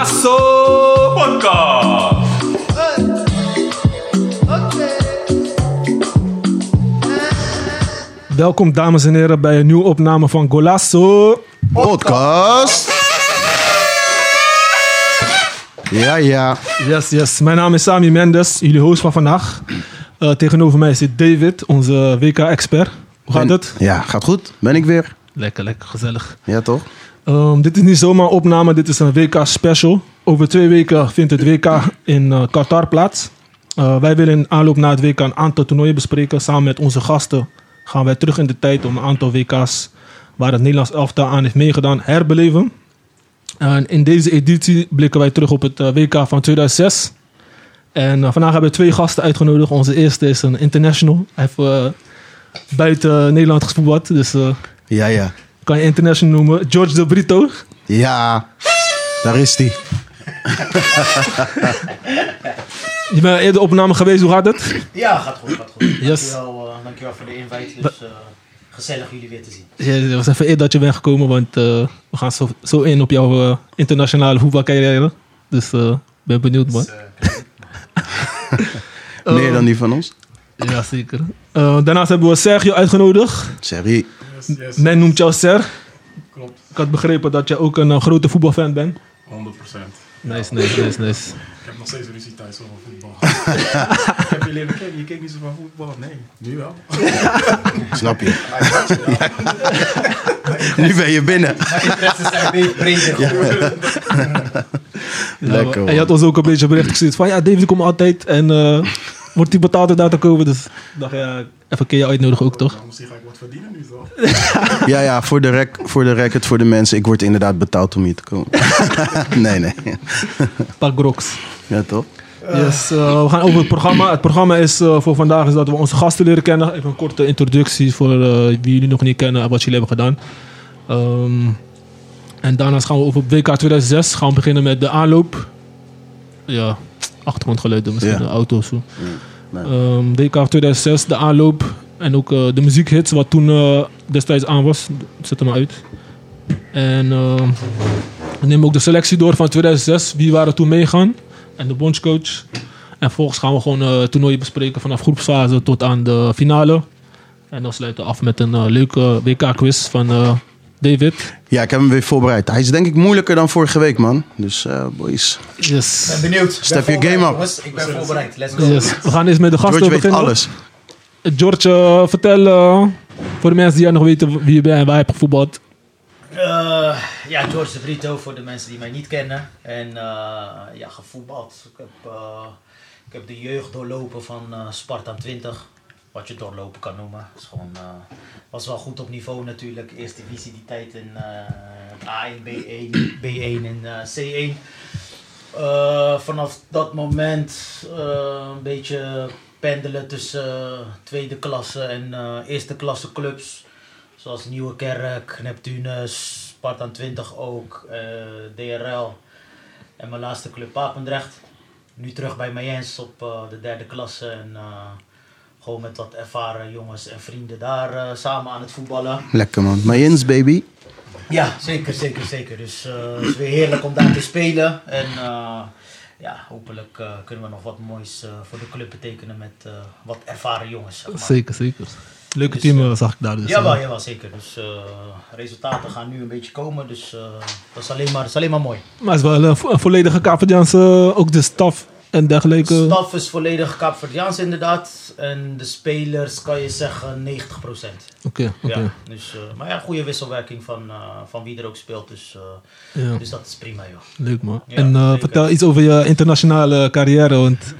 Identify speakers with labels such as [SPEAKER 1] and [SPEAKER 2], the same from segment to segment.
[SPEAKER 1] Lasso Podcast.
[SPEAKER 2] Welkom dames en heren bij een nieuwe opname van Golasso.
[SPEAKER 3] podcast. Ja, ja.
[SPEAKER 2] Yes, yes. Mijn naam is Sami Mendes, jullie host van vandaag. Eh, tegenover mij zit David, onze WK-expert. Hoe gaat
[SPEAKER 3] En-
[SPEAKER 2] het?
[SPEAKER 3] Ja, gaat goed. Ben ik weer.
[SPEAKER 2] Lekker, lekker, gezellig.
[SPEAKER 3] Ja, toch?
[SPEAKER 2] Ehm, dit is niet zomaar een opname, dit is een WK-special. Over twee weken vindt het WK in eh, Qatar plaats. Eh, wij willen in aanloop naar het WK een aantal toernooien bespreken. Samen met onze gasten gaan wij terug in de tijd om een aantal WK's waar het Nederlands elftal aan heeft meegedaan herbeleven. En in deze editie blikken wij terug op het eh, WK van 2006. En eh, vandaag hebben we twee gasten uitgenodigd. Onze eerste is een international. Hij heeft eh, buiten Nederland gevoetbald, dus eh,
[SPEAKER 3] Ja, ja.
[SPEAKER 2] kan je international noemen. George de Brito.
[SPEAKER 3] Ja. Daar is die.
[SPEAKER 2] Je bent eerder opname geweest, hoe gaat het?
[SPEAKER 4] Ja, gaat goed, gaat goed.
[SPEAKER 2] Yes.
[SPEAKER 4] Dankjewel, eh, dankjewel voor de invite. Dus, eh, gezellig jullie weer te zien.
[SPEAKER 2] Ja, Het was even eer dat je bent gekomen, want eh, we gaan zo, zo in op jouw eh, internationale voetbalcarrière. Dus eh, ben benieuwd, man. Eh,
[SPEAKER 3] Meer dan die van ons.
[SPEAKER 2] Ja, zeker. Eh, daarnaast hebben we Sergio uitgenodigd.
[SPEAKER 3] Serie.
[SPEAKER 5] Yes, yes.
[SPEAKER 2] Men noemt jou Ser.
[SPEAKER 5] Klopt.
[SPEAKER 2] Ik had begrepen dat je ook een eh, grote voetbalfan bent.
[SPEAKER 5] 100%.
[SPEAKER 2] Nice, nice, nice, nice.
[SPEAKER 5] Ik heb nog steeds ruzie thuis over voetbal. ik heb je leren kennen, je keek niet zo van voetbal. Nee, nu wel.
[SPEAKER 3] Snap je? Nu ben je binnen.
[SPEAKER 4] Mijn interesses zijn een beetje breder.
[SPEAKER 3] Lekker,
[SPEAKER 2] en
[SPEAKER 3] man.
[SPEAKER 2] je had ons ook een beetje bericht gestuurd van, ja, David komt altijd en eh, wordt hij betaald om daar te komen. Dus ik dacht, ja, even een keer je uitnodigen ook, toch?
[SPEAKER 5] Nou, misschien ga ik wat verdienen nu toch?
[SPEAKER 3] Ja, ja. Voor de, rec voor de record, voor de mensen. Ik word inderdaad betaald om hier te komen. nee, nee.
[SPEAKER 2] Een paar groks.
[SPEAKER 3] Ja, toch?
[SPEAKER 2] Yes, eh, we gaan over het programma. Het programma is eh, voor vandaag is dat we onze gasten leren kennen. Even een korte introductie voor eh, wie jullie nog niet kennen en wat jullie hebben gedaan. Ehm, en daarnaast gaan we over WK 2006 gaan we beginnen met de aanloop. Ja, achtergrondgeluiden, misschien
[SPEAKER 3] Ja.
[SPEAKER 2] een auto of zo.
[SPEAKER 3] nee.
[SPEAKER 2] Ehm, WK 2006, de aanloop en ook eh, de muziekhits wat toen eh, destijds aan was. Zet hem maar uit. En ehm, we nemen ook de selectie door van 2006. Wie waren toen meegaan? En de bondscoach. En volgens gaan we gewoon eh toernooien bespreken vanaf groepsfase tot aan de finale. En dan sluiten we af met een eh, leuke WK-quiz van eh, David.
[SPEAKER 3] Ja, ik heb hem weer voorbereid. Hij is denk ik moeilijker dan vorige week, man. Dus, eh, boys.
[SPEAKER 2] Yes.
[SPEAKER 4] Ik ben benieuwd. Ik ben
[SPEAKER 3] Step your
[SPEAKER 4] voorbereid,
[SPEAKER 3] game up.
[SPEAKER 4] jongens. Ik ben voorbereid. Let's go.
[SPEAKER 2] yes. We gaan eerst met de gasten
[SPEAKER 3] George weet
[SPEAKER 2] beginnen.
[SPEAKER 3] alles.
[SPEAKER 2] George, eh, vertel eh, voor de mensen die nog weten wie je bent en waar je hebt gevoetbald.
[SPEAKER 4] Eh, ja, George de Brito voor de mensen die mij niet kennen. En eh, ja, gevoetbald. Ik heb, eh, ik heb de jeugd doorlopen van eh, Sparta 20. Wat je doorlopen kan noemen. Is gewoon, eh, was wel goed op niveau natuurlijk. Eerste divisie die tijd in eh, A1, B1, B1 en eh, C1. Eh, vanaf dat moment eh, een beetje pendelen tussen eh, tweede klasse en eh, eerste klasse clubs. Zoals Nieuwe Kerk, Neptunus, Spartan 20 ook, eh, DRL. En mijn laatste club Papendrecht. Nu terug bij Mayens op eh, de derde klasse. En eh, gewoon met wat ervaren jongens en vrienden daar eh, samen aan het voetballen.
[SPEAKER 3] Lekker, man. Mayins, baby.
[SPEAKER 4] Ja, zeker, zeker, zeker. Dus eh, het is weer heerlijk om daar te spelen. En eh, ja, hopelijk eh, kunnen we nog wat moois eh, voor de club betekenen met eh, wat ervaren jongens. zeg maar.
[SPEAKER 2] Zeker, zeker. Leuke
[SPEAKER 4] Dus,
[SPEAKER 2] team eh, zag ik daar dus.
[SPEAKER 4] Jawel,
[SPEAKER 2] eh.
[SPEAKER 4] jawel, zeker. Dus eh, resultaten gaan nu een beetje komen. Dus eh, dat, is alleen maar, dat is alleen maar mooi.
[SPEAKER 2] Maar het is wel een, vo- een volledige Kaverdiaanse, ook de staf en dergelijke.
[SPEAKER 4] De staf is volledig Kaapverdiaans inderdaad. En de spelers kan je zeggen 90%.
[SPEAKER 2] Oké,
[SPEAKER 4] Ja,
[SPEAKER 2] oké.
[SPEAKER 4] dus, eh, maar ja, goede wisselwerking van, eh, van wie er ook speelt. Dus, eh,
[SPEAKER 2] Ja.
[SPEAKER 4] dus dat is prima joh.
[SPEAKER 2] Leuk man.
[SPEAKER 4] Ja,
[SPEAKER 2] en eh,
[SPEAKER 4] zeker.
[SPEAKER 2] vertel iets over je internationale carrière. Want,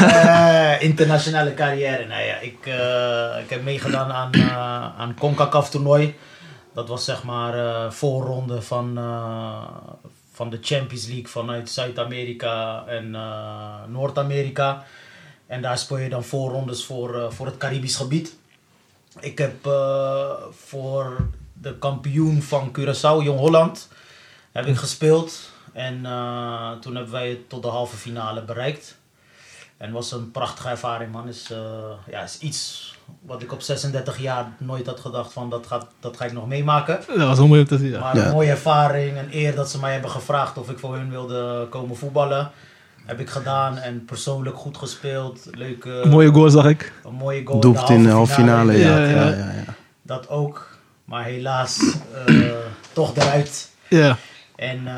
[SPEAKER 4] Eh, internationale carrière. Nou ja, ik, eh, ik heb meegedaan aan, eh aan CONCACAF toernooi. Dat was zeg maar eh voorronde van, eh, van de Champions League vanuit Zuid-Amerika en eh, Noord-Amerika. En daar speel je dan voorrondes voor, eh, voor het Caribisch gebied. Ik heb eh, voor de kampioen van Curaçao, Jong Holland, heb ik gespeeld. En eh, toen hebben wij het tot de halve finale bereikt. En was een prachtige ervaring, man. Is, eh, ja, is iets wat ik op 36 jaar nooit had gedacht van dat, gaat, dat ga ik nog meemaken.
[SPEAKER 2] Dat was heel mooi om te zien. Ja.
[SPEAKER 4] Maar een
[SPEAKER 3] Ja.
[SPEAKER 4] mooie ervaring, een eer dat ze mij hebben gevraagd of ik voor hun wilde komen voetballen. Heb ik gedaan en persoonlijk goed gespeeld. Leuke,
[SPEAKER 2] Een mooie goal zag ik.
[SPEAKER 4] een mooie goal.
[SPEAKER 3] Doelpunt in de halve finale.
[SPEAKER 2] Ja,
[SPEAKER 3] Ja, ja,
[SPEAKER 2] ja.
[SPEAKER 3] ja. ja,
[SPEAKER 4] Dat ook, maar helaas eh, toch eruit.
[SPEAKER 2] Ja.
[SPEAKER 4] En, eh,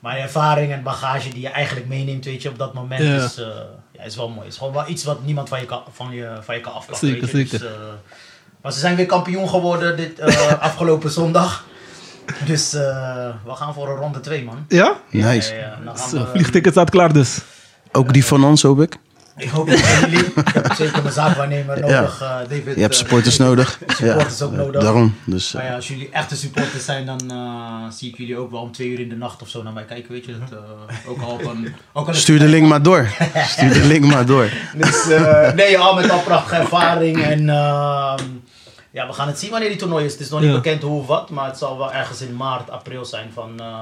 [SPEAKER 4] maar de ervaring en bagage die je eigenlijk meeneemt weet je, op dat moment
[SPEAKER 2] Ja.
[SPEAKER 4] is, eh, ja, is wel mooi. is gewoon wel iets wat niemand van je kan, van je, van je kan afpakken.
[SPEAKER 2] Zeker,
[SPEAKER 4] weet je.
[SPEAKER 2] zeker.
[SPEAKER 4] Dus, eh, maar ze zijn weer kampioen geworden dit, eh, afgelopen zondag. Dus eh, we gaan voor een ronde 2, man.
[SPEAKER 2] Ja?
[SPEAKER 3] Nice.
[SPEAKER 4] Ja, ja, dan gaan
[SPEAKER 2] Zo,
[SPEAKER 4] we-
[SPEAKER 2] vliegticket staat klaar dus.
[SPEAKER 3] Ook die van ons, hoop ik.
[SPEAKER 4] Ik hoop dat jullie. Ik heb zeker mijn zaakwaarnemer nodig, eh, David.
[SPEAKER 3] Je hebt
[SPEAKER 4] eh,
[SPEAKER 3] supporters nodig.
[SPEAKER 4] Supporters
[SPEAKER 3] ja,
[SPEAKER 4] ook nodig.
[SPEAKER 3] Daarom. Dus,
[SPEAKER 4] Maar ja, als jullie echte supporters zijn, dan eh, zie ik jullie ook wel om twee uur in de nacht of zo naar mij kijken, weet je. Dat, eh, ook al op een... Ook al
[SPEAKER 3] Stuur de link maar door. Stuur de link maar door.
[SPEAKER 4] Dus, eh, nee, al met al prachtige ervaring. En ehm, ja, we gaan het zien wanneer die toernooi is. Het is nog niet
[SPEAKER 2] Ja.
[SPEAKER 4] bekend hoe of wat, maar het zal wel ergens in maart, april zijn van, eh,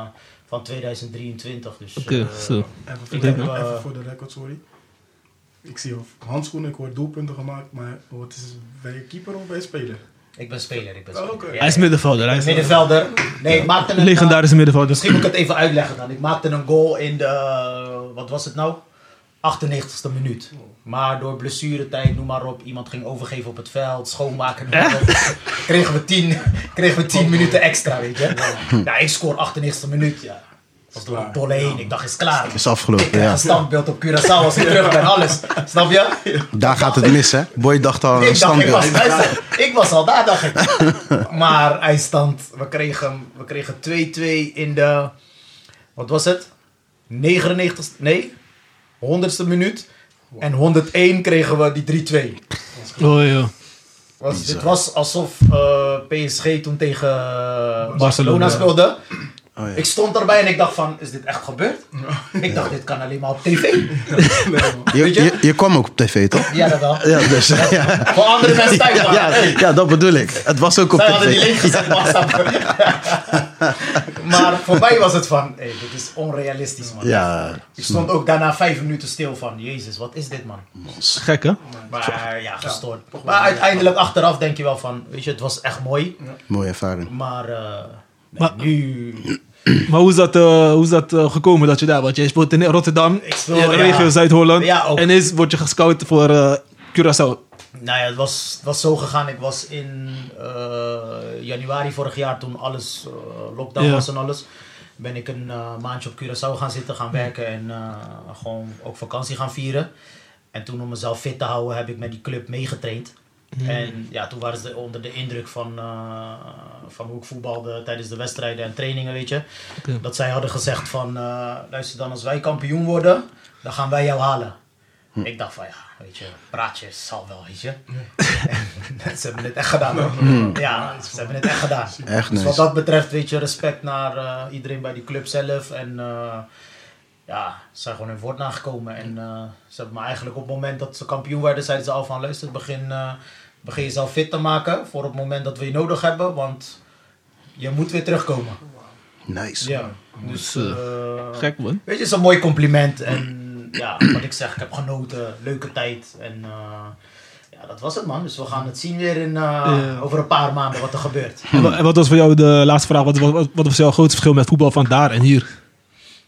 [SPEAKER 4] van 2023. Dus,
[SPEAKER 2] Oké,
[SPEAKER 4] eh,
[SPEAKER 2] zo.
[SPEAKER 5] Even voor,
[SPEAKER 2] Ik
[SPEAKER 5] de,
[SPEAKER 2] denk,
[SPEAKER 5] even
[SPEAKER 4] eh,
[SPEAKER 5] voor de record, sorry. Ik zie handschoenen, ik hoor doelpunten gemaakt, maar wat is bij je keeper of bij je speler?
[SPEAKER 4] Ik ben speler, ik ben speler.
[SPEAKER 5] Oké.
[SPEAKER 4] Ja,
[SPEAKER 2] Hij is middenvelder. Hij is
[SPEAKER 4] middenvelder. Nee, ik maakte een... eh,
[SPEAKER 2] legendarische middenvelder.
[SPEAKER 4] Misschien moet ik het even uitleggen dan. Ik maakte een goal in de, eh, wat was het nou? 98ste minuut. Maar door blessuretijd, noem maar op, iemand ging overgeven op het veld, schoonmaken. noem maar op, Kregen we 10 kregen we 10 minuten extra, weet je. Oh. Ja, ik scoor 98ste minuut, ja. Dat was door
[SPEAKER 5] Klaar.
[SPEAKER 4] de dolle heen. Ik dacht, is klaar.
[SPEAKER 3] Is afgelopen.
[SPEAKER 4] Ik krijg
[SPEAKER 3] Ja.
[SPEAKER 4] een standbeeld op Curaçao als ik terug ben, alles. Snap je?
[SPEAKER 3] Daar gaat het mis, hè? Boy dacht al aan een
[SPEAKER 4] Ik dacht, ik was,
[SPEAKER 3] standbeeld.
[SPEAKER 4] luister, ik was al daar, dacht ik. Maar eindstand, we kregen, we kregen 2-2 in de, wat was het? 99 nee, 100ste minuut. En 101 kregen we die 3-2.
[SPEAKER 2] Oh, ja.
[SPEAKER 4] Was, het was alsof eh, PSG toen tegen eh, Barcelona,
[SPEAKER 2] Barcelona.
[SPEAKER 4] speelde.
[SPEAKER 3] Oh, ja.
[SPEAKER 4] Ik stond erbij en ik dacht van, is dit echt gebeurd? Ik dacht, dit kan alleen maar op tv.
[SPEAKER 3] Je,
[SPEAKER 4] Weet je?
[SPEAKER 3] je, je kwam ook op tv, toch?
[SPEAKER 4] Ja, dat wel.
[SPEAKER 3] Ja, dus, ja.
[SPEAKER 4] Voor andere mensen thuis
[SPEAKER 3] Ja,
[SPEAKER 4] waren.
[SPEAKER 3] ja,
[SPEAKER 4] Hey.
[SPEAKER 3] ja, dat bedoel ik. Het was ook op
[SPEAKER 4] Zij hadden die
[SPEAKER 3] tv.
[SPEAKER 4] link gezet, WhatsApp. maar voor mij was het van, hey, dit is onrealistisch, man.
[SPEAKER 3] Ja,
[SPEAKER 4] Ik stond ook daarna vijf minuten stil van, jezus, wat is dit, man?
[SPEAKER 2] Is Gek, hè?
[SPEAKER 4] Maar eh, ja, gestoord. maar uiteindelijk, achteraf denk je wel van, weet je, het was echt mooi.
[SPEAKER 3] mooie ervaring.
[SPEAKER 4] Maar eh, nee,
[SPEAKER 2] Maar-
[SPEAKER 4] nu...
[SPEAKER 2] Maar hoe is dat, eh, hoe is dat eh, gekomen dat je daar... Want jij speelt in Rotterdam,
[SPEAKER 4] Ik speel,
[SPEAKER 2] in de
[SPEAKER 4] ja.
[SPEAKER 2] regio Zuid-Holland.
[SPEAKER 4] Ja, ook.
[SPEAKER 2] en is word je gescout voor eh, Curaçao.
[SPEAKER 4] Nou ja, het was, het was zo gegaan. Ik was in eh, januari vorig jaar, toen alles eh, lockdown
[SPEAKER 2] Ja.
[SPEAKER 4] was en alles, ben ik een eh, maandje op Curaçao gaan zitten, gaan werken en eh, gewoon ook vakantie gaan vieren. En toen om mezelf fit te houden, heb ik met die club meegetraind. En ja, toen waren ze onder de indruk van, eh, van hoe ik voetbalde tijdens de wedstrijden en trainingen, weet je.
[SPEAKER 2] Oké.
[SPEAKER 4] Dat zij hadden gezegd van, eh, luister dan, als wij kampioen worden, dan gaan wij jou halen.
[SPEAKER 3] Hm.
[SPEAKER 4] Ik dacht van, ja, weet je, praatjes zal wel, weet je. En ze hebben het echt gedaan. hoor. Ja, ze hebben het echt gedaan.
[SPEAKER 3] Hm. Echt
[SPEAKER 4] Dus wat
[SPEAKER 3] nice.
[SPEAKER 4] dat betreft, weet je, respect naar eh, iedereen bij die club zelf. En eh, ja, ze zijn gewoon hun woord nagekomen. En eh, ze hebben me eigenlijk op het moment dat ze kampioen werden, zeiden ze al van luister, begin, eh, begin jezelf fit te maken voor het moment dat we je nodig hebben. Want je moet weer terugkomen.
[SPEAKER 3] Nice.
[SPEAKER 4] Ja, dus...
[SPEAKER 2] Zo.
[SPEAKER 4] eh,
[SPEAKER 2] Gek, man.
[SPEAKER 4] Weet je, het is een mooi compliment. En ja, wat ik zeg, ik heb genoten. Leuke tijd. En eh, ja, dat was het man. Dus we gaan het zien weer in, eh,
[SPEAKER 2] Ja.
[SPEAKER 4] over een paar maanden wat er gebeurt.
[SPEAKER 2] En, wa- en wat was voor jou de laatste vraag? Wat, wat, wat was jouw grootste verschil met voetbal van daar en hier?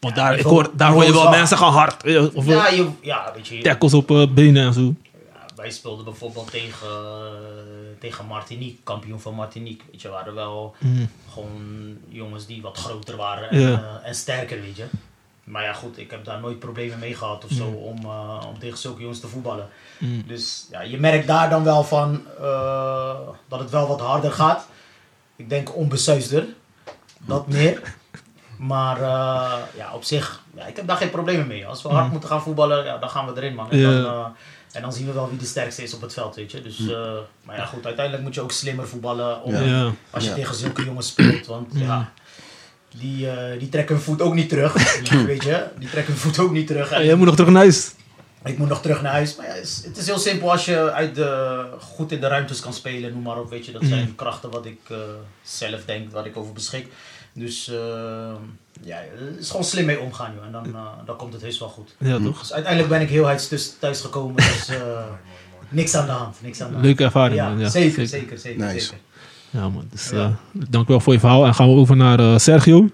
[SPEAKER 2] Want daar, ik hoor, daar hoor je wel mensen gaan hard. eh, Of eh,
[SPEAKER 4] Ja, je, ja weet je.
[SPEAKER 2] tackles op eh, benen en zo.
[SPEAKER 4] ja, wij speelden bijvoorbeeld tegen, eh, tegen Martinique, kampioen van Martinique. Weet je, waren wel
[SPEAKER 2] Mm.
[SPEAKER 4] gewoon jongens die wat groter waren en,
[SPEAKER 2] Ja.
[SPEAKER 4] eh, en sterker, weet je. Maar ja, goed, ik heb daar nooit problemen mee gehad of zo om, eh, om tegen zulke jongens te voetballen.
[SPEAKER 2] Mm.
[SPEAKER 4] Dus ja, je merkt daar dan wel van eh, dat het wel wat harder gaat. Ik denk onbesuisder, dat meer. Maar eh, ja, op zich, ja, ik heb daar geen problemen mee. Als we hard moeten gaan voetballen, ja, dan gaan we erin, man. En,
[SPEAKER 2] Mm. Ja. Mm.
[SPEAKER 4] dan, eh, en dan zien we wel wie de sterkste is op het veld, weet je. Dus, eh, maar ja, goed, uiteindelijk moet je ook slimmer voetballen om, eh,
[SPEAKER 2] Ja. Mm.
[SPEAKER 4] als je
[SPEAKER 3] Ja.
[SPEAKER 4] tegen zulke jongens speelt. Want ja, die, eh, die trekken hun voet ook niet terug, weet je. Die trekken hun voet ook niet terug.
[SPEAKER 2] En
[SPEAKER 4] En
[SPEAKER 2] jij moet nog terug naar huis.
[SPEAKER 4] ik moet nog terug naar huis. Maar ja, het is- het is heel simpel als je uit de, goed
[SPEAKER 2] Mm.
[SPEAKER 4] in de ruimtes kan spelen, noem maar op. Weet je, dat zijn krachten wat ik eh, zelf denk, waar ik over beschik. Dus eh, ja, er is gewoon slim mee omgaan, joh. En dan, eh, dan komt het heus wel goed.
[SPEAKER 2] Ja, toch?
[SPEAKER 4] Dus uiteindelijk ben ik heel huids thuis, thuis gekomen. Dus eh, niks aan de hand. Niks aan de hand.
[SPEAKER 2] Leuke ervaring,
[SPEAKER 4] ja,
[SPEAKER 2] man. Ja,
[SPEAKER 4] zeker, zeker, zeker.
[SPEAKER 3] Nice.
[SPEAKER 4] zeker.
[SPEAKER 2] Ja, man. Dus
[SPEAKER 4] Ja.
[SPEAKER 2] eh, dankjewel voor je verhaal. En gaan we over naar eh, Sergio.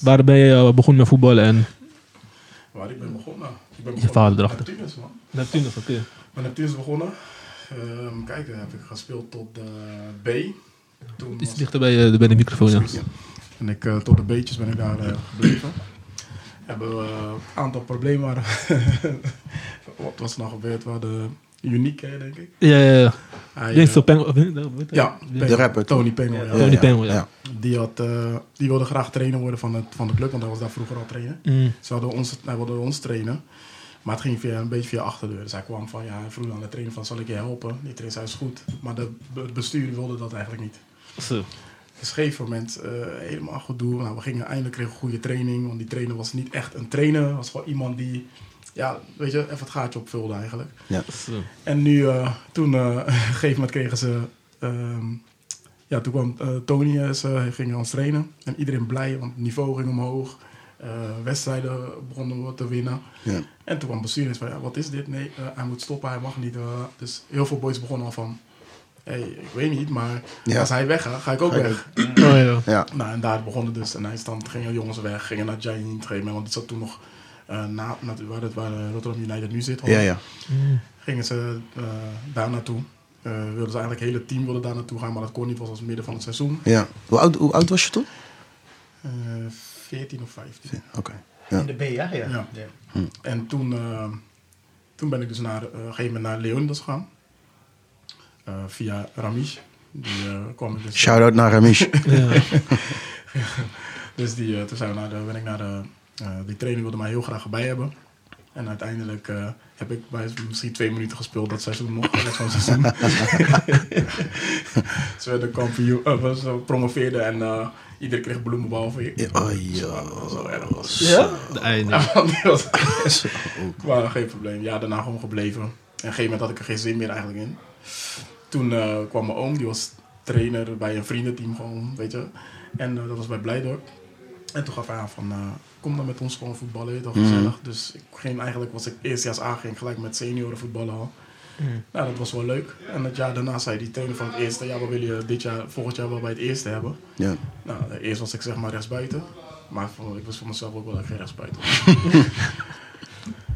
[SPEAKER 2] Waar ben je eh, begonnen met voetballen en
[SPEAKER 5] Waar ik ben begonnen. Ik ben
[SPEAKER 2] Je
[SPEAKER 5] begonnen
[SPEAKER 2] vader
[SPEAKER 5] met
[SPEAKER 2] erachter.
[SPEAKER 5] Neptunus, man.
[SPEAKER 2] Neptunus, oké.
[SPEAKER 5] Met Neptunus begonnen. Ehm kijk, daar heb ik gespeeld tot de B. Toen
[SPEAKER 2] Iets
[SPEAKER 5] was-
[SPEAKER 2] dichter bij, eh, bij de microfoon, ja.
[SPEAKER 5] Precies. En ik, eh, tot de beetjes ben ik daar eh, gebleven. Hebben we eh, een aantal problemen. waar- Wat was er nou gebeurd? We hadden uniek, hè, denk ik.
[SPEAKER 2] Ja, ja, ja.
[SPEAKER 5] Hij,
[SPEAKER 2] James
[SPEAKER 5] eh,
[SPEAKER 2] de Peng- of, eh, weet je?
[SPEAKER 5] ja,
[SPEAKER 3] De rapper, toch?
[SPEAKER 5] Tony Pengel. Ja.
[SPEAKER 2] Tony
[SPEAKER 3] Ja, ja,
[SPEAKER 2] Pengel, ja.
[SPEAKER 5] Die, had, eh, die wilde graag trainer worden van, het, van de club, want hij was daar vroeger al trainer.
[SPEAKER 2] Mm.
[SPEAKER 5] Ze hadden ons, hij wilde ons trainen, maar het ging via, een beetje via achterdeur. Dus hij kwam van, ja, hij vroeg aan de trainer van, zal ik je helpen? Die trainer zei, is goed. Maar de, het bestuur wilde dat eigenlijk niet.
[SPEAKER 2] Zo.
[SPEAKER 5] Dus op een gegeven moment eh, helemaal goed doen. Nou, we gingen eindelijk kregen we goede training. Want die trainer was niet echt een trainer. was gewoon iemand die, ja, weet je, even het gaatje opvulde eigenlijk.
[SPEAKER 2] Zo.
[SPEAKER 5] En nu, eh, toen, eh, op een gegeven moment kregen ze... ehm, ja, toen kwam eh, Tony, eh, ze gingen ons trainen. En iedereen blij, want het niveau ging omhoog. Eh, wedstrijden begonnen we te winnen.
[SPEAKER 3] Ja.
[SPEAKER 5] En toen kwam bestuurders van, ja, wat is dit? Nee, eh, hij moet stoppen, hij mag niet. eh. dus heel veel boys begonnen al van... hey, ik weet niet, maar
[SPEAKER 3] Ja.
[SPEAKER 5] als hij weggaat, ga ik ook
[SPEAKER 3] Ga ik
[SPEAKER 5] weg.
[SPEAKER 2] Oh, ja.
[SPEAKER 3] Ja,
[SPEAKER 5] Nou, en daar begon het dus. En eindstand gingen jongens weg, gingen naar Giant op een gegeven moment, want die zat toen nog eh, na, na, waar, het, waar eh, Rotterdam United nu zit.
[SPEAKER 3] ja, ja.
[SPEAKER 2] Mm.
[SPEAKER 5] Gingen ze eh, daar naartoe. Eh, wilden ze eigenlijk het hele team wilde daar naartoe gaan, maar dat kon niet, was als midden van het seizoen.
[SPEAKER 3] ja. Hoe, oud, hoe oud was je toen?
[SPEAKER 5] Eh 14 of 15.
[SPEAKER 3] Oké.
[SPEAKER 4] In de B, ja? Ja.
[SPEAKER 5] Ja.
[SPEAKER 4] ja.
[SPEAKER 5] En toen, eh, toen ben ik dus naar, eh, op een gegeven moment naar Leonidas gegaan. Eh, via Ramish. Die eh, kwam ik dus...
[SPEAKER 3] Shout-out naar Ramish.
[SPEAKER 2] Ja.
[SPEAKER 5] Dus die, eh, toen zijn we naar de, ben ik naar de, eh, die trainer wilde mij heel graag bij hebben. En uiteindelijk eh, heb ik bij misschien twee minuten gespeeld dat seizoen nog. Dat was een seizoen. Ze werden kampioen, eh, was- eh, promoveerden en eh, iedereen kreeg bloemen behalve ik.
[SPEAKER 3] Ja, Oh,
[SPEAKER 5] Dat was wel erg.
[SPEAKER 3] joh.
[SPEAKER 2] De einde.
[SPEAKER 5] Ja, want die was-
[SPEAKER 3] Zo.
[SPEAKER 5] maar geen probleem. Ja, daarna gewoon gebleven. En op een gegeven moment had ik er geen zin meer eigenlijk in. Toen eh, kwam mijn oom, die was trainer bij een vriendenteam gewoon, weet je. En eh, dat was bij Blijdorp. En toen gaf hij aan van, eh, kom dan met ons gewoon voetballen, je toch gezellig. Dus ik ging eigenlijk, was ik eerstejaars A, ging ik gelijk met senioren voetballen al.
[SPEAKER 2] Mm.
[SPEAKER 5] Nou, dat was wel leuk. En het jaar daarna zei die trainer van het eerste, ja, we willen je dit jaar, volgend jaar wel bij het eerste hebben.
[SPEAKER 3] Ja.
[SPEAKER 5] Nou, eh, eerst was ik zeg maar rechtsbuiten. Maar voor- ik was voor mezelf ook wel dat ik geen rechtsbuiten was.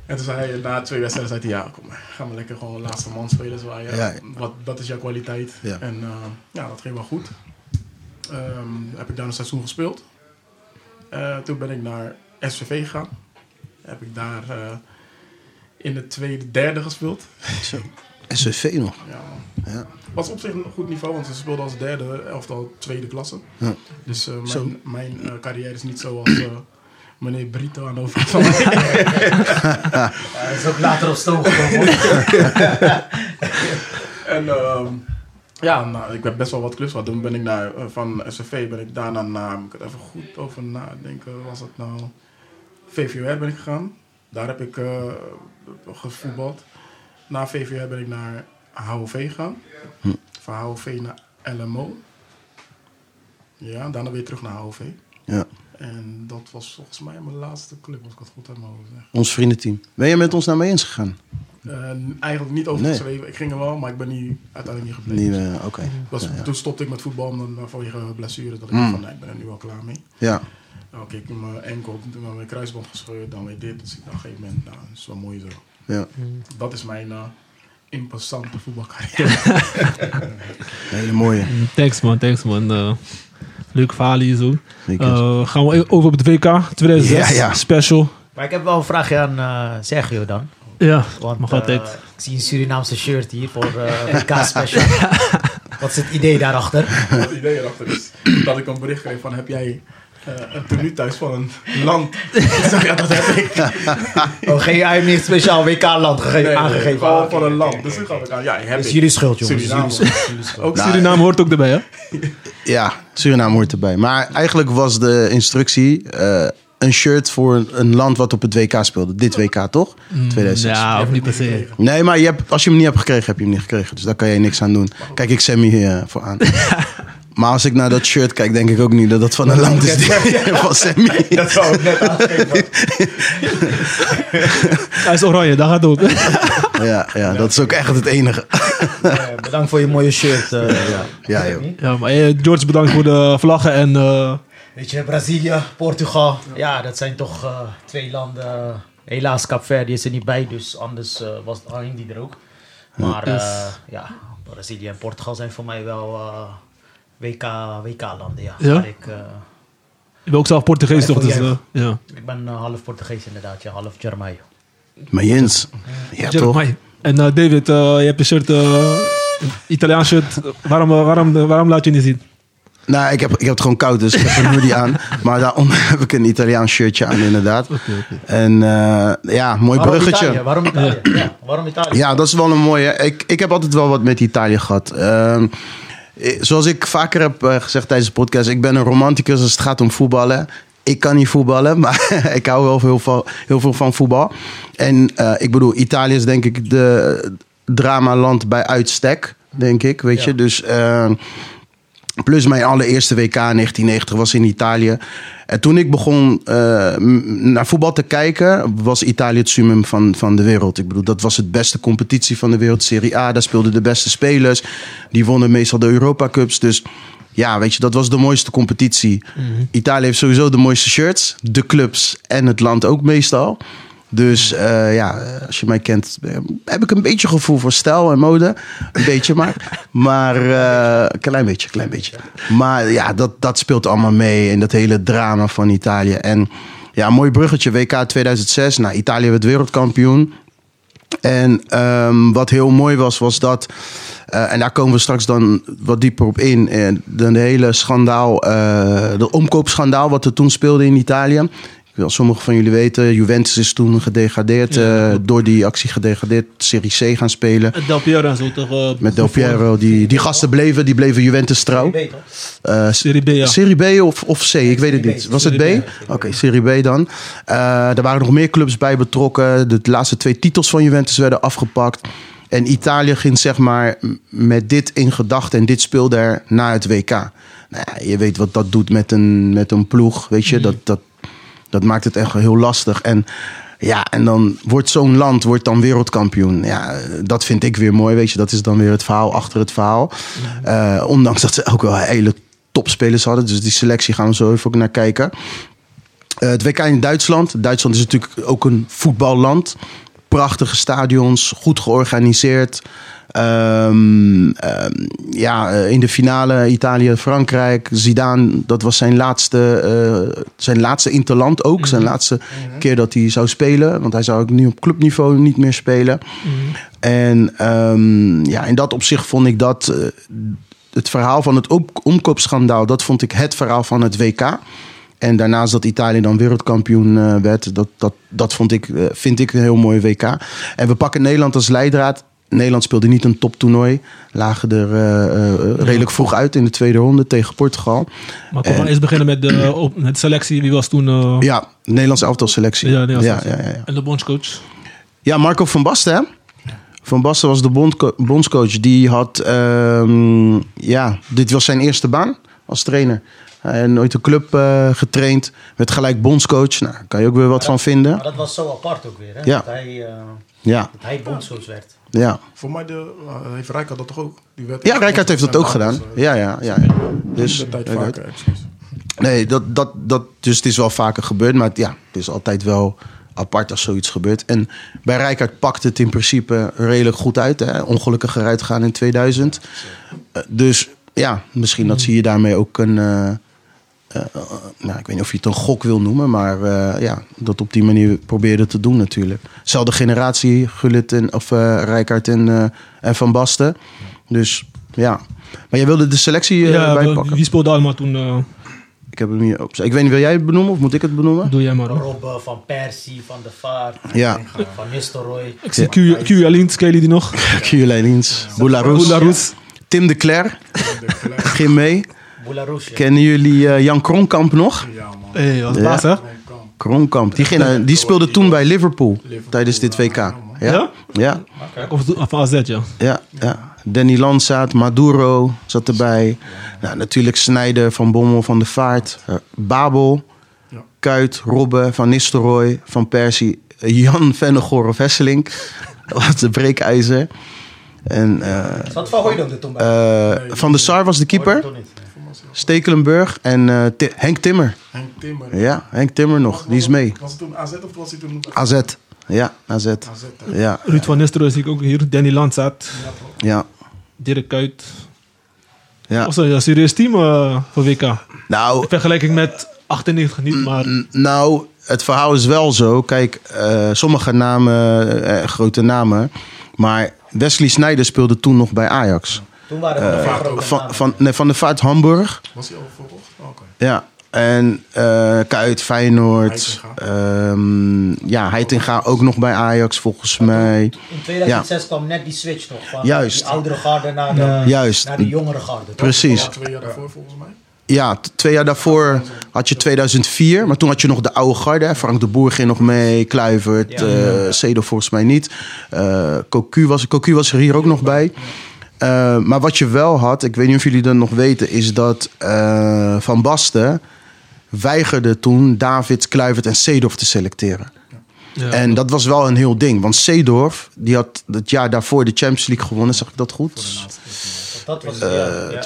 [SPEAKER 5] en toen zei hij, na twee wedstrijden, zei hij, ja, kom maar. Ga maar lekker gewoon laatste man spelen. Zo, ja,
[SPEAKER 3] Ja.
[SPEAKER 5] Wat, dat is jouw kwaliteit.
[SPEAKER 3] Ja.
[SPEAKER 5] En eh, ja, dat ging wel goed. Ehm, heb ik daar een seizoen gespeeld. Eh, toen ben ik naar SVV gegaan. Heb ik daar eh, in de tweede, derde gespeeld.
[SPEAKER 3] Zo. SVV nog.
[SPEAKER 5] Ja, man.
[SPEAKER 3] Ja.
[SPEAKER 5] Was op zich een goed niveau, want ze speelden als derde, elftal tweede klasse.
[SPEAKER 3] Ja.
[SPEAKER 5] Dus eh,
[SPEAKER 3] Zo.
[SPEAKER 5] mijn, mijn eh, carrière is niet zoals eh meneer Brito aan de overkant van mij.
[SPEAKER 4] Hij is ook later op stoom gekomen.
[SPEAKER 5] En ehm, ja, nou, ik heb best wel wat clubs gehad. Toen ben ik naar, eh, van SCV ben ik daarna naar, moet ik het even goed over nadenken, was het nou... VVR ben ik gegaan. Daar heb ik eh, gevoetbald. Na VVR ben ik naar HOV gegaan.
[SPEAKER 3] Hm.
[SPEAKER 5] Van HOV naar LMO. Ja, daarna weer terug naar HOV.
[SPEAKER 3] ja.
[SPEAKER 5] En dat was volgens mij mijn laatste club, als ik het goed uit mijn hoofd zeg.
[SPEAKER 3] Ons vriendenteam. Ben je met ons naar mee eens gegaan?
[SPEAKER 5] Eh, eigenlijk niet overgeschreven. Ik ging er wel, maar ik ben niet, uiteindelijk niet gebleven.
[SPEAKER 3] Nee, eh, Oké.
[SPEAKER 5] Was,
[SPEAKER 3] Ja, ja.
[SPEAKER 5] Toen stopte ik met voetbal omdat- vanwege blessures. Dat ik
[SPEAKER 3] Mm.
[SPEAKER 5] dacht van, nee, ik ben er nu al klaar mee.
[SPEAKER 3] Ja.
[SPEAKER 5] Nou, oké, ik heb mijn enkel, toen heb mijn kruisband gescheurd, dan weer dit. Dus ik dacht op een gegeven moment, nou, dat is wel mooi zo.
[SPEAKER 3] ja.
[SPEAKER 2] Mm,
[SPEAKER 5] Dat is mijn eh, impassante voetbalcarrière.
[SPEAKER 3] Een hele mooie.
[SPEAKER 2] Mm, Thanks, man. Thanks, man. Eh, leuk verhaal hier zo.
[SPEAKER 3] Zeker.
[SPEAKER 2] Eh, gaan we e- over op het WK 2006.
[SPEAKER 3] Ja, ja.
[SPEAKER 2] Special.
[SPEAKER 4] Maar ik heb wel een vraagje aan eh, Sergio dan.
[SPEAKER 2] Ja,
[SPEAKER 4] Want
[SPEAKER 2] mag
[SPEAKER 4] eh,
[SPEAKER 2] altijd.
[SPEAKER 4] ik zie een Surinaamse shirt hier voor eh WK Special. Wat is het idee daarachter?
[SPEAKER 5] het idee erachter is dat ik een bericht kreeg van, heb jij eh, een tenue thuis van een land? ik zeg, ja, dat heb ik.
[SPEAKER 4] Oh, geen, hij heeft niet een speciaal WK-land gegeven,
[SPEAKER 5] Nee,
[SPEAKER 4] aangegeven.
[SPEAKER 5] gewoon
[SPEAKER 4] Oh, oké,
[SPEAKER 3] Ah,
[SPEAKER 5] van een
[SPEAKER 4] oké,
[SPEAKER 5] land.
[SPEAKER 4] oké,
[SPEAKER 5] dus toen
[SPEAKER 4] oké.
[SPEAKER 5] gaf ik aan, ja, heb
[SPEAKER 4] Het
[SPEAKER 5] ik.
[SPEAKER 4] is jullie schuld, jongens.
[SPEAKER 5] Suriname.
[SPEAKER 4] Het is jullie schuld. Het is jullie schuld.
[SPEAKER 5] Ook
[SPEAKER 3] Nou,
[SPEAKER 2] Suriname hoort ook erbij, hè?
[SPEAKER 3] Ja, Suriname hoort erbij. Maar eigenlijk was de instructie eh, een shirt voor een- een land wat op het WK speelde. Dit WK toch? 2006.
[SPEAKER 2] Ja, of niet per se.
[SPEAKER 5] gekregen.
[SPEAKER 3] Nee, maar je hebt, als je hem niet hebt gekregen, heb je hem niet gekregen. Dus daar kan je niks aan doen. Kijk ik Sammy eh, voor aan. Maar als ik naar dat shirt kijk, denk ik ook niet dat dat van een land is die- van Sammy.
[SPEAKER 5] Dat zou ik net aangeven. maar-
[SPEAKER 2] Hij is oranje, daar gaat het ook.
[SPEAKER 3] Ja, ja, dat is ook echt het enige.
[SPEAKER 4] Eh, bedankt voor je mooie shirt. eh,
[SPEAKER 3] Ja, joh.
[SPEAKER 2] Ja, maar eh, George, bedankt voor de vlaggen en... eh,
[SPEAKER 4] Weet je, Brazilië, Portugal. Ja, dat zijn toch eh, twee landen. Helaas, Capverdi is er niet bij, dus anders eh, was alleen die er ook. Maar eh, ja, Brazilië en Portugal zijn voor mij wel eh, WK, WK-landen. Ja.
[SPEAKER 2] Ja?
[SPEAKER 4] Waar Ik, eh,
[SPEAKER 2] ik ben ook zelf Portugees,
[SPEAKER 4] Ja,
[SPEAKER 2] toch? Dus,
[SPEAKER 4] ja.
[SPEAKER 2] eh, ja.
[SPEAKER 4] ik ben eh, half Portugees inderdaad, ja, half Germain.
[SPEAKER 3] Maar Jens, ja toch?
[SPEAKER 2] Jeremiah. En eh, David, eh, je hebt een shirt, eh, een Italiaans shirt. Waarom, eh, waarom, waarom laat je het niet zien?
[SPEAKER 3] Nou, ik heb, ik heb het gewoon koud, dus ik heb een hoodie aan. Maar daaronder heb ik een Italiaans shirtje aan, inderdaad. En eh, ja, mooi
[SPEAKER 4] Waarom
[SPEAKER 3] bruggetje.
[SPEAKER 4] Italië? Waarom Italië? Ja, waarom Italië?
[SPEAKER 3] Ja, dat is wel een mooie. Ik, ik heb altijd wel wat met Italië gehad. Ehm, eh, zoals ik vaker heb eh, gezegd tijdens de podcast, ik ben een romanticus als het gaat om voetballen. Ik kan niet voetballen, maar ik hou wel heel veel, heel veel van voetbal. En eh, ik bedoel, Italië is denk ik de dramaland bij uitstek, denk ik. Weet
[SPEAKER 4] Ja.
[SPEAKER 3] je, dus. ehm, Plus mijn allereerste WK in 1990 was in Italië. En toen ik begon eh, m- naar voetbal te kijken, was Italië het summum van, van de wereld. Ik bedoel, dat was het beste competitie van de wereld. Serie A, daar speelden de beste spelers. Die wonnen meestal de Europa Cups. Dus ja, weet je, dat was de mooiste competitie. Italië heeft sowieso de mooiste shirts, de clubs en het land ook meestal. Dus eh, ja, eh, als je mij kent, eh, heb ik een beetje gevoel voor stijl en mode. Een beetje maar. Maar eh, een klein beetje, klein beetje. Maar ja, dat, dat speelt allemaal mee in dat hele drama van Italië. En ja, een mooi bruggetje, WK 2006. Nou, Italië werd wereldkampioen. En ehm, wat heel mooi was, was dat. eh, en daar komen we straks dan wat dieper op in. En de hele schandaal, eh, de omkoopschandaal wat er toen speelde in Italië. Ik wil sommigen van jullie weten, Juventus is toen gedegradeerd. eh, door die actie gedegradeerd, Serie C gaan spelen.
[SPEAKER 2] Del Piero en zo, toch? eh?
[SPEAKER 3] Met Del Piero, die, die gasten bleven, die bleven Juventus trouw.
[SPEAKER 4] Ik weet het.
[SPEAKER 3] Eh,
[SPEAKER 2] Serie B, ja.
[SPEAKER 3] Serie B of, of C, ik weet
[SPEAKER 4] Serie
[SPEAKER 3] het
[SPEAKER 4] B.
[SPEAKER 3] niet. Was het B?
[SPEAKER 2] Serie
[SPEAKER 3] Oké,
[SPEAKER 2] B,
[SPEAKER 3] Serie B dan. Eh er waren nog meer clubs bij betrokken. De laatste twee titels van Juventus werden afgepakt. En Italië ging zeg maar m- met dit in gedachten en dit speelde er na het WK. Nou, ja, je weet wat dat doet met een, met een ploeg, weet
[SPEAKER 2] Mhm.
[SPEAKER 3] je. Dat, dat, dat maakt het echt heel lastig. En ja, en dan wordt zo'n land wordt dan wereldkampioen. Ja, dat vind ik weer mooi, weet je. Dat is dan weer het verhaal achter het verhaal. Eh, ondanks dat ze ook wel hele topspelers hadden. Dus die selectie gaan we zo even ook naar kijken. Eh, het WK in Duitsland. Duitsland is natuurlijk ook een voetballand. Prachtige stadions, goed georganiseerd. Ehm, ehm, ja, eh, in de finale Italië-Frankrijk. Zidane, dat was zijn laatste, eh, zijn laatste interland ook. Zijn laatste keer dat hij zou spelen. Want hij zou ook nu op clubniveau niet meer spelen.
[SPEAKER 2] Mm.
[SPEAKER 3] En ehm, ja, in dat opzicht vond ik dat... eh, het verhaal van het op- omkoopschandaal, dat vond ik het verhaal van het WK. En daarnaast dat Italië dan wereldkampioen eh, werd, dat, dat, dat vond ik, eh, vind ik een heel mooi WK. En we pakken Nederland als leidraad. Nederland speelde niet een toptoernooi. Lagen er eh, eh, redelijk vroeg uit in de tweede ronde tegen Portugal.
[SPEAKER 2] Maar kom maar
[SPEAKER 3] En-
[SPEAKER 2] eerst beginnen met de op, met de selectie. Wie was toen eh,
[SPEAKER 3] Eh. Ja, Nederlands elftal selectie.
[SPEAKER 2] Ja, Nederlands
[SPEAKER 3] ja,
[SPEAKER 2] elftal.
[SPEAKER 3] ja, ja, ja.
[SPEAKER 2] en de bondscoach?
[SPEAKER 3] Ja, Marco van Basten. hè? Van Basten was de bondco- bondscoach. Die had, ehm, ja, dit was zijn eerste baan als trainer. Hij had nooit een club eh, getraind. Werd gelijk bondscoach. Nou, daar kan je ook weer wat van
[SPEAKER 4] Maar
[SPEAKER 3] vinden.
[SPEAKER 4] dat was zo apart ook weer, hè?
[SPEAKER 3] Ja.
[SPEAKER 4] Dat hij, eh
[SPEAKER 3] Ja,
[SPEAKER 4] dat hij bondscoach werd.
[SPEAKER 3] ja.
[SPEAKER 5] Voor mij de, eh, heeft Rijkaard dat toch ook? Die werd
[SPEAKER 3] Ja, Rijkaard heeft dat ook gedaan. Ja, ja, ja. ja. Dus,
[SPEAKER 5] de tijd
[SPEAKER 3] Rijkaard.
[SPEAKER 5] vaker, excuus.
[SPEAKER 3] nee, dat, dat, dat, dus het is wel vaker gebeurd. Maar het- ja, het is altijd wel apart als zoiets gebeurt. En bij Rijkaard pakt het in principe redelijk goed uit. Hè? Ongelukkig eruit gaan in 2000. Eh, Dus ja, misschien
[SPEAKER 2] Hmm.
[SPEAKER 3] dat ze je daarmee ook een... eh, eh, eh, nou, ik weet niet of je het een gok wil noemen, maar eh, ja, dat op die manier probeerde te doen natuurlijk. Zelfde generatie, Gullit en, of eh Rijkaard en, eh, en Van Basten. Dus ja. Maar jij wilde de selectie eh
[SPEAKER 2] ja,
[SPEAKER 3] erbij
[SPEAKER 2] we-
[SPEAKER 3] pakken?
[SPEAKER 2] wie speelde allemaal toen? eh,
[SPEAKER 3] Ik heb hem hier op. Ik weet niet, wil jij het benoemen of moet ik het benoemen?
[SPEAKER 2] doe jij maar. hoor.
[SPEAKER 4] Rob eh, van Persie, Van de Vaart, eh,
[SPEAKER 3] Ja,
[SPEAKER 4] Van Nistelrooy.
[SPEAKER 2] Ik zie Q, Q Alin, ken je die nog?
[SPEAKER 3] Kierlijns, Boularoes,
[SPEAKER 2] Roes.
[SPEAKER 3] Tim de Cler, Gim mee.
[SPEAKER 4] Boularus. ja.
[SPEAKER 3] Kennen jullie eh, Jan Kronkamp nog?
[SPEAKER 5] Ja, man.
[SPEAKER 2] Hé, hey, was
[SPEAKER 3] Ja.
[SPEAKER 2] baas, hè?
[SPEAKER 3] Kronkamp, die, ging, eh, die speelde toen bij Liverpool
[SPEAKER 5] Liverpool,
[SPEAKER 3] tijdens dit WK. Ja,
[SPEAKER 2] Ja?
[SPEAKER 3] ja,
[SPEAKER 2] Of, of AZ, ja.
[SPEAKER 3] ja, ja. Danny Landzaat, Maduro zat erbij. Nou, natuurlijk Snijder, Van Bommel, Van de Vaart, eh, Babel,
[SPEAKER 5] Ja.
[SPEAKER 3] Kuit, Robben, Van Nistelrooy, Van Persie, eh, Jan Vennegoor of Hesselink. Wat de breekijzer. En, eh,
[SPEAKER 4] Zat Van Hooydonk er toen bij?
[SPEAKER 3] eh, van de Sar was de keeper.
[SPEAKER 4] Hooydonk toch niet?
[SPEAKER 3] Stekelenburg en eh, Ti- Henk Timmer.
[SPEAKER 5] Henk Timmer.
[SPEAKER 3] Ja, Henk Timmer nog. Die is mee.
[SPEAKER 5] Was het toen AZ of was hij toen
[SPEAKER 3] AZ. Ja, AZ.
[SPEAKER 5] AZ? hè?
[SPEAKER 3] Ja,
[SPEAKER 2] Ruud van Nistelrooy zie ik ook hier. Danny Landzaat.
[SPEAKER 5] Ja, toch?
[SPEAKER 3] ja,
[SPEAKER 2] Dirk Kuyt.
[SPEAKER 3] ja.
[SPEAKER 2] Was een ja, serieus team eh, voor WK. In
[SPEAKER 3] Nou,
[SPEAKER 2] vergelijking met 98 niet, maar...
[SPEAKER 3] N- Nou, het verhaal is wel zo. Kijk, eh, sommige namen, eh, grote namen. Maar Wesley Sneijder speelde toen nog bij Ajax. Eh,
[SPEAKER 4] Toen waren we nog grote
[SPEAKER 3] Van,
[SPEAKER 4] namen.
[SPEAKER 3] van, nee, van de Vaart Hamburg.
[SPEAKER 5] Was hij al verkocht? Oh, Oké.
[SPEAKER 3] Ja. En eh Kuit, Feyenoord.
[SPEAKER 5] Heitinga.
[SPEAKER 3] ehm, ja, Heitinga ook nog bij Ajax volgens mij.
[SPEAKER 4] In 2006 kwam net die switch nog. Van
[SPEAKER 3] Juist.
[SPEAKER 4] Die oudere garde naar de,
[SPEAKER 3] Juist.
[SPEAKER 4] Naar de jongere garde. toch?
[SPEAKER 3] Precies.
[SPEAKER 5] Ja, twee jaar daarvoor volgens mij.
[SPEAKER 3] Ja, t- twee jaar daarvoor had je 2004. Maar toen had je nog de oude garde. hè. Frank de Boer ging nog mee. Kluivert,
[SPEAKER 4] Ja.
[SPEAKER 3] eh Sedo volgens mij niet. Eh Cocu, was, Cocu was er hier ook nog bij. Eh, maar wat je wel had, ik weet niet of jullie dat nog weten... is dat eh, Van Basten weigerde toen David, Kluivert en Seedorf te selecteren.
[SPEAKER 2] Ja.
[SPEAKER 3] En dat was wel een heel ding. Want Seedorf, die had het jaar daarvoor de Champions League gewonnen. Zag ik dat goed?
[SPEAKER 4] Dat was ja,
[SPEAKER 3] Eh,
[SPEAKER 4] ja.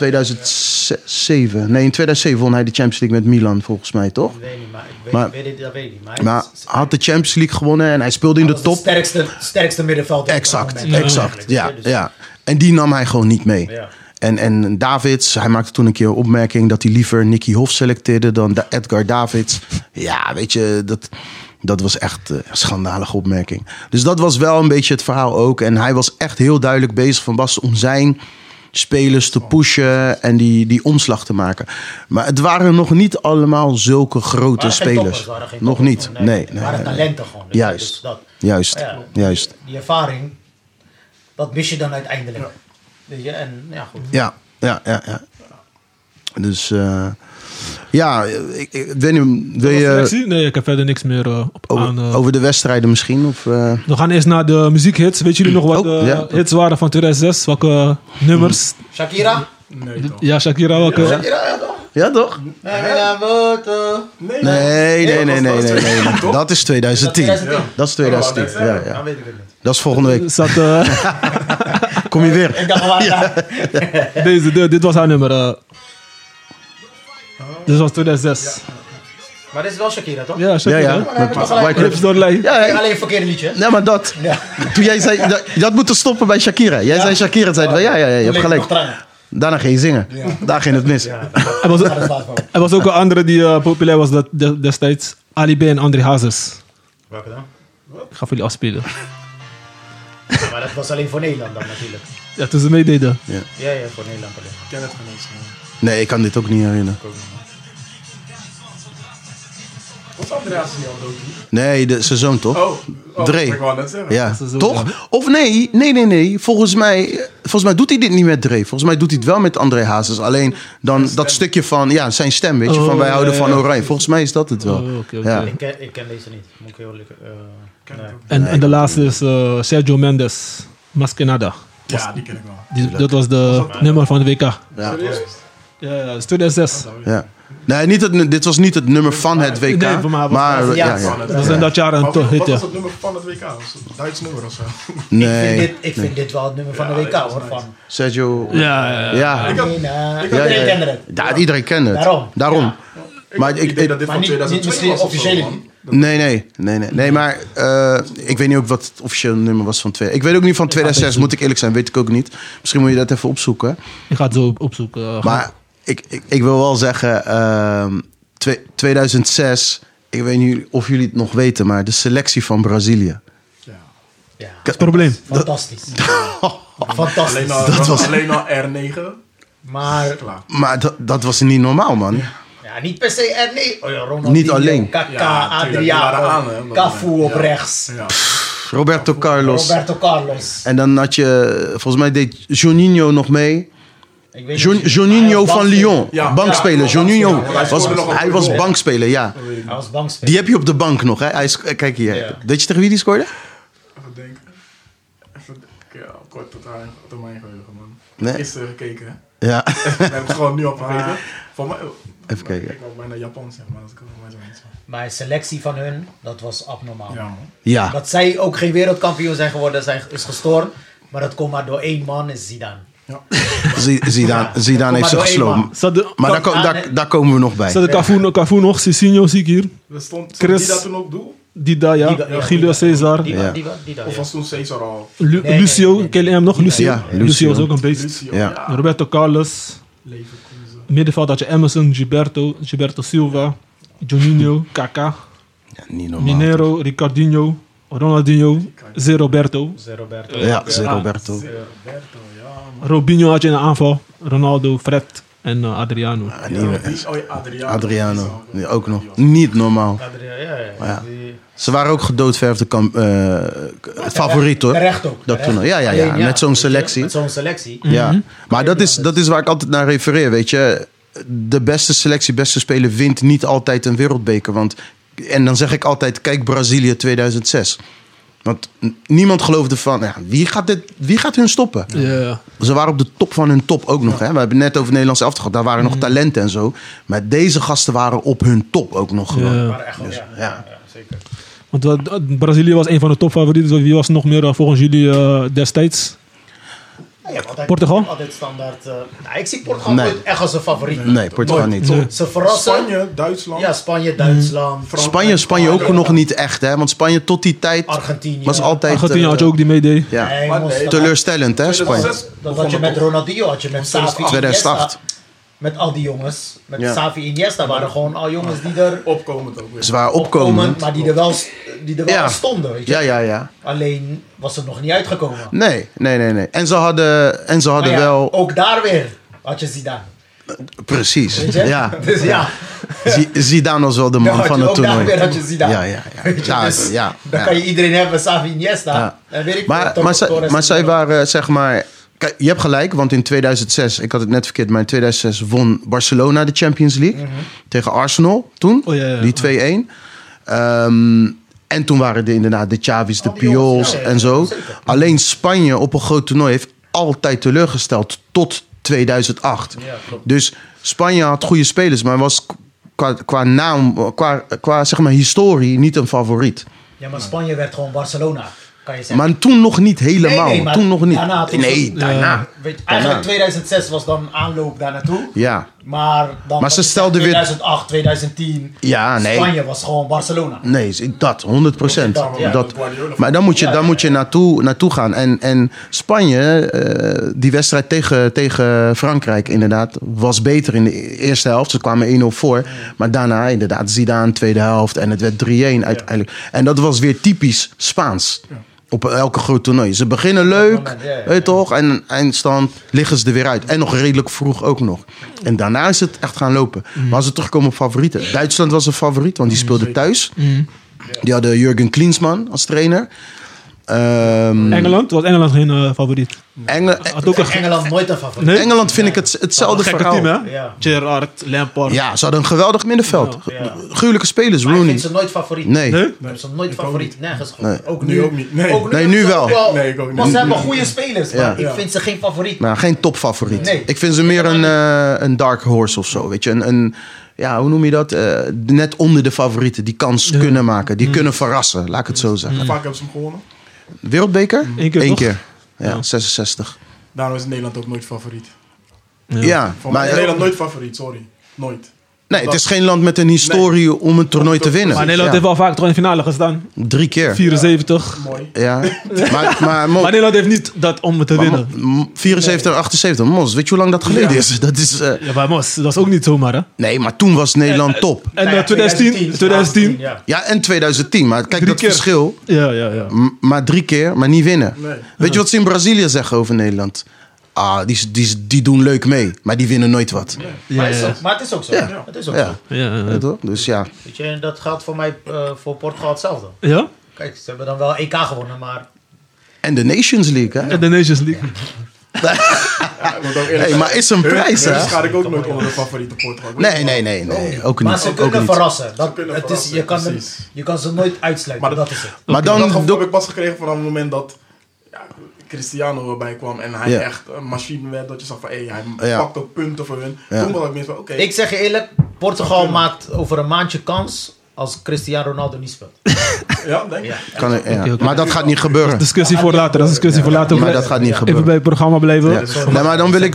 [SPEAKER 3] 2007. Nee, in 2007 won hij de Champions League met Milan, volgens mij, toch?
[SPEAKER 4] Ik weet niet, maar ik weet,
[SPEAKER 3] Maar-
[SPEAKER 4] ik weet het, dat weet ik niet. Maar,
[SPEAKER 3] Maar hij had de Champions League gewonnen en hij speelde in de
[SPEAKER 4] dat was
[SPEAKER 3] top.
[SPEAKER 4] het sterkste, sterkste middenveld.
[SPEAKER 3] Exact,
[SPEAKER 4] op dat moment.
[SPEAKER 3] exact. Ja,
[SPEAKER 4] Dus-
[SPEAKER 3] ja. En die nam hij gewoon niet mee.
[SPEAKER 4] Ja.
[SPEAKER 3] En, en Davids, hij maakte toen een keer een opmerking dat hij liever Nicky Hof selecteerde dan Da- Edgar Davids. Ja, weet je, dat, dat was echt eh, een schandalige opmerking. Dus dat was wel een beetje het verhaal ook. En hij was echt heel duidelijk bezig van Basten om zijn spelers te pushen en die, die omslag te maken. Maar het waren nog niet allemaal zulke grote
[SPEAKER 4] Waren geen
[SPEAKER 3] spelers.
[SPEAKER 4] toppers, waren geen
[SPEAKER 3] nog
[SPEAKER 4] toppers,
[SPEAKER 3] niet, nee. nee,
[SPEAKER 4] Het waren
[SPEAKER 3] nee.
[SPEAKER 4] talenten gewoon. Dus
[SPEAKER 3] Juist.
[SPEAKER 4] dus dat,
[SPEAKER 3] Juist,
[SPEAKER 4] Ja.
[SPEAKER 3] juist.
[SPEAKER 4] die ervaring, dat mis je dan uiteindelijk. Weet je, en ja, goed.
[SPEAKER 3] Ja, ja, ja, ja. Dus eh, ja, ik, ik weet niet, wil
[SPEAKER 2] Was
[SPEAKER 3] je Oh,
[SPEAKER 2] selectie? nee, ik heb verder niks meer eh, op aan. eh.
[SPEAKER 3] over, over de wedstrijden misschien? Of, eh,
[SPEAKER 2] We gaan eerst naar de muziekhits. Weet jullie nog wat
[SPEAKER 3] Oh,
[SPEAKER 2] eh,
[SPEAKER 3] ja. Mm.
[SPEAKER 2] hits waren van 2006? Welke nummers?
[SPEAKER 4] Shakira?
[SPEAKER 5] Nee toch?
[SPEAKER 2] Ja, Shakira, welke?
[SPEAKER 4] Shakira, ja toch?
[SPEAKER 3] ja, toch?
[SPEAKER 4] Ja, wat, eh,
[SPEAKER 5] Nee,
[SPEAKER 3] Hm. Nee, nee, nee, nee, nee. nee, nee.
[SPEAKER 5] Toch?
[SPEAKER 3] Dat is 2010.
[SPEAKER 4] Ja.
[SPEAKER 3] Dat is 2010. Ja, ja.
[SPEAKER 4] Dan weet ik het niet.
[SPEAKER 3] Dat is volgende week.
[SPEAKER 2] Zat, eh,
[SPEAKER 3] Kom je weer?
[SPEAKER 4] Ik dacht, we waren daar.
[SPEAKER 2] deze, de- dit was haar nummer. eh. Dit was 2006.
[SPEAKER 4] Maar dit is wel Shakira, toch?
[SPEAKER 2] Ja,
[SPEAKER 3] Ja,
[SPEAKER 2] Shakira.
[SPEAKER 3] ja.
[SPEAKER 2] Ja,
[SPEAKER 3] Met White Lips.
[SPEAKER 2] Clips door de lijn.
[SPEAKER 3] Ja, ja.
[SPEAKER 4] Alleen verkeerde liedje. hè?
[SPEAKER 3] Nee, maar dat. Toen jij zei, dat, je had moeten stoppen bij Shakira. Jij zei Shakira, zei ja, ja, ja,
[SPEAKER 4] Toen
[SPEAKER 3] je hebt
[SPEAKER 4] leek ik nog
[SPEAKER 3] gelijk.
[SPEAKER 4] tranen.
[SPEAKER 3] Daarna ging je zingen. Daar ging het mis.
[SPEAKER 2] Er was,
[SPEAKER 4] Maar dat staat gewoon.
[SPEAKER 2] er was ook een andere die eh, populair was dat, de- destijds. Ali B en André Hazes.
[SPEAKER 4] Welke dan?
[SPEAKER 2] Ik ga voor jullie afspelen.
[SPEAKER 4] Maar dat was alleen voor Nederland dan natuurlijk.
[SPEAKER 2] Ja, toen ze meededen.
[SPEAKER 4] Ja, ja, voor Nederland alleen.
[SPEAKER 5] Ik ken het geen eens. nee.
[SPEAKER 3] Nee, ik kan dit ook niet herinneren.
[SPEAKER 5] Wat is Andreas die al dood?
[SPEAKER 3] Nee, de, zijn zoon toch?
[SPEAKER 5] Oh, oh
[SPEAKER 3] Dre.
[SPEAKER 5] Ik wou net zeggen.
[SPEAKER 3] Ja,
[SPEAKER 2] Dat is ook
[SPEAKER 3] toch? Of nee, nee, nee, nee. Volgens mij, volgens mij doet hij dit niet met Dre. Volgens mij doet hij het wel met André Hazes. Alleen dan dat stukje van, ja, zijn stem, weet je,
[SPEAKER 2] Oh,
[SPEAKER 3] van wij houden
[SPEAKER 2] ja,
[SPEAKER 3] van
[SPEAKER 2] ja.
[SPEAKER 3] oranje. Volgens mij is dat het wel.
[SPEAKER 2] Oh, oké, oké.
[SPEAKER 3] Ja.
[SPEAKER 4] Ik ken, ik ken deze niet. Moet ik heel eerlijk... eh, nee.
[SPEAKER 2] En, en de laatste is eh, Sergio Mendes. Maskenada.
[SPEAKER 5] Ja, die ken ik wel.
[SPEAKER 2] Die- dat was de nummer van de WK. Ja,
[SPEAKER 3] Ja.
[SPEAKER 5] Serieus?
[SPEAKER 2] ja, dat is 2006.
[SPEAKER 3] Ja. Nee, niet het, dit was niet het nummer van het WK.
[SPEAKER 2] Nee, voor mij was-
[SPEAKER 3] maar
[SPEAKER 4] ja,
[SPEAKER 3] ja, ja.
[SPEAKER 5] Van het-
[SPEAKER 2] Dat was in dat jaar een
[SPEAKER 5] Maar
[SPEAKER 2] to- hit,
[SPEAKER 5] Wat
[SPEAKER 2] ja.
[SPEAKER 5] was het nummer van het WK? Was het een Duits nummer of zo?
[SPEAKER 4] Ik
[SPEAKER 3] Nee,
[SPEAKER 4] vind, dit, ik vind dit wel het nummer van de WK hoor. Van.
[SPEAKER 3] Sergio.
[SPEAKER 2] Ja, ja, ja.
[SPEAKER 3] Ja,
[SPEAKER 4] Nee,
[SPEAKER 5] had-
[SPEAKER 4] nee,
[SPEAKER 5] ik
[SPEAKER 4] ik
[SPEAKER 5] had-
[SPEAKER 3] ja, ja.
[SPEAKER 4] het.
[SPEAKER 3] Ja, iedereen kent het.
[SPEAKER 4] Daarom.
[SPEAKER 3] Daarom. Maar
[SPEAKER 5] had
[SPEAKER 3] ik-
[SPEAKER 5] het idee
[SPEAKER 3] ik-
[SPEAKER 5] dat dit
[SPEAKER 4] Maar
[SPEAKER 5] van
[SPEAKER 4] niet- niet
[SPEAKER 5] 2002
[SPEAKER 4] misschien
[SPEAKER 5] was of zo,
[SPEAKER 4] officieel
[SPEAKER 5] man.
[SPEAKER 3] Nee, nee, nee, nee. Nee, maar eh, ik weet niet ook wat het officiële nummer was van 2. Ik weet ook niet van 2006, moet ik eerlijk zijn, weet ik ook niet. Misschien moet je dat even opzoeken.
[SPEAKER 2] Ik ga het zo op- opzoeken. eh,
[SPEAKER 3] Maar ik, ik, ik wil wel zeggen, ehm, twe- 2006, ik weet niet of jullie het nog weten, maar de selectie van Brazilië.
[SPEAKER 5] Ja.
[SPEAKER 4] Ja,
[SPEAKER 2] het probleem.
[SPEAKER 4] fantastisch.
[SPEAKER 5] Alleen
[SPEAKER 4] Fantastisch.
[SPEAKER 5] al,
[SPEAKER 3] Dat was-
[SPEAKER 5] alleen al R9.
[SPEAKER 4] Maar
[SPEAKER 5] Klaar.
[SPEAKER 3] Maar dat, dat was niet normaal, man.
[SPEAKER 4] ja, niet per se er nee. Oh ja, Ronaldinho,
[SPEAKER 3] Niet alleen.
[SPEAKER 4] Kaká,
[SPEAKER 5] Ja, tuurlijk, die waren aan, hè,
[SPEAKER 4] Adriano,
[SPEAKER 5] omdat-
[SPEAKER 4] Cafu op
[SPEAKER 5] ja.
[SPEAKER 4] rechts.
[SPEAKER 5] Ja.
[SPEAKER 3] Roberto Carlos.
[SPEAKER 4] Roberto Carlos.
[SPEAKER 3] En dan had je, volgens mij deed Juninho nog mee.
[SPEAKER 4] Ik weet
[SPEAKER 3] Jun-
[SPEAKER 4] niet of-
[SPEAKER 3] Juninho
[SPEAKER 4] Hij was
[SPEAKER 3] van
[SPEAKER 4] bankspeler.
[SPEAKER 3] Lyon,
[SPEAKER 5] Ja.
[SPEAKER 3] bankspeler.
[SPEAKER 5] Ja,
[SPEAKER 3] Juninho,
[SPEAKER 5] bankspeler. Hij
[SPEAKER 3] was,
[SPEAKER 5] scoorde nog een
[SPEAKER 3] hij
[SPEAKER 5] goede
[SPEAKER 3] was
[SPEAKER 5] goal.
[SPEAKER 3] bankspeler, ja.
[SPEAKER 4] Hij was
[SPEAKER 3] Die
[SPEAKER 4] bankspeler.
[SPEAKER 3] heb je op de bank nog, hè? Hij is, kijk hier.
[SPEAKER 4] Ja.
[SPEAKER 3] Weet je tegen wie die scoorde?
[SPEAKER 5] Even denken. Even denken. Ja, korte termijn, termijn geheugen, man.
[SPEAKER 3] Nee.
[SPEAKER 5] Gisteren gekeken, hè.
[SPEAKER 3] Ja,
[SPEAKER 5] Daar heb ik gewoon nu op gekeken. Voor mij...
[SPEAKER 3] Even kijken.
[SPEAKER 5] Ik ook bijna Japans, zeg maar. Dat kan voor mij zo niet zo.
[SPEAKER 4] Maar selectie van hun, dat was abnormaal.
[SPEAKER 5] Ja, man.
[SPEAKER 3] ja.
[SPEAKER 4] Dat zij ook geen wereldkampioen zijn geworden, zijn, is gestoord. Maar dat komt maar door één man, is Zidane.
[SPEAKER 3] Z- Zidane,
[SPEAKER 4] Kom
[SPEAKER 3] Zidane
[SPEAKER 4] maar
[SPEAKER 3] heeft ze
[SPEAKER 4] door één
[SPEAKER 3] gesloopt.
[SPEAKER 4] man.
[SPEAKER 2] Zat de,
[SPEAKER 3] Maar daar,
[SPEAKER 4] Kom
[SPEAKER 3] ko-
[SPEAKER 4] aan,
[SPEAKER 3] daar,
[SPEAKER 4] hè.
[SPEAKER 3] daar komen we nog bij.
[SPEAKER 2] zat de Cafu, Cafu nog, Cicinho zie ik hier.
[SPEAKER 5] Er stond
[SPEAKER 2] Chris-
[SPEAKER 5] die dat toen op doel?
[SPEAKER 2] Dida, ja.
[SPEAKER 4] Dida, ja.
[SPEAKER 2] Gilio Cesar.
[SPEAKER 4] Die,
[SPEAKER 3] Ja.
[SPEAKER 4] die, die, die,
[SPEAKER 5] Of
[SPEAKER 4] ja.
[SPEAKER 5] was toen Cesar al?
[SPEAKER 2] Lu-
[SPEAKER 4] nee,
[SPEAKER 2] Lucio,
[SPEAKER 4] nee.
[SPEAKER 2] ken je hem nog? Lucio?
[SPEAKER 3] Ja, Lucio.
[SPEAKER 2] Lucio is ook een beest.
[SPEAKER 5] Lucio.
[SPEAKER 3] Ja.
[SPEAKER 5] Ja.
[SPEAKER 2] Roberto Carlos.
[SPEAKER 5] Leverkusen.
[SPEAKER 2] Middenveld had je Emerson, Gilberto, Gilberto Silva, Juninho, Kaká,
[SPEAKER 3] Ja, niet normaal.
[SPEAKER 2] Minero, Ricardinho, Ronaldinho, Zé Roberto. Ah,
[SPEAKER 4] Zé Roberto.
[SPEAKER 3] Ja, Zé Roberto.
[SPEAKER 5] Roberto, ja, man.
[SPEAKER 2] Robinho had je in de aanval. Ronaldo, Fred en eh, Adriano.
[SPEAKER 3] Ja, niet-
[SPEAKER 5] Ja, die, oh ja, Adriano.
[SPEAKER 3] Adriano, die ook nog. Niet normaal.
[SPEAKER 4] Adria- ja, ja.
[SPEAKER 3] Ja.
[SPEAKER 4] Die-
[SPEAKER 3] Ze waren ook gedoodverfde kamp, eh, het favoriet hoor.
[SPEAKER 2] Mhm.
[SPEAKER 4] Terecht ook.
[SPEAKER 3] Dat
[SPEAKER 4] terecht.
[SPEAKER 3] toernooi. Ja, ja, ja.
[SPEAKER 4] Alleen,
[SPEAKER 3] Met zo'n
[SPEAKER 4] weet je,
[SPEAKER 3] selectie.
[SPEAKER 4] Met zo'n selectie.
[SPEAKER 3] Ja, maar dat is, dat is waar ik altijd naar refereer, weet je. De beste selectie, beste speler wint niet altijd een wereldbeker. Want, en dan zeg ik altijd, kijk Brazilië 2006. Want n- niemand geloofde van, ja, wie, gaat dit, wie gaat hun stoppen?
[SPEAKER 2] Ja.
[SPEAKER 3] Ze waren op de top van hun top ook nog. Hè? We hebben het net over het Nederlands elftal gehad. Daar waren
[SPEAKER 2] Mhm.
[SPEAKER 3] nog talenten en zo. Maar deze gasten waren op hun top ook nog gewoon.
[SPEAKER 2] Ja.
[SPEAKER 4] Maar echt wel, ja.
[SPEAKER 3] Dus ja.
[SPEAKER 4] Ja, zeker.
[SPEAKER 2] Want wat- eh, Brazilië was een van de topfavorieten. Dus Wie was nog meer eh, volgens jullie eh, destijds?
[SPEAKER 4] Ja, je hebt altijd-
[SPEAKER 2] Portugal?
[SPEAKER 4] je hebt Altijd standaard. eh, nou, ik zie Portugal
[SPEAKER 3] Nee.
[SPEAKER 4] nooit echt als een favoriet.
[SPEAKER 3] Nee, Portugal
[SPEAKER 4] Nooit.
[SPEAKER 3] niet. Mm.
[SPEAKER 4] Ze verrassen.
[SPEAKER 5] Spanje, Duitsland.
[SPEAKER 4] Ja, Spanje, Duitsland, Frankrijk,
[SPEAKER 3] Spanje, Spanje ook nog niet echt. Hè? Want Spanje tot die tijd
[SPEAKER 4] Argentinië.
[SPEAKER 3] was altijd...
[SPEAKER 2] Argentinië
[SPEAKER 3] eh,
[SPEAKER 2] had je ook die meedeed.
[SPEAKER 3] ja.
[SPEAKER 4] Nee,
[SPEAKER 5] Maar
[SPEAKER 4] moest
[SPEAKER 5] nee,
[SPEAKER 4] dat-
[SPEAKER 3] Teleurstellend hè, Spanje.
[SPEAKER 5] 2006
[SPEAKER 4] Dat had je
[SPEAKER 5] begon
[SPEAKER 4] met
[SPEAKER 5] het op.
[SPEAKER 4] Ronaldinho, had je met Savi
[SPEAKER 3] 2008. 2008.
[SPEAKER 4] Iniesta. Met al die jongens. Met
[SPEAKER 3] Ja.
[SPEAKER 4] Savi Iniesta waren gewoon al jongens die er
[SPEAKER 5] Opkomend ook weer.
[SPEAKER 3] Ze waren
[SPEAKER 4] komen,
[SPEAKER 3] opkomend.
[SPEAKER 4] maar die er wel, die er wel
[SPEAKER 3] Ja.
[SPEAKER 4] stonden. Weet je?
[SPEAKER 3] Ja, ja, ja.
[SPEAKER 4] Alleen was het nog niet uitgekomen.
[SPEAKER 3] Nee, nee, nee, nee. En ze hadden, en ze
[SPEAKER 4] Maar
[SPEAKER 3] hadden
[SPEAKER 4] Oh, ja,
[SPEAKER 3] wel.
[SPEAKER 4] Ook daar weer had je Zidane.
[SPEAKER 3] Precies.
[SPEAKER 4] Weet je?
[SPEAKER 3] Ja.
[SPEAKER 4] Dus ja,
[SPEAKER 3] Z- Zidane was wel de
[SPEAKER 4] dan
[SPEAKER 3] man
[SPEAKER 4] had
[SPEAKER 3] van
[SPEAKER 4] je
[SPEAKER 3] het
[SPEAKER 4] ook daar
[SPEAKER 3] toernooi.
[SPEAKER 4] weer had je Zidane.
[SPEAKER 3] Ja, ja, ja.
[SPEAKER 4] Weet je,
[SPEAKER 3] Ja,
[SPEAKER 4] dus
[SPEAKER 3] ja,
[SPEAKER 4] dan
[SPEAKER 3] ja.
[SPEAKER 4] kan je iedereen hebben, Savi Iniesta.
[SPEAKER 3] Ja.
[SPEAKER 4] Dan weet ik
[SPEAKER 3] Maar,
[SPEAKER 4] veel,
[SPEAKER 3] maar, zij,
[SPEAKER 4] Torres
[SPEAKER 3] maar
[SPEAKER 4] en
[SPEAKER 3] zij
[SPEAKER 4] zo.
[SPEAKER 3] waren, eh, zeg maar. Kijk, je hebt gelijk, want in 2006, ik had het net verkeerd, maar in 2006 won Barcelona de Champions League
[SPEAKER 4] Mhm.
[SPEAKER 3] tegen Arsenal toen,
[SPEAKER 2] Oh, ja, ja.
[SPEAKER 3] die 2-1. Ehm, en toen waren er inderdaad de Chavis, de
[SPEAKER 4] Al Oh, die jongens,
[SPEAKER 3] Piols
[SPEAKER 4] ja, ja,
[SPEAKER 3] en zo.
[SPEAKER 4] zeker.
[SPEAKER 3] Alleen Spanje op een groot toernooi heeft altijd teleurgesteld tot 2008.
[SPEAKER 4] Ja, klopt.
[SPEAKER 3] Dus Spanje had goede spelers, maar was qua, qua naam, qua, qua zeg maar historie niet een favoriet.
[SPEAKER 4] Ja, maar Spanje werd gewoon Barcelona, kan je zeggen.
[SPEAKER 3] Maar toen nog niet helemaal.
[SPEAKER 4] Nee, nee, maar
[SPEAKER 3] toen nog niet.
[SPEAKER 4] daarna, toen-
[SPEAKER 3] nee,
[SPEAKER 4] Ja.
[SPEAKER 3] daarna.
[SPEAKER 4] eh, Weet, je, eigenlijk 2006 was dan aanloop daar naartoe.
[SPEAKER 3] Ja.
[SPEAKER 4] Maar, dan
[SPEAKER 3] Maar ze
[SPEAKER 4] wat je
[SPEAKER 3] stelden
[SPEAKER 4] zegt,
[SPEAKER 3] weer-
[SPEAKER 4] 2008, 2010.
[SPEAKER 3] Ja, nee.
[SPEAKER 4] Spanje was gewoon Barcelona.
[SPEAKER 3] Nee, is- dat, 100 procent.
[SPEAKER 4] Dat, ja.
[SPEAKER 3] Dat, maar dan moet je,
[SPEAKER 4] Ja,
[SPEAKER 3] dan
[SPEAKER 4] ja,
[SPEAKER 3] moet je naartoe, naartoe gaan. En, en Spanje, eh, die wedstrijd tegen, tegen Frankrijk inderdaad, was beter in de eerste helft. Ze kwamen 1-0 voor. Maar daarna inderdaad Zidane, tweede helft. En het werd 3-1 uiteindelijk. En dat was weer typisch Spaans. Op elke groot toernooi. Ze beginnen leuk,
[SPEAKER 4] moment, ja, ja,
[SPEAKER 3] weet je toch? En eindstand liggen ze er weer uit. En nog redelijk vroeg ook nog. En daarna is het echt gaan lopen.
[SPEAKER 4] Mm.
[SPEAKER 3] Maar als we terugkomen op favorieten. Duitsland was een favoriet, want die speelde thuis. Die hadden Jurgen Klinsmann als trainer. Ehm,
[SPEAKER 2] Engeland? Was Engeland geen eh, favoriet?
[SPEAKER 3] Enge-
[SPEAKER 2] Had ook een ge-
[SPEAKER 4] Engeland nooit een favoriet.
[SPEAKER 2] Nee?
[SPEAKER 3] Engeland vind ik het,
[SPEAKER 2] Een
[SPEAKER 3] hetzelfde
[SPEAKER 2] gekke
[SPEAKER 3] verhaal.
[SPEAKER 2] team, hè?
[SPEAKER 4] Ja.
[SPEAKER 2] Gerrard, Lampard.
[SPEAKER 3] Ja, ze hadden een geweldig middenveld.
[SPEAKER 4] Ja. Ja.
[SPEAKER 3] Gruwelijke spelers,
[SPEAKER 4] Maar ik vind
[SPEAKER 3] Rooney.
[SPEAKER 4] ze nooit favoriet.
[SPEAKER 3] Nee.
[SPEAKER 2] Nee?
[SPEAKER 4] Ik heb ze nooit
[SPEAKER 5] Ik
[SPEAKER 4] favoriet.
[SPEAKER 5] ook
[SPEAKER 4] Nergens gewoon. Ook
[SPEAKER 5] Nu ook niet. Nee.
[SPEAKER 4] Ook
[SPEAKER 3] Nee,
[SPEAKER 4] hebben
[SPEAKER 3] nu
[SPEAKER 4] ze
[SPEAKER 3] wel.
[SPEAKER 4] ook
[SPEAKER 5] Nee, ik ook niet.
[SPEAKER 4] Maar ze
[SPEAKER 5] Nu-
[SPEAKER 4] hebben goede spelers. Maar
[SPEAKER 3] Ja.
[SPEAKER 4] ik
[SPEAKER 5] Ja.
[SPEAKER 4] vind ze geen favoriet.
[SPEAKER 3] Nou, geen topfavoriet.
[SPEAKER 4] Nee.
[SPEAKER 3] Ik vind ze meer een, eh, een dark horse of zo. Weet je, een, een, ja, hoe noem je dat? Eh, net onder de favorieten die kans kunnen maken.
[SPEAKER 2] Mm.
[SPEAKER 3] Die kunnen verrassen, laat ik het zo zeggen.
[SPEAKER 5] Vaak hebben ze hem gewonnen.
[SPEAKER 3] Wereldbeker?
[SPEAKER 2] Eén keer,
[SPEAKER 3] Eén
[SPEAKER 2] toch?
[SPEAKER 3] keer. Ja,
[SPEAKER 2] Ja.
[SPEAKER 3] 66.
[SPEAKER 5] Daarom is Nederland ook nooit favoriet.
[SPEAKER 3] Ja,
[SPEAKER 5] Voor
[SPEAKER 3] maar
[SPEAKER 5] mij is
[SPEAKER 3] eh,
[SPEAKER 5] Nederland nooit favoriet, sorry. Nooit.
[SPEAKER 3] nee, het is geen land met een historie om een toernooi te winnen.
[SPEAKER 2] Maar Nederland
[SPEAKER 3] Ja,
[SPEAKER 2] heeft wel vaak toch in de finale gestaan.
[SPEAKER 3] Drie keer.
[SPEAKER 2] 74.
[SPEAKER 5] Mooi.
[SPEAKER 3] Ja, maar, maar, Mo-
[SPEAKER 2] Maar Nederland heeft niet dat om het te
[SPEAKER 3] maar Mo-
[SPEAKER 2] winnen.
[SPEAKER 3] m- 74 en 78. Mos, weet je hoe lang dat geleden
[SPEAKER 5] Ja.
[SPEAKER 3] is? Dat is eh,
[SPEAKER 2] Ja, maar Mos, dat is ook niet zomaar, hè?
[SPEAKER 3] nee, maar toen was Nederland top.
[SPEAKER 2] En
[SPEAKER 4] Nou ja,
[SPEAKER 2] eh, 2010? 2010?
[SPEAKER 4] Ja.
[SPEAKER 3] Ja, en 2010. Maar kijk,
[SPEAKER 2] Drie
[SPEAKER 3] dat
[SPEAKER 2] keer.
[SPEAKER 3] verschil.
[SPEAKER 2] Ja, ja, ja.
[SPEAKER 3] M- maar drie keer, maar niet winnen.
[SPEAKER 5] Nee.
[SPEAKER 3] Weet je wat ze in Brazilië zeggen over Nederland? Ah, die, die, die doen leuk mee, maar die winnen nooit wat.
[SPEAKER 4] Maar,
[SPEAKER 2] Ja,
[SPEAKER 4] is
[SPEAKER 2] ja.
[SPEAKER 4] ook- maar het is ook zo.
[SPEAKER 3] Ja.
[SPEAKER 4] Het is ook zo.
[SPEAKER 3] Ja,
[SPEAKER 2] Ja, ja.
[SPEAKER 3] weet je wel? dus ja.
[SPEAKER 4] Weet je, en dat geldt voor mij eh, voor Portugal hetzelfde.
[SPEAKER 2] Ja?
[SPEAKER 4] Kijk, ze hebben dan wel EK gewonnen, maar
[SPEAKER 3] En de Nations League, hè?
[SPEAKER 2] En de Nations League.
[SPEAKER 5] Ja, ik moet ook eerlijk
[SPEAKER 3] Hey,
[SPEAKER 5] zijn.
[SPEAKER 3] maar is een
[SPEAKER 5] Hun-
[SPEAKER 3] prijs,
[SPEAKER 5] hun
[SPEAKER 3] hè?
[SPEAKER 5] schaar ik ook nooit onder de favoriete Portugal.
[SPEAKER 3] Nee, nee, nee, nee. Ook niet.
[SPEAKER 4] Maar ze
[SPEAKER 3] ook- ook
[SPEAKER 4] kunnen
[SPEAKER 3] niet.
[SPEAKER 4] verrassen. Dat,
[SPEAKER 5] kunnen
[SPEAKER 4] het
[SPEAKER 5] verrassen,
[SPEAKER 4] is, je, kan hem,
[SPEAKER 5] precies.
[SPEAKER 4] je kan ze nooit uitsluiten.
[SPEAKER 5] Maar
[SPEAKER 4] Maar
[SPEAKER 5] dat-
[SPEAKER 4] dat is het.
[SPEAKER 3] Maar
[SPEAKER 5] dat
[SPEAKER 3] dan,
[SPEAKER 5] gevoel heb ik pas gekregen vanaf het moment dat... Ja, ik Cristiano erbij kwam en hij
[SPEAKER 3] Ja.
[SPEAKER 5] echt een machine werd. Dat je zag van, hé, hij
[SPEAKER 3] Ja.
[SPEAKER 5] pakt ook punten voor hun.
[SPEAKER 3] Ja.
[SPEAKER 5] Toen was ik meer van, oké.
[SPEAKER 4] Ik zeg je eerlijk, Portugal maakt over een maandje kans als Cristiano Ronaldo niet speelt.
[SPEAKER 5] Ja, denk ik.
[SPEAKER 4] Ja.
[SPEAKER 3] Kan ik- ja.
[SPEAKER 2] Oké, oké.
[SPEAKER 3] Maar dat gaat niet gebeuren.
[SPEAKER 2] Discussie voor later, dat is discussie voor later.
[SPEAKER 3] Maar dat gaat niet
[SPEAKER 2] Even bij
[SPEAKER 3] gebeuren.
[SPEAKER 2] het programma blijven.
[SPEAKER 3] Ja. Nee, maar dan wil ik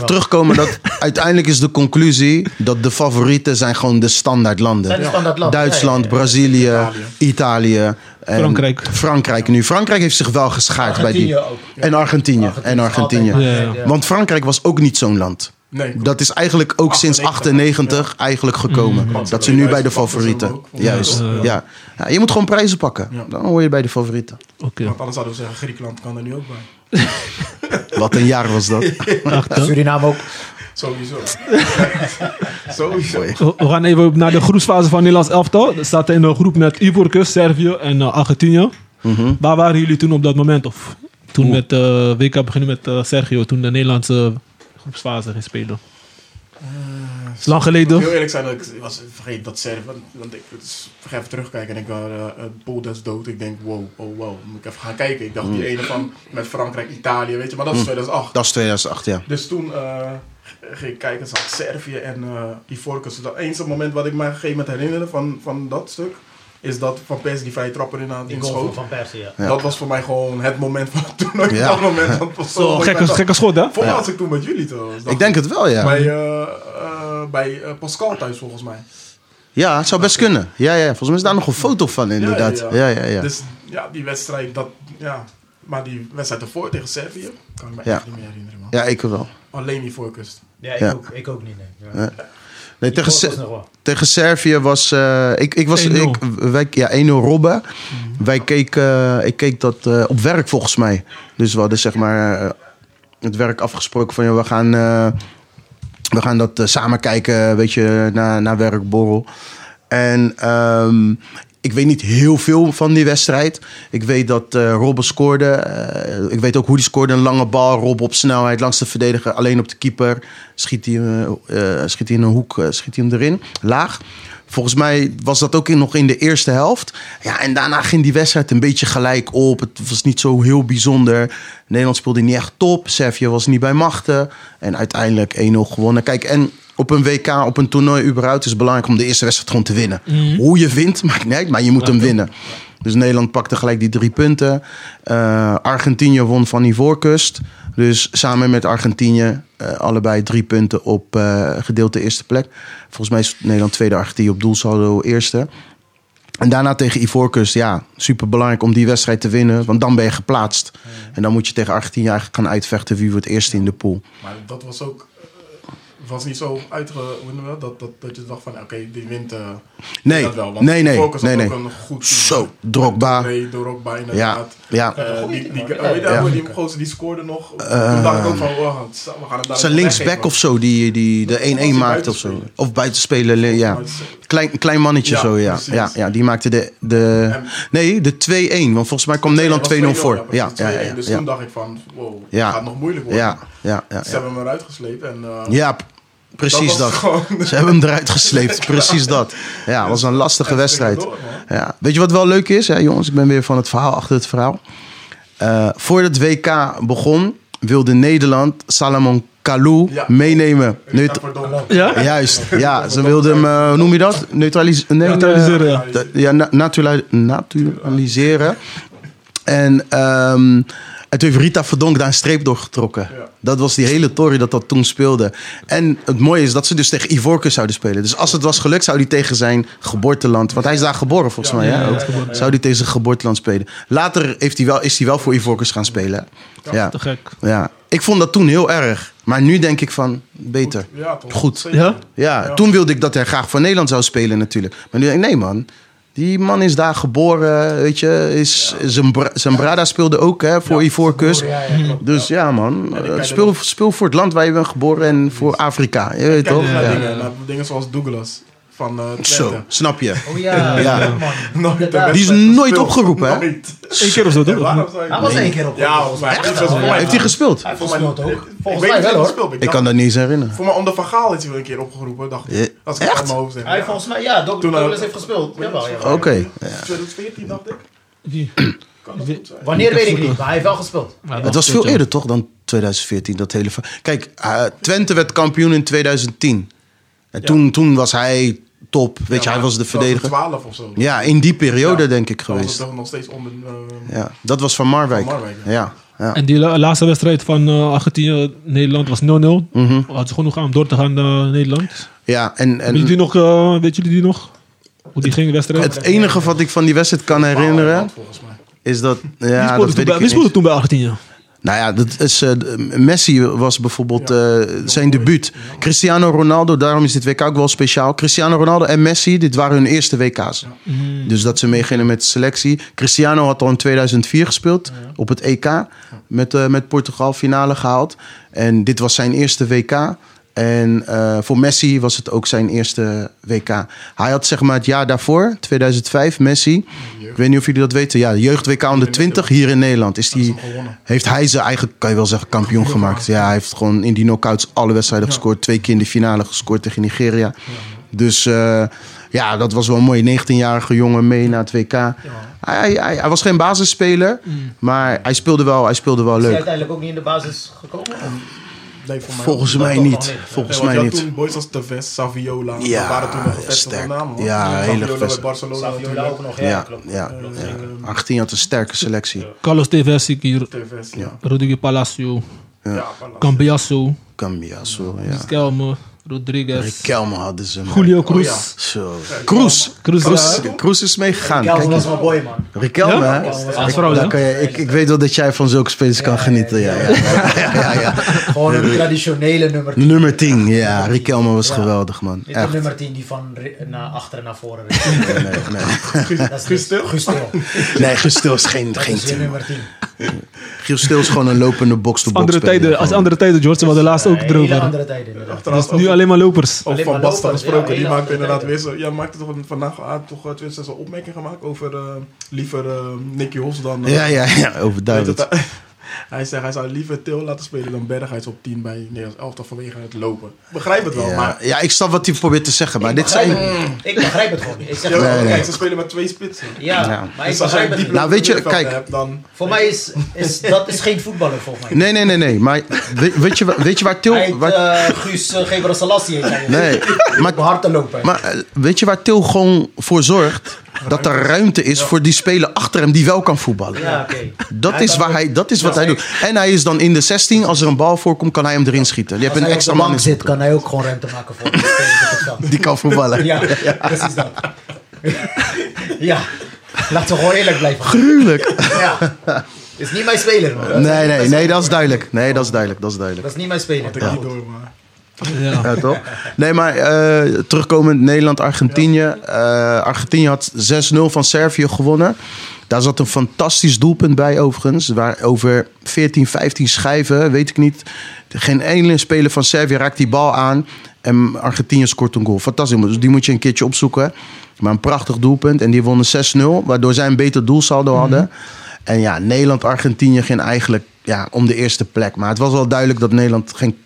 [SPEAKER 3] terugkomen dat uiteindelijk is de conclusie dat de favorieten zijn gewoon de standaard
[SPEAKER 4] Zijn de
[SPEAKER 3] landen.
[SPEAKER 4] standaard landen.
[SPEAKER 3] Duitsland,
[SPEAKER 4] Ja, ja, ja.
[SPEAKER 3] Brazilië, Italië. en
[SPEAKER 2] Frankrijk.
[SPEAKER 3] Frankrijk nu. Frankrijk heeft zich wel geschaard bij die.
[SPEAKER 4] Argentinië ook.
[SPEAKER 3] En Argentinië. En Argentinië.
[SPEAKER 4] Altijd,
[SPEAKER 2] Ja,
[SPEAKER 4] altijd,
[SPEAKER 2] ja.
[SPEAKER 4] ja.
[SPEAKER 3] Want Frankrijk was ook niet zo'n land.
[SPEAKER 5] Nee,
[SPEAKER 3] Dat is eigenlijk ook sinds 98 eigenlijk gekomen.
[SPEAKER 2] Mm.
[SPEAKER 3] Dat ze nu bij de favorieten. Juist. Ja. Ja, je moet gewoon prijzen pakken. Dan hoor je bij de favorieten.
[SPEAKER 2] Oké,
[SPEAKER 5] want anders zouden we zeggen, Griekenland kan er nu ook bij.
[SPEAKER 3] Wat een jaar was dat.
[SPEAKER 2] achter.
[SPEAKER 4] Suriname ook.
[SPEAKER 5] Sowieso. Sowieso.
[SPEAKER 3] Mooi.
[SPEAKER 2] We we gaan even naar de groepsfase van Nederlands elftal. Dat staat in een groep met Ivoorkust, Servië en eh, Argentinië.
[SPEAKER 3] Mhm.
[SPEAKER 2] Waar waren jullie toen op dat moment? Of toen met eh, WK beginnen met eh, Sergio, toen de Nederlandse groepsfase ging spelen?
[SPEAKER 3] Eh,
[SPEAKER 2] is lang
[SPEAKER 5] Ik
[SPEAKER 2] geleden.
[SPEAKER 5] moet heel eerlijk zijn, dat ik ik was vergeten dat Serv. Want, want ik dus, ik ga even terugkijken en ik dacht, eh eh, Bold is dood. Ik denk, wow, oh wow. Moet ik even gaan kijken. Ik dacht, die ene van met Frankrijk, Italië, weet je. Maar dat is 2008.
[SPEAKER 3] Hmm. Dat is 2008, ja.
[SPEAKER 5] Dus toen eh, ging ik kijken, zag ik Servië en eh Ivorcus. Dat enige moment wat ik me op een gegeven moment herinnerde van, van dat stuk, is dat Van Persie die vrije trapper in,
[SPEAKER 4] Die
[SPEAKER 5] in
[SPEAKER 4] goal
[SPEAKER 5] schoot.
[SPEAKER 4] van Persie, ja.
[SPEAKER 3] Ja.
[SPEAKER 5] Dat was voor mij gewoon het moment van het toernooi.
[SPEAKER 3] Ja.
[SPEAKER 5] Dat moment, dat was
[SPEAKER 2] Zo, gekke, gekke schot, hè?
[SPEAKER 5] Voor
[SPEAKER 3] Ja.
[SPEAKER 5] was ik toen met jullie trouwens.
[SPEAKER 3] Ik denk het wel, ja.
[SPEAKER 5] Bij, eh, eh, bij eh, Pascal thuis volgens mij.
[SPEAKER 3] Ja, het zou best kunnen. Ja, ja. Volgens mij is daar nog een foto van, inderdaad. Ja, ja, ja.
[SPEAKER 5] Dus ja, die wedstrijd, dat, ja. Maar die wedstrijd ervoor tegen Servië, kan ik me
[SPEAKER 3] Ja.
[SPEAKER 5] echt niet meer herinneren, man.
[SPEAKER 3] Ja, ik wel.
[SPEAKER 5] Alleen die voorkust.
[SPEAKER 4] Ja, ik,
[SPEAKER 3] Ja.
[SPEAKER 4] Ook, ik ook niet. Nee. Ja.
[SPEAKER 3] Nee, Nee,
[SPEAKER 4] Die
[SPEAKER 3] tegen,
[SPEAKER 4] goal was
[SPEAKER 3] Se-
[SPEAKER 4] nog wel.
[SPEAKER 3] tegen Servië was. eh, ik, ik was.
[SPEAKER 2] 1-0.
[SPEAKER 3] Ik, wij, ja, 1-0 Robben. Wij keken. eh, ik keek dat eh, op werk volgens mij. Dus we hadden zeg maar. eh, het werk afgesproken van. joh, we gaan. eh, we gaan dat eh, samen kijken. Weet je. Naar, naar werkborrel. En. ehm, ik weet niet heel veel van die wedstrijd. Ik weet dat eh Robben scoorde. Eh, ik weet ook hoe die scoorde. Een lange bal, Rob op snelheid, langs de verdediger, alleen op de keeper. Schiet hij, eh, eh, schiet hij in een hoek, eh, schiet hij hem erin. Laag. Volgens mij was dat ook in, nog in de eerste helft. Ja, en daarna ging die wedstrijd een beetje gelijk op. Het was niet zo heel bijzonder. Nederland speelde niet echt top. Servië was niet bij machten. En uiteindelijk 1-0 gewonnen. Kijk, en op een WK, op een toernooi überhaupt... is het belangrijk om de eerste wedstrijd gewoon te winnen. Hoe je wint, maakt niet uit, maar je moet hem winnen. Dus Nederland pakte gelijk die drie punten. Eh, Argentinië won van Ivoorkust. Dus samen met Argentinië eh, allebei drie punten op eh gedeelte eerste plek. Volgens mij is Nederland tweede, Argentinië op doelsaldo eerste. En daarna tegen Ivoorkust, ja, superbelangrijk om die wedstrijd te winnen. Want dan ben je geplaatst. En dan moet je tegen Argentinië eigenlijk gaan uitvechten wie wordt eerste in de pool.
[SPEAKER 5] Maar dat was ook... eh, was niet zo uitge... hoe noemen we dat? Dat, dat, dat je dacht van, oké, die wint eh,
[SPEAKER 3] Nee,
[SPEAKER 5] dat wel. Want
[SPEAKER 3] nee, nee,
[SPEAKER 5] Focus
[SPEAKER 3] nee,
[SPEAKER 5] had
[SPEAKER 3] nee.
[SPEAKER 5] ook een goed team.
[SPEAKER 3] Zo, Drogba.
[SPEAKER 5] Nee, Drogba
[SPEAKER 3] Ja,
[SPEAKER 5] inderdaad.
[SPEAKER 3] ja.
[SPEAKER 5] Eh,
[SPEAKER 4] Ja,
[SPEAKER 5] die, die,
[SPEAKER 4] goeie
[SPEAKER 5] oh, weet je,
[SPEAKER 3] Ja. Eh,
[SPEAKER 5] die gozer die scoorde nog. Toen dacht ik ook van, wow, we gaan het daar
[SPEAKER 3] Zijn
[SPEAKER 5] nog
[SPEAKER 3] linksback
[SPEAKER 5] Nou, weggeven.
[SPEAKER 3] of zo, die, die
[SPEAKER 5] Was hij
[SPEAKER 3] de 1-1 maakt of zo.
[SPEAKER 5] buitenspeler?
[SPEAKER 3] Of buitenspelen, li- ja. Klein, klein mannetje
[SPEAKER 5] Ja,
[SPEAKER 3] zo, ja.
[SPEAKER 5] precies.
[SPEAKER 3] ja. Ja, die maakte de... de
[SPEAKER 5] En-
[SPEAKER 3] nee, de 2-1. Want volgens mij kwam Nederland 2-0 voor.
[SPEAKER 5] precies,
[SPEAKER 3] Ja, ja, ja.
[SPEAKER 5] 2-1. Dus
[SPEAKER 3] ja.
[SPEAKER 5] toen dacht ik van, wow,
[SPEAKER 3] Ja.
[SPEAKER 5] gaat nog moeilijk worden.
[SPEAKER 3] Ja, ja, ja.
[SPEAKER 5] oh, Ze
[SPEAKER 3] ja.
[SPEAKER 5] hebben hem eruit gesleept en... eh,
[SPEAKER 3] Ja, p- precies
[SPEAKER 5] was
[SPEAKER 3] dat.
[SPEAKER 5] gewoon-
[SPEAKER 3] Ze hebben hem eruit gesleept, precies dat. Ja, het was een lastige
[SPEAKER 5] en
[SPEAKER 3] wedstrijd.
[SPEAKER 5] door, man.
[SPEAKER 3] Ja. Weet je wat wel leuk is, hè, jongens? Ik ben weer van het verhaal achter het verhaal. Eh voordat WK begon, wilde Nederland Salomon Kalou
[SPEAKER 5] Ja.
[SPEAKER 3] meenemen.
[SPEAKER 5] Nu
[SPEAKER 3] Neut-
[SPEAKER 5] het... Verdomme.
[SPEAKER 2] Ja?
[SPEAKER 3] Juist, ja. Ze wilde hem, eh, hoe noem je dat? Neutraliseren. Nee,
[SPEAKER 2] Neutraliseren, ja.
[SPEAKER 3] eh, ja, na- naturali- naturaliseren. En ehm, en toen heeft Rita Verdonk daar een streep door getrokken.
[SPEAKER 5] Ja.
[SPEAKER 3] Dat was die hele tory dat dat toen speelde. En het mooie is dat ze dus tegen Ivorcus zouden spelen. Dus als het was gelukt, zou die tegen zijn geboorteland... Want hij is daar geboren volgens mij. hè?
[SPEAKER 2] ja,
[SPEAKER 3] ook. Zou die tegen zijn geboorteland spelen. Later heeft hij wel, is hij wel voor Ivorcus gaan spelen. hè? Ja.
[SPEAKER 2] Te gek.
[SPEAKER 3] ja. Ik vond dat toen heel erg. Maar nu denk ik van, beter.
[SPEAKER 5] Ja, toch?
[SPEAKER 3] Goed.
[SPEAKER 5] Zeker.
[SPEAKER 2] Ja?
[SPEAKER 3] Ja, toen wilde ik dat hij graag voor Nederland zou spelen natuurlijk. Maar nu denk ik, nee man. Die man is daar geboren, weet je. Is, zijn, bra- zijn Brada speelde ook hè, voor
[SPEAKER 4] Oh,
[SPEAKER 3] Ivoorkust.
[SPEAKER 5] Ja, ja, klopt.
[SPEAKER 3] Dus ja man, eh,
[SPEAKER 5] kijken
[SPEAKER 3] speel,
[SPEAKER 5] nog.
[SPEAKER 3] speel voor het land waar je bent geboren en voor Afrika. Je weet
[SPEAKER 5] Kijk
[SPEAKER 3] toch?
[SPEAKER 5] toch naar
[SPEAKER 3] Ja.
[SPEAKER 5] dingen, naar dingen zoals Douglas van eh Twente.
[SPEAKER 3] Zo, snap je.
[SPEAKER 4] Oh ja,
[SPEAKER 3] Ja.
[SPEAKER 4] ja. man.
[SPEAKER 5] Nooit de
[SPEAKER 4] Inderdaad.
[SPEAKER 5] beste
[SPEAKER 3] Die is
[SPEAKER 5] gespeeld.
[SPEAKER 3] nooit opgeroepen, hè?
[SPEAKER 5] Nooit.
[SPEAKER 2] Eén keer of zo,
[SPEAKER 5] Ja,
[SPEAKER 2] toch? Of
[SPEAKER 5] waarom
[SPEAKER 2] niet?
[SPEAKER 5] zou je-
[SPEAKER 4] Hij was één keer op.
[SPEAKER 5] Ja, volgens mij. Dit was voor mij-
[SPEAKER 3] Heeft hij gespeeld?
[SPEAKER 4] Hij
[SPEAKER 5] Volgens mij
[SPEAKER 4] volgens mij ook.
[SPEAKER 5] Ik
[SPEAKER 4] Volgens
[SPEAKER 5] weet
[SPEAKER 4] mij
[SPEAKER 5] niet
[SPEAKER 4] wel
[SPEAKER 5] of
[SPEAKER 4] hoor.
[SPEAKER 5] hij gespeeld heeft.
[SPEAKER 3] Ik kan dat niet eens herinneren.
[SPEAKER 5] Voor mij onder Van Gaal heeft hij wel een keer opgeroepen, dacht
[SPEAKER 3] Ja.
[SPEAKER 5] ik. Als ik het
[SPEAKER 3] Echt?
[SPEAKER 5] uit mijn hoofd zeg.
[SPEAKER 4] Hij
[SPEAKER 5] ja.
[SPEAKER 4] volgens mij, ja, Doc
[SPEAKER 5] Toen
[SPEAKER 4] Douglas
[SPEAKER 5] ook.
[SPEAKER 4] heeft gespeeld. Jawel, jawel.
[SPEAKER 3] Oké.
[SPEAKER 5] 2014 dacht ik.
[SPEAKER 2] Wie?
[SPEAKER 5] Kan dat
[SPEAKER 2] Wie-
[SPEAKER 5] goed zijn?
[SPEAKER 4] Wanneer weet ik niet, maar hij heeft wel gespeeld.
[SPEAKER 3] Het was veel eerder toch dan 2014, dat hele... ver- Kijk, eh, Twente werd kampioen in 2010. En toen, toen was hij top, weet je, hij was de verdediger.
[SPEAKER 5] 12 of zo.
[SPEAKER 3] Ja, in die periode
[SPEAKER 5] Ja.
[SPEAKER 3] denk ik
[SPEAKER 5] Dan was het
[SPEAKER 3] geweest.
[SPEAKER 5] toch nog steeds onder... eh,
[SPEAKER 3] Ja, dat was van Marwijk.
[SPEAKER 5] Van Marwijk, ja.
[SPEAKER 3] ja. ja.
[SPEAKER 2] En die la- laatste wedstrijd van eh, Argentinië-Nederland was 0-0. Had ze genoeg aan om door te gaan naar Nederland.
[SPEAKER 3] Ja, Mhm. en, en
[SPEAKER 2] Weet jullie, die nog, eh, weet jullie die nog? Hoe die ging de wedstrijd?
[SPEAKER 3] het e- enige wat ik van die wedstrijd kan herinneren
[SPEAKER 5] Volgens mij.
[SPEAKER 3] is dat.
[SPEAKER 2] wie
[SPEAKER 3] Ja,
[SPEAKER 2] speelde,
[SPEAKER 3] dat
[SPEAKER 2] toen,
[SPEAKER 3] weet
[SPEAKER 2] bij,
[SPEAKER 3] ik
[SPEAKER 2] wie speelde
[SPEAKER 3] niet.
[SPEAKER 2] toen bij Argentinië?
[SPEAKER 3] Nou ja, dat is, eh, Messi was bijvoorbeeld eh, zijn debuut. Cristiano Ronaldo, daarom is dit WK ook wel speciaal. Cristiano Ronaldo en Messi, dit waren hun eerste WK's. Dus dat ze meegingen met de selectie. Cristiano had al in 2004 gespeeld op het EK. Met, eh, met Portugal finale gehaald. En dit was zijn eerste WK. En eh, voor Messi was het ook zijn eerste WK. Hij had zeg maar het jaar daarvoor, 2005, Messi. Ik weet niet of jullie dat weten. Ja, de jeugd WK onder 20 hier in Nederland. Is die, heeft hij zijn eigen, kan je wel zeggen, kampioen gemaakt. Ja, hij heeft gewoon in die knockouts alle wedstrijden gescoord. Twee keer in de finale gescoord tegen Nigeria. Dus eh, ja, dat was wel een mooie 19-jarige jongen mee naar het WK. Hij, hij, hij was geen basisspeler, maar hij speelde wel, hij speelde wel
[SPEAKER 4] Is hij
[SPEAKER 3] leuk.
[SPEAKER 4] uiteindelijk ook niet in de basis gekomen?
[SPEAKER 5] Nee, voor mij
[SPEAKER 3] Volgens mij
[SPEAKER 4] toch
[SPEAKER 3] niet.
[SPEAKER 4] wel niet.
[SPEAKER 5] Nee,
[SPEAKER 3] Volgens
[SPEAKER 5] want
[SPEAKER 3] mij
[SPEAKER 5] je had
[SPEAKER 3] niet.
[SPEAKER 5] toen boys als Tevez, Saviola.
[SPEAKER 3] Ja,
[SPEAKER 5] dat waren toen nog gevestigde
[SPEAKER 3] sterk.
[SPEAKER 5] namen. hoor.
[SPEAKER 3] Ja, hele
[SPEAKER 5] Saviola bij
[SPEAKER 3] gevestigd.
[SPEAKER 5] Barcelona
[SPEAKER 4] Saviola ook
[SPEAKER 5] natuurlijk.
[SPEAKER 4] nog, ja,
[SPEAKER 3] Ja,
[SPEAKER 4] klopt.
[SPEAKER 3] ja,
[SPEAKER 5] klopt.
[SPEAKER 3] ja. 18 had een sterke selectie.
[SPEAKER 2] Carlos Tevez zie ik hier.
[SPEAKER 5] Tevez, ja.
[SPEAKER 2] Rodrigo Palacio.
[SPEAKER 5] Ja, voilà.
[SPEAKER 2] Cambiasso.
[SPEAKER 3] Cambiasso, ja.
[SPEAKER 2] Skelme. Rodriguez.
[SPEAKER 3] Riquelme hadden ze. man.
[SPEAKER 2] Julio Cruz.
[SPEAKER 5] Oh
[SPEAKER 3] Zo. Cruz.
[SPEAKER 2] Cruz,
[SPEAKER 3] Cruz,
[SPEAKER 2] ja.
[SPEAKER 3] Cruz is meegegaan.
[SPEAKER 4] Kelvin
[SPEAKER 3] Kijk,
[SPEAKER 4] was mijn boy, man.
[SPEAKER 3] Riquelme, hè?
[SPEAKER 2] Als vrouw,
[SPEAKER 3] Daar
[SPEAKER 2] hè?
[SPEAKER 3] kan je, ik, ik weet wel dat jij van zulke spelers kan genieten. Ja, ja, ja, ja, ja.
[SPEAKER 4] Gewoon een traditionele nummer 10.
[SPEAKER 3] Nummer 10, ja. Riquelme was geweldig, man.
[SPEAKER 4] Niet een
[SPEAKER 3] Echt.
[SPEAKER 4] nummer 10 die van re- naar achter en naar voren reed.
[SPEAKER 3] Nee, nee.
[SPEAKER 4] Dat is Gustil? Gustil.
[SPEAKER 3] nee Giel Stil is geen,
[SPEAKER 4] Dat
[SPEAKER 3] geen
[SPEAKER 4] is je
[SPEAKER 3] 10.
[SPEAKER 4] nummer 10.
[SPEAKER 3] Giel Stil is gewoon een lopende box-to-box
[SPEAKER 2] Andere
[SPEAKER 3] speler,
[SPEAKER 2] tijden,
[SPEAKER 3] gewoon.
[SPEAKER 2] als andere tijden, George. Ze hadden laatst ook
[SPEAKER 4] Eh, hele
[SPEAKER 2] erover. Dus
[SPEAKER 4] andere tijden, inderdaad.
[SPEAKER 5] Trouwens,
[SPEAKER 2] Nu alleen maar lopers.
[SPEAKER 5] Of
[SPEAKER 4] Alleen
[SPEAKER 5] van
[SPEAKER 4] maar
[SPEAKER 5] Basten
[SPEAKER 4] lopers,
[SPEAKER 5] gesproken,
[SPEAKER 4] ja,
[SPEAKER 5] die
[SPEAKER 4] hele
[SPEAKER 5] maakte inderdaad weer
[SPEAKER 4] achterzijde.
[SPEAKER 5] zo. Ja, maakte toch een- vandaag ah, toch eh, tenminste zo'n opmerking gemaakt over eh, liever eh, Nicky Hos dan. eh,
[SPEAKER 3] Ja, ja, ja,
[SPEAKER 5] weet
[SPEAKER 3] overduidelijk.
[SPEAKER 5] het, eh, hij zegt hij zou liever Til laten spelen dan Berghuis op 10 bij Nederlands elftal vanwege het lopen. Begrijp het wel,
[SPEAKER 3] Ja,
[SPEAKER 5] maar.
[SPEAKER 3] ja, ik snap wat hij probeert te zeggen, maar
[SPEAKER 4] Ik
[SPEAKER 3] dit
[SPEAKER 4] begrijp
[SPEAKER 3] zijn...
[SPEAKER 4] het niet. Ik begrijp het gewoon niet. Ik zeg
[SPEAKER 5] Ja,
[SPEAKER 4] het
[SPEAKER 3] nee,
[SPEAKER 4] gewoon,
[SPEAKER 3] nee.
[SPEAKER 5] Kijk,
[SPEAKER 4] kijk.
[SPEAKER 5] ze spelen met twee spitsen.
[SPEAKER 4] Ja, maar ik
[SPEAKER 5] Dus als
[SPEAKER 4] begrijp
[SPEAKER 5] hij
[SPEAKER 4] het
[SPEAKER 5] die
[SPEAKER 4] niet.
[SPEAKER 3] Nou, weet je,
[SPEAKER 5] middenvelder
[SPEAKER 3] kijk.
[SPEAKER 5] hebt, dan
[SPEAKER 4] Voor mij is, is dat is geen voetballer, volgens mij.
[SPEAKER 3] Nee, nee, nee, nee. Maar weet, weet je, wa- weet je waar
[SPEAKER 4] Hij
[SPEAKER 3] Til...
[SPEAKER 4] heet
[SPEAKER 3] Waar,
[SPEAKER 4] eh, Guus uh, Gebraselassie. heet hij.
[SPEAKER 3] nee, maar
[SPEAKER 4] Op hard te lopen.
[SPEAKER 3] Maar eh, weet je waar Til gewoon voor zorgt? Dat er ruimte is voor die speler achter hem die wel kan voetballen.
[SPEAKER 4] ja, oké.
[SPEAKER 3] Dat is, waar hij, dat is wat hij doet. En hij is dan in de 16, als er een bal voorkomt, kan hij hem erin schieten. Je hebt
[SPEAKER 4] Als
[SPEAKER 3] een
[SPEAKER 4] hij
[SPEAKER 3] extra
[SPEAKER 4] op de
[SPEAKER 3] man
[SPEAKER 4] bank
[SPEAKER 3] in
[SPEAKER 4] zit, kan hij ook gewoon ruimte maken voor de spelers op het veld.
[SPEAKER 3] die kan voetballen.
[SPEAKER 4] Ja, precies dat. ja, laten we gewoon eerlijk blijven.
[SPEAKER 3] Gruwelijk.
[SPEAKER 4] Ja. Is niet mijn speler, man.
[SPEAKER 3] Nee, nee, nee, dat is duidelijk. Nee, dat is duidelijk. Dat is duidelijk.
[SPEAKER 4] Dat is niet mijn speler.
[SPEAKER 5] had ik niet door, maar.
[SPEAKER 2] Ja.
[SPEAKER 3] Ja, toch? Nee, maar eh, terugkomend Nederland-Argentinië. Eh, Argentinië had 6-0 van Servië gewonnen. Daar zat een fantastisch doelpunt bij overigens. Waar over 14, 15 schijven, weet ik niet. Geen ene speler van Servië raakt die bal aan. En Argentinië scoort een goal. Fantastisch. Dus die moet je een keertje opzoeken. Maar een prachtig doelpunt. En die wonnen 6-0. Waardoor zij een beter doelsaldo hadden. En ja, Nederland-Argentinië ging eigenlijk ja, om de eerste plek. Maar het was wel duidelijk dat Nederland geen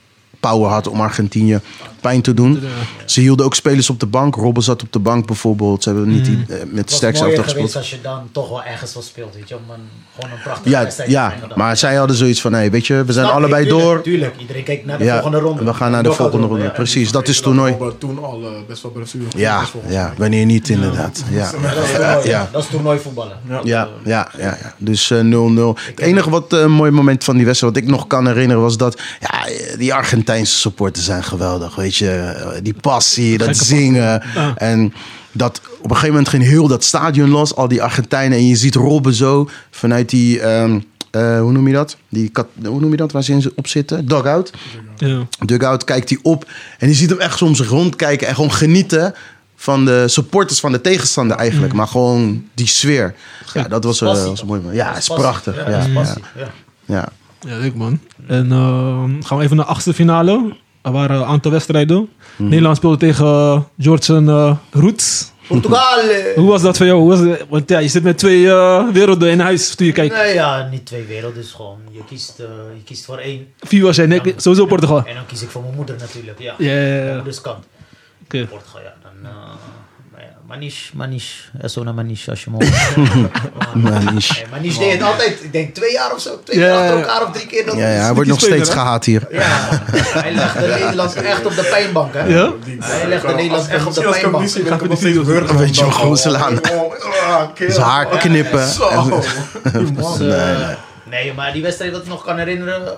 [SPEAKER 3] power had om Argentinië pijn te doen. Ze hielden ook spelers op de bank. Robben zat op de bank bijvoorbeeld. Ze hebben niet die, eh, met de
[SPEAKER 4] Het Hmm. was
[SPEAKER 3] sterkste
[SPEAKER 4] mooier
[SPEAKER 3] elftal
[SPEAKER 4] geweest
[SPEAKER 3] gespeeld.
[SPEAKER 4] als je dan toch wel ergens wat speelt, weet je. Om een, gewoon een prachtige
[SPEAKER 3] Ja,
[SPEAKER 4] wedstrijd
[SPEAKER 3] ja,
[SPEAKER 4] te brengen.
[SPEAKER 3] maar zij hadden zoiets van, hey, weet je, we zijn
[SPEAKER 4] Snap ik,
[SPEAKER 3] allebei
[SPEAKER 4] tuurlijk,
[SPEAKER 3] door.
[SPEAKER 4] Tuurlijk, iedereen kijkt naar de
[SPEAKER 3] Ja,
[SPEAKER 4] volgende ronde.
[SPEAKER 3] we gaan naar de
[SPEAKER 4] Nog een
[SPEAKER 3] volgende ronde. Precies, dat is toernooi.
[SPEAKER 5] Robert Toen al eh, best wel blessure.
[SPEAKER 3] Ja,
[SPEAKER 5] Dus volgens
[SPEAKER 3] ja,
[SPEAKER 5] mij.
[SPEAKER 3] wanneer niet inderdaad. Ja,
[SPEAKER 4] Dat is toernooi,
[SPEAKER 3] Ja.
[SPEAKER 4] dat is toernooi voetballen.
[SPEAKER 3] ja, ja, ja, ja. dus eh, 0-0. het enige wat eh, een mooi moment van die wedstrijd, wat ik nog kan herinneren, was dat ja, eh, die Argentijnse supporters zijn geweldig. Weet je, Eh, die passie, dat zingen. En dat op een gegeven moment ging heel dat stadion los, al die Argentijnen. En je ziet Robben zo vanuit die, ehm, eh, hoe noem je dat? Die kat, hoe noem je dat waar ze in op zitten? Dugout
[SPEAKER 2] Ja.
[SPEAKER 3] dugout kijkt hij op. En je ziet hem echt soms rondkijken en gewoon genieten van de supporters van de tegenstander eigenlijk.
[SPEAKER 4] Mm.
[SPEAKER 3] Maar gewoon die sfeer. Ja, dat was, eh,
[SPEAKER 4] Passie.
[SPEAKER 3] was mooi. man. Ja,
[SPEAKER 4] Dat
[SPEAKER 3] het is
[SPEAKER 4] passie.
[SPEAKER 3] prachtig. Ja,
[SPEAKER 4] dat is
[SPEAKER 3] ja, ja,
[SPEAKER 4] passie, ja.
[SPEAKER 2] Ja, leuk man. En ehm, gaan we even naar de achtste finale. eh, Er waren een aantal wedstrijden. Nederland speelde tegen eh, Georgian eh, Roots.
[SPEAKER 4] Portugal! eh,
[SPEAKER 2] Hoe was dat voor jou? Hoe was het? Want ja, je zit met twee eh, werelden in huis toen je kijkt.
[SPEAKER 4] Nee, ja, niet twee werelden, dus gewoon. Je kiest, eh, je kiest voor één.
[SPEAKER 2] Vier was jij, nee, sowieso Portugal.
[SPEAKER 4] En dan kies ik voor mijn moeder natuurlijk, ja.
[SPEAKER 2] Ja, ja, ja.
[SPEAKER 4] Mijn moeders kant.
[SPEAKER 2] Oké.
[SPEAKER 4] Portugal, ja. Dan, eh, ja, Manish, Manish. Esona Manish, als je me hoort.
[SPEAKER 3] Manish.
[SPEAKER 4] Nee, Manish deed het altijd, ik denk twee jaar of zo. Twee
[SPEAKER 3] Ja,
[SPEAKER 4] keer achter
[SPEAKER 3] ja.
[SPEAKER 4] elkaar of drie keer. Dat
[SPEAKER 3] Ja, ja, hij
[SPEAKER 4] is-
[SPEAKER 3] wordt nog
[SPEAKER 2] speler,
[SPEAKER 3] steeds
[SPEAKER 2] hè?
[SPEAKER 3] gehaat hier.
[SPEAKER 4] Ja, man. hij legde Nederland echt op de pijnbank, hè?
[SPEAKER 2] Ja?
[SPEAKER 5] Die-
[SPEAKER 4] Hij legde
[SPEAKER 5] Als-
[SPEAKER 4] Nederland echt op de
[SPEAKER 5] als ik hem
[SPEAKER 4] pijnbank.
[SPEAKER 5] niet zie, ben
[SPEAKER 2] Ga
[SPEAKER 5] ik
[SPEAKER 2] ik
[SPEAKER 5] nog
[SPEAKER 2] die
[SPEAKER 5] steeds
[SPEAKER 2] video's-
[SPEAKER 5] wurgen van
[SPEAKER 3] Weet je,
[SPEAKER 5] dat.
[SPEAKER 3] Goosselaar.
[SPEAKER 5] Oh, oh, kerel.
[SPEAKER 3] Zijn haar
[SPEAKER 5] Ja,
[SPEAKER 3] knippen.
[SPEAKER 5] Zo.
[SPEAKER 4] Dus, eh, nee, maar die wedstrijd dat ik nog kan herinneren.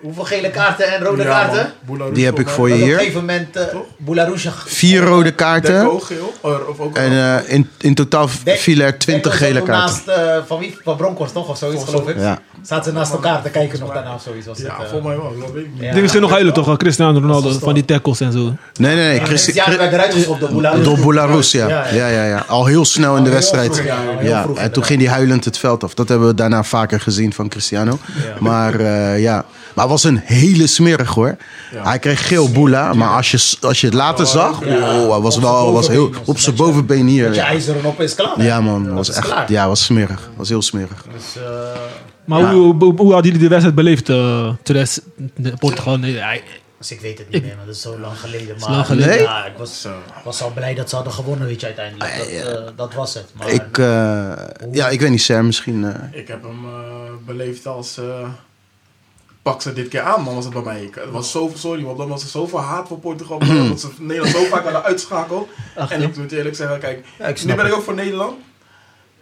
[SPEAKER 4] Hoeveel gele kaarten en rode
[SPEAKER 5] Ja,
[SPEAKER 4] kaarten?
[SPEAKER 5] man. Boularoes
[SPEAKER 3] Die heb ik
[SPEAKER 5] man.
[SPEAKER 3] voor je
[SPEAKER 4] Dat op
[SPEAKER 3] hier.
[SPEAKER 4] een gegeven moment eh Boularoesje
[SPEAKER 3] Vier rode kaarten.
[SPEAKER 5] Dekko, geel. Or- Of ook
[SPEAKER 3] En eh, in, in totaal vielen er twintig gele kaarten.
[SPEAKER 4] Naast, eh, van wie? Van Bronkhorst toch? Of zoiets, geloof ik.
[SPEAKER 3] Ja.
[SPEAKER 4] Zaten ze naast elkaar te kijken nog daarna of zoiets. Was
[SPEAKER 5] Ja,
[SPEAKER 4] het, eh.
[SPEAKER 5] volgens mij wel. Dat weet ik niet.
[SPEAKER 4] Ja.
[SPEAKER 2] Dingen zijn nog heilig toch, eh, Cristiano Ronaldo, van die tackles en zo.
[SPEAKER 3] Nee, nee, nee.
[SPEAKER 4] Ja,
[SPEAKER 3] Christi-
[SPEAKER 4] dit jaar werd eruit geschopt door Boularoes.
[SPEAKER 3] door Belarus, ja.
[SPEAKER 4] Ja,
[SPEAKER 3] Ja,
[SPEAKER 4] ja.
[SPEAKER 3] ja, ja. Al heel snel in de
[SPEAKER 4] heel
[SPEAKER 3] wedstrijd.
[SPEAKER 4] vroeg, ja, al heel vroeg
[SPEAKER 3] Ja, en toen
[SPEAKER 4] inderdaad.
[SPEAKER 3] ging hij huilend het veld af. Dat hebben we daarna vaker gezien van Cristiano. Maar eh, ja, maar het was een hele smerig hoor. Hij kreeg geel boela, maar als je, als je het later zag, oh, hij was wel was heel op zijn bovenbeen hier.
[SPEAKER 4] Je
[SPEAKER 3] Ja,
[SPEAKER 4] ijzeren op is klaar. hè?
[SPEAKER 3] ja man, was
[SPEAKER 4] is
[SPEAKER 3] echt,
[SPEAKER 4] klaar.
[SPEAKER 3] ja, was smerig. Was heel smerig.
[SPEAKER 4] Dus, eh,
[SPEAKER 2] Maar hoe, hoe, hoe hadden jullie de wedstrijd beleefd, eh Teres? De Portugal, nee, hij-
[SPEAKER 4] Dus ik weet het niet meer, want dat is zo lang geleden. Maar
[SPEAKER 2] lang geleden.
[SPEAKER 4] Ja, ik was, was al blij dat ze hadden gewonnen, weet je, uiteindelijk. Dat, eh, dat was het. Maar
[SPEAKER 3] Ah, Ik, eh, ja, ik weet niet, Sam, misschien. eh,
[SPEAKER 5] Ik heb hem eh, beleefd als. eh, pak ze dit keer aan, man, was het bij mij. Ik, het was zo, sorry, want dan was er zoveel haat voor Portugal. dat ze Nederland zo vaak hadden uitschakeld. en ik moet eerlijk zeggen, kijk,
[SPEAKER 4] Ja, ik snap
[SPEAKER 5] nu ben ik
[SPEAKER 4] het.
[SPEAKER 5] ook voor Nederland.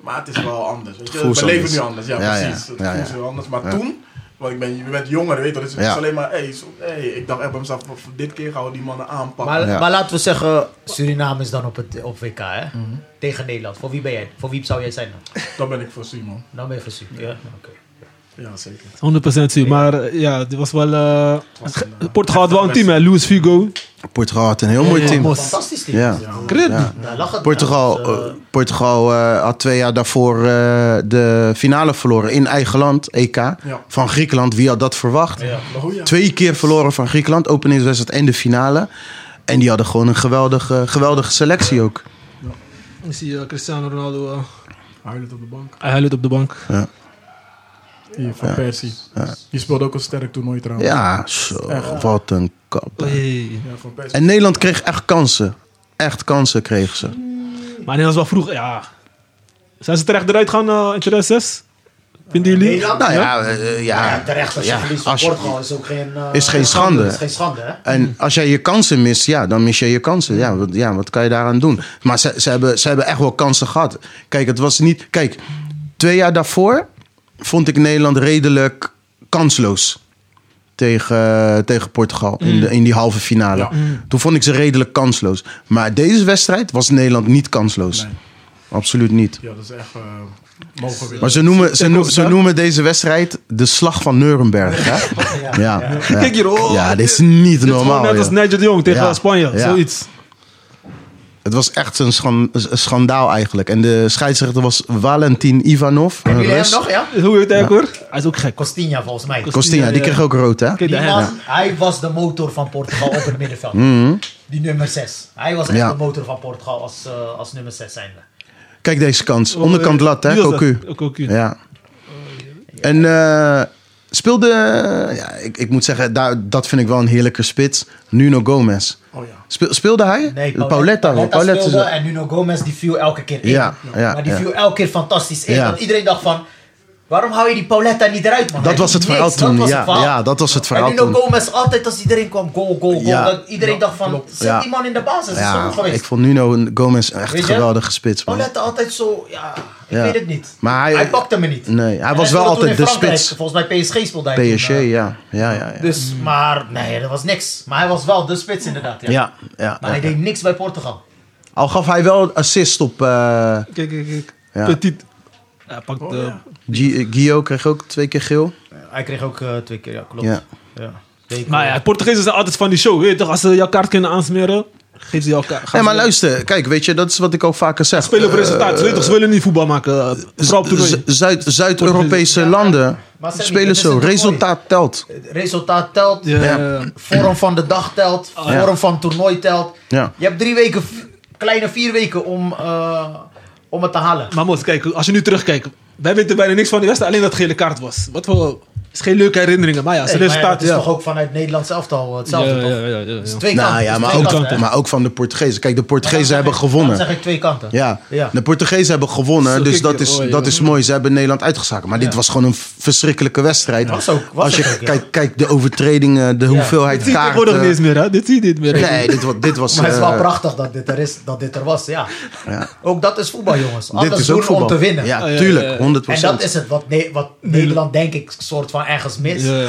[SPEAKER 5] Maar het is wel anders. Weet je?
[SPEAKER 3] voelt
[SPEAKER 5] We leven
[SPEAKER 3] anders.
[SPEAKER 5] nu anders, ja,
[SPEAKER 3] Ja, ja.
[SPEAKER 5] precies. Het
[SPEAKER 3] Ja,
[SPEAKER 5] voelt
[SPEAKER 3] ja.
[SPEAKER 5] heel anders. Maar
[SPEAKER 3] Ja.
[SPEAKER 5] toen, want ik ben, je bent jonger, weet je, dus het
[SPEAKER 3] Ja.
[SPEAKER 5] is alleen maar, hey, zo- hey, ik dacht echt bij mezelf, voor dit keer gaan we die mannen aanpakken.
[SPEAKER 4] maar,
[SPEAKER 3] Ja.
[SPEAKER 4] maar laten we zeggen, Suriname is dan op, het, op WK, hè? Tegen Nederland. Voor wie ben jij? Voor wie zou jij zijn dan? Nou,
[SPEAKER 5] Dan ben ik voor Simon.
[SPEAKER 4] Dan ben je voor Suriname. Ja, oké.
[SPEAKER 5] Ja, zeker.
[SPEAKER 2] 100% zie. Maar eh, ja, het was wel... eh,
[SPEAKER 5] was een, eh,
[SPEAKER 2] Portugal had wel een team, hè. Luis Figo.
[SPEAKER 3] Portugal had een heel mooi team.
[SPEAKER 4] Fantastisch team.
[SPEAKER 3] Ja.
[SPEAKER 2] Krit.
[SPEAKER 3] Ja.
[SPEAKER 4] Daar lag het.
[SPEAKER 3] Portugal,
[SPEAKER 4] Dus, eh,
[SPEAKER 3] eh, Portugal eh, had twee jaar daarvoor eh, de finale verloren in eigen land, EK. Van Griekenland, wie had dat verwacht?
[SPEAKER 4] eh, ja.
[SPEAKER 5] Maar goed, ja.
[SPEAKER 3] Twee keer verloren van Griekenland, openingswedstrijd en de finale. En die hadden gewoon een geweldige, geweldige selectie ook.
[SPEAKER 2] Ik zie eh, Cristiano Ronaldo. eh,
[SPEAKER 5] Huilend op de bank.
[SPEAKER 2] hij huilt op de bank.
[SPEAKER 5] Hier, van Persie. Die speelde ook een sterk toernooi trouwens.
[SPEAKER 3] Ja, zo, wat een kap.
[SPEAKER 2] Hey.
[SPEAKER 5] Ja, van Persie.
[SPEAKER 3] En Nederland kreeg echt kansen. Echt kansen kregen ze.
[SPEAKER 2] Maar Nederland was wel vroeg, ja. Zijn ze terecht eruit gaan eh in 2006? Vinden jullie?
[SPEAKER 4] Nederland?
[SPEAKER 3] Nou ja, eh,
[SPEAKER 4] Ja,
[SPEAKER 3] ja.
[SPEAKER 4] terecht als je
[SPEAKER 3] Ja,
[SPEAKER 4] verliest van
[SPEAKER 3] als je-
[SPEAKER 4] Portugal is ook geen... eh,
[SPEAKER 3] Is geen schande.
[SPEAKER 4] Is geen schande, hè?
[SPEAKER 3] En als jij je kansen mist, ja, dan mis je je kansen. Ja, wat, ja, wat kan je daaraan doen? Maar ze, ze, hebben, ze hebben echt wel kansen gehad. Kijk, het was niet. Kijk, twee jaar daarvoor vond ik Nederland redelijk kansloos. Tegen, tegen Portugal in, de, in die halve finale.
[SPEAKER 5] Ja.
[SPEAKER 2] Mm.
[SPEAKER 3] Toen vond ik ze redelijk kansloos. Maar deze wedstrijd was Nederland niet kansloos.
[SPEAKER 5] Nee.
[SPEAKER 3] Absoluut niet.
[SPEAKER 5] Ja, dat is echt eh, mogen winnen.
[SPEAKER 3] Maar ze noemen, ze, noemen, ze noemen deze wedstrijd de Slag van Nuremberg. Hè? Ja. Ja.
[SPEAKER 2] Kijk hier, oh.
[SPEAKER 3] Ja, dit is niet
[SPEAKER 2] Dit is gewoon
[SPEAKER 3] normaal.
[SPEAKER 2] net als
[SPEAKER 3] joh.
[SPEAKER 2] Nigel de Jong tegen
[SPEAKER 3] Ja.
[SPEAKER 2] Spanje,
[SPEAKER 3] Ja.
[SPEAKER 2] zoiets.
[SPEAKER 3] Het was echt een, schan- een schandaal eigenlijk. En de scheidsrechter was Valentin Ivanov. een
[SPEAKER 4] Jullie
[SPEAKER 3] Rus.
[SPEAKER 4] hebben nog, ja?
[SPEAKER 2] Hoe heet hij ook hoor? Hij is ook gek.
[SPEAKER 4] Costinha volgens mij.
[SPEAKER 3] Costinha, die kreeg ook rood, hè? Mm.
[SPEAKER 2] Kijk,
[SPEAKER 4] Die
[SPEAKER 2] daar-
[SPEAKER 4] man, hij was de motor van Portugal op het middenveld.
[SPEAKER 3] Mhm.
[SPEAKER 4] Die nummer 6. Hij was echt
[SPEAKER 3] Ja.
[SPEAKER 4] de motor van Portugal als, eh, als nummer 6 zijnde.
[SPEAKER 3] Kijk deze kant. Onderkant
[SPEAKER 4] eh,
[SPEAKER 3] lat, hè?
[SPEAKER 2] Wie was dat? Oh,
[SPEAKER 3] Cocu.
[SPEAKER 2] Cocu.
[SPEAKER 3] Ja. En eh, speelde... Ja, ik, ik moet zeggen, daar, dat vind ik wel een heerlijke spits. Nuno Gomez.
[SPEAKER 5] Oh ja.
[SPEAKER 3] Speel- speelde hij? Pauletta.
[SPEAKER 4] Pauletta
[SPEAKER 3] Pauletta is
[SPEAKER 4] speelde
[SPEAKER 3] dat.
[SPEAKER 4] en Nuno Gomez die viel elke keer in.
[SPEAKER 3] Ja, ja,
[SPEAKER 4] maar die
[SPEAKER 3] ja.
[SPEAKER 4] viel elke keer fantastisch in.
[SPEAKER 3] Ja.
[SPEAKER 4] Want iedereen dacht van, waarom hou je die Pauletta niet eruit man? Hij
[SPEAKER 3] Dat was
[SPEAKER 4] doet
[SPEAKER 3] het verhaal
[SPEAKER 4] niks. Dat
[SPEAKER 3] toen.
[SPEAKER 4] was het
[SPEAKER 3] Ja,
[SPEAKER 4] verhaal.
[SPEAKER 3] ja, dat was het
[SPEAKER 4] En
[SPEAKER 3] verhaal
[SPEAKER 4] Nuno
[SPEAKER 3] toen.
[SPEAKER 4] Gomez altijd als iedereen kwam, goal, goal, goal.
[SPEAKER 3] Ja.
[SPEAKER 4] Dat iedereen dacht van, zet
[SPEAKER 3] Ja.
[SPEAKER 4] die man in de basis. is
[SPEAKER 3] Ja,
[SPEAKER 4] goed geweest.
[SPEAKER 3] ik vond Nuno Gomez echt
[SPEAKER 4] Weet
[SPEAKER 3] een
[SPEAKER 4] je?
[SPEAKER 3] geweldige spits, man.
[SPEAKER 4] Paulette altijd zo, ja, ik
[SPEAKER 3] Ja.
[SPEAKER 4] weet het niet.
[SPEAKER 3] Maar hij-
[SPEAKER 4] pakte me niet.
[SPEAKER 3] Nee, hij
[SPEAKER 4] En
[SPEAKER 3] was wel
[SPEAKER 4] speelde toen
[SPEAKER 3] altijd
[SPEAKER 4] in
[SPEAKER 3] de
[SPEAKER 4] Frankrijk.
[SPEAKER 3] spits.
[SPEAKER 4] Volgens mij PSG speelde hij
[SPEAKER 3] PSG,
[SPEAKER 4] toen, eh,
[SPEAKER 3] ja. Ja, ja, ja.
[SPEAKER 4] Dus, maar nee, dat was niks. Maar hij was wel de spits inderdaad, ja.
[SPEAKER 3] Ja, ja,
[SPEAKER 4] Maar hij
[SPEAKER 3] ja.
[SPEAKER 4] deed niks bij Portugal.
[SPEAKER 3] Al gaf hij wel assist op... eh,
[SPEAKER 2] Kijk, kijk, kijk.
[SPEAKER 3] Ja.
[SPEAKER 2] Petit. Hij pakt... eh,
[SPEAKER 3] G- eh, Gio kreeg ook twee keer geel.
[SPEAKER 4] Hij kreeg ook eh, twee keer, ja, klopt.
[SPEAKER 3] Ja.
[SPEAKER 4] Deed ik
[SPEAKER 2] Maar
[SPEAKER 4] wel.
[SPEAKER 2] ja, Portugezen zijn altijd van die show. Weet je, toch, als ze jouw kaart kunnen aansmeren, geef ze jouw kaart.
[SPEAKER 3] Nee, maar luister, kijk, weet je, dat is wat ik ook vaker zeg. Eh,
[SPEAKER 2] Spelen op resultaat. Ze weten toch, ze willen niet voetbal maken. eh, Vooral op toernooi.
[SPEAKER 3] Z- Zuid- Zuid-Europese
[SPEAKER 4] Ja, maar-
[SPEAKER 3] landen
[SPEAKER 4] maar Sammy,
[SPEAKER 3] spelen
[SPEAKER 4] dit is
[SPEAKER 3] zo.
[SPEAKER 4] een toernooi.
[SPEAKER 3] Resultaat telt.
[SPEAKER 4] Het resultaat telt,
[SPEAKER 2] Ja. Oh,
[SPEAKER 3] Ja.
[SPEAKER 4] vorm van de dag telt, vorm van toernooi telt.
[SPEAKER 3] Ja.
[SPEAKER 4] Je hebt drie weken, v- kleine vier weken om, eh, om het te halen.
[SPEAKER 2] Maar moet kijk, als je nu terugkijkt. Wij weten bijna niks van die wedstrijd, alleen dat het gele kaart was. Wat voor... is geen leuke herinneringen, maar ja,
[SPEAKER 4] Nee,
[SPEAKER 2] zijn
[SPEAKER 4] maar ja,
[SPEAKER 2] resultaat...
[SPEAKER 4] dat is
[SPEAKER 2] ja.
[SPEAKER 4] toch ook vanuit Nederlands elftal eh, hetzelfde,
[SPEAKER 2] ja,
[SPEAKER 4] toch?
[SPEAKER 2] ja, ja, ja, ja.
[SPEAKER 4] Het is twee
[SPEAKER 3] Nou
[SPEAKER 4] kanten,
[SPEAKER 3] ja,
[SPEAKER 4] het is
[SPEAKER 3] maar
[SPEAKER 4] twee
[SPEAKER 3] ook,
[SPEAKER 4] kanten, hè?
[SPEAKER 3] maar ook van de Portugezen. Kijk, de Portugezen hebben
[SPEAKER 4] Dan
[SPEAKER 3] gewonnen.
[SPEAKER 4] zeg ik twee kanten.
[SPEAKER 3] Ja.
[SPEAKER 4] Ja.
[SPEAKER 3] de Portugezen hebben
[SPEAKER 2] Zo
[SPEAKER 3] gewonnen, dus
[SPEAKER 2] kijk
[SPEAKER 3] dat
[SPEAKER 2] je,
[SPEAKER 3] is,
[SPEAKER 2] oh,
[SPEAKER 3] dat
[SPEAKER 2] joh.
[SPEAKER 3] is mooi. Ze hebben Nederland uitgezakt. Maar dit was gewoon een verschrikkelijke wedstrijd.
[SPEAKER 4] Was ook- was
[SPEAKER 3] Als je
[SPEAKER 4] het ook, ja.
[SPEAKER 3] kijkt, kijkt de overtredingen, de hoeveelheid
[SPEAKER 2] Dit zie je
[SPEAKER 3] kaarten.
[SPEAKER 2] tegenwoordig niet eens meer, hè? Dit zie je niet meer.
[SPEAKER 3] Nee, dit, wa- dit was...
[SPEAKER 4] Maar het is
[SPEAKER 3] eh,
[SPEAKER 4] wel prachtig dat dit er, is, dat dit er was, ja.
[SPEAKER 3] Ja.
[SPEAKER 4] Ook dat is voetbal, jongens.
[SPEAKER 3] Dit
[SPEAKER 4] Alles
[SPEAKER 3] is
[SPEAKER 4] doen
[SPEAKER 3] ook voetbal.
[SPEAKER 4] om te winnen.
[SPEAKER 2] ja,
[SPEAKER 3] Ja,
[SPEAKER 2] ja, ja.
[SPEAKER 3] tuurlijk, 100
[SPEAKER 4] En dat is het wat, Ne- wat Nederland, denk ik, soort van ergens mist.
[SPEAKER 2] Ja, ja.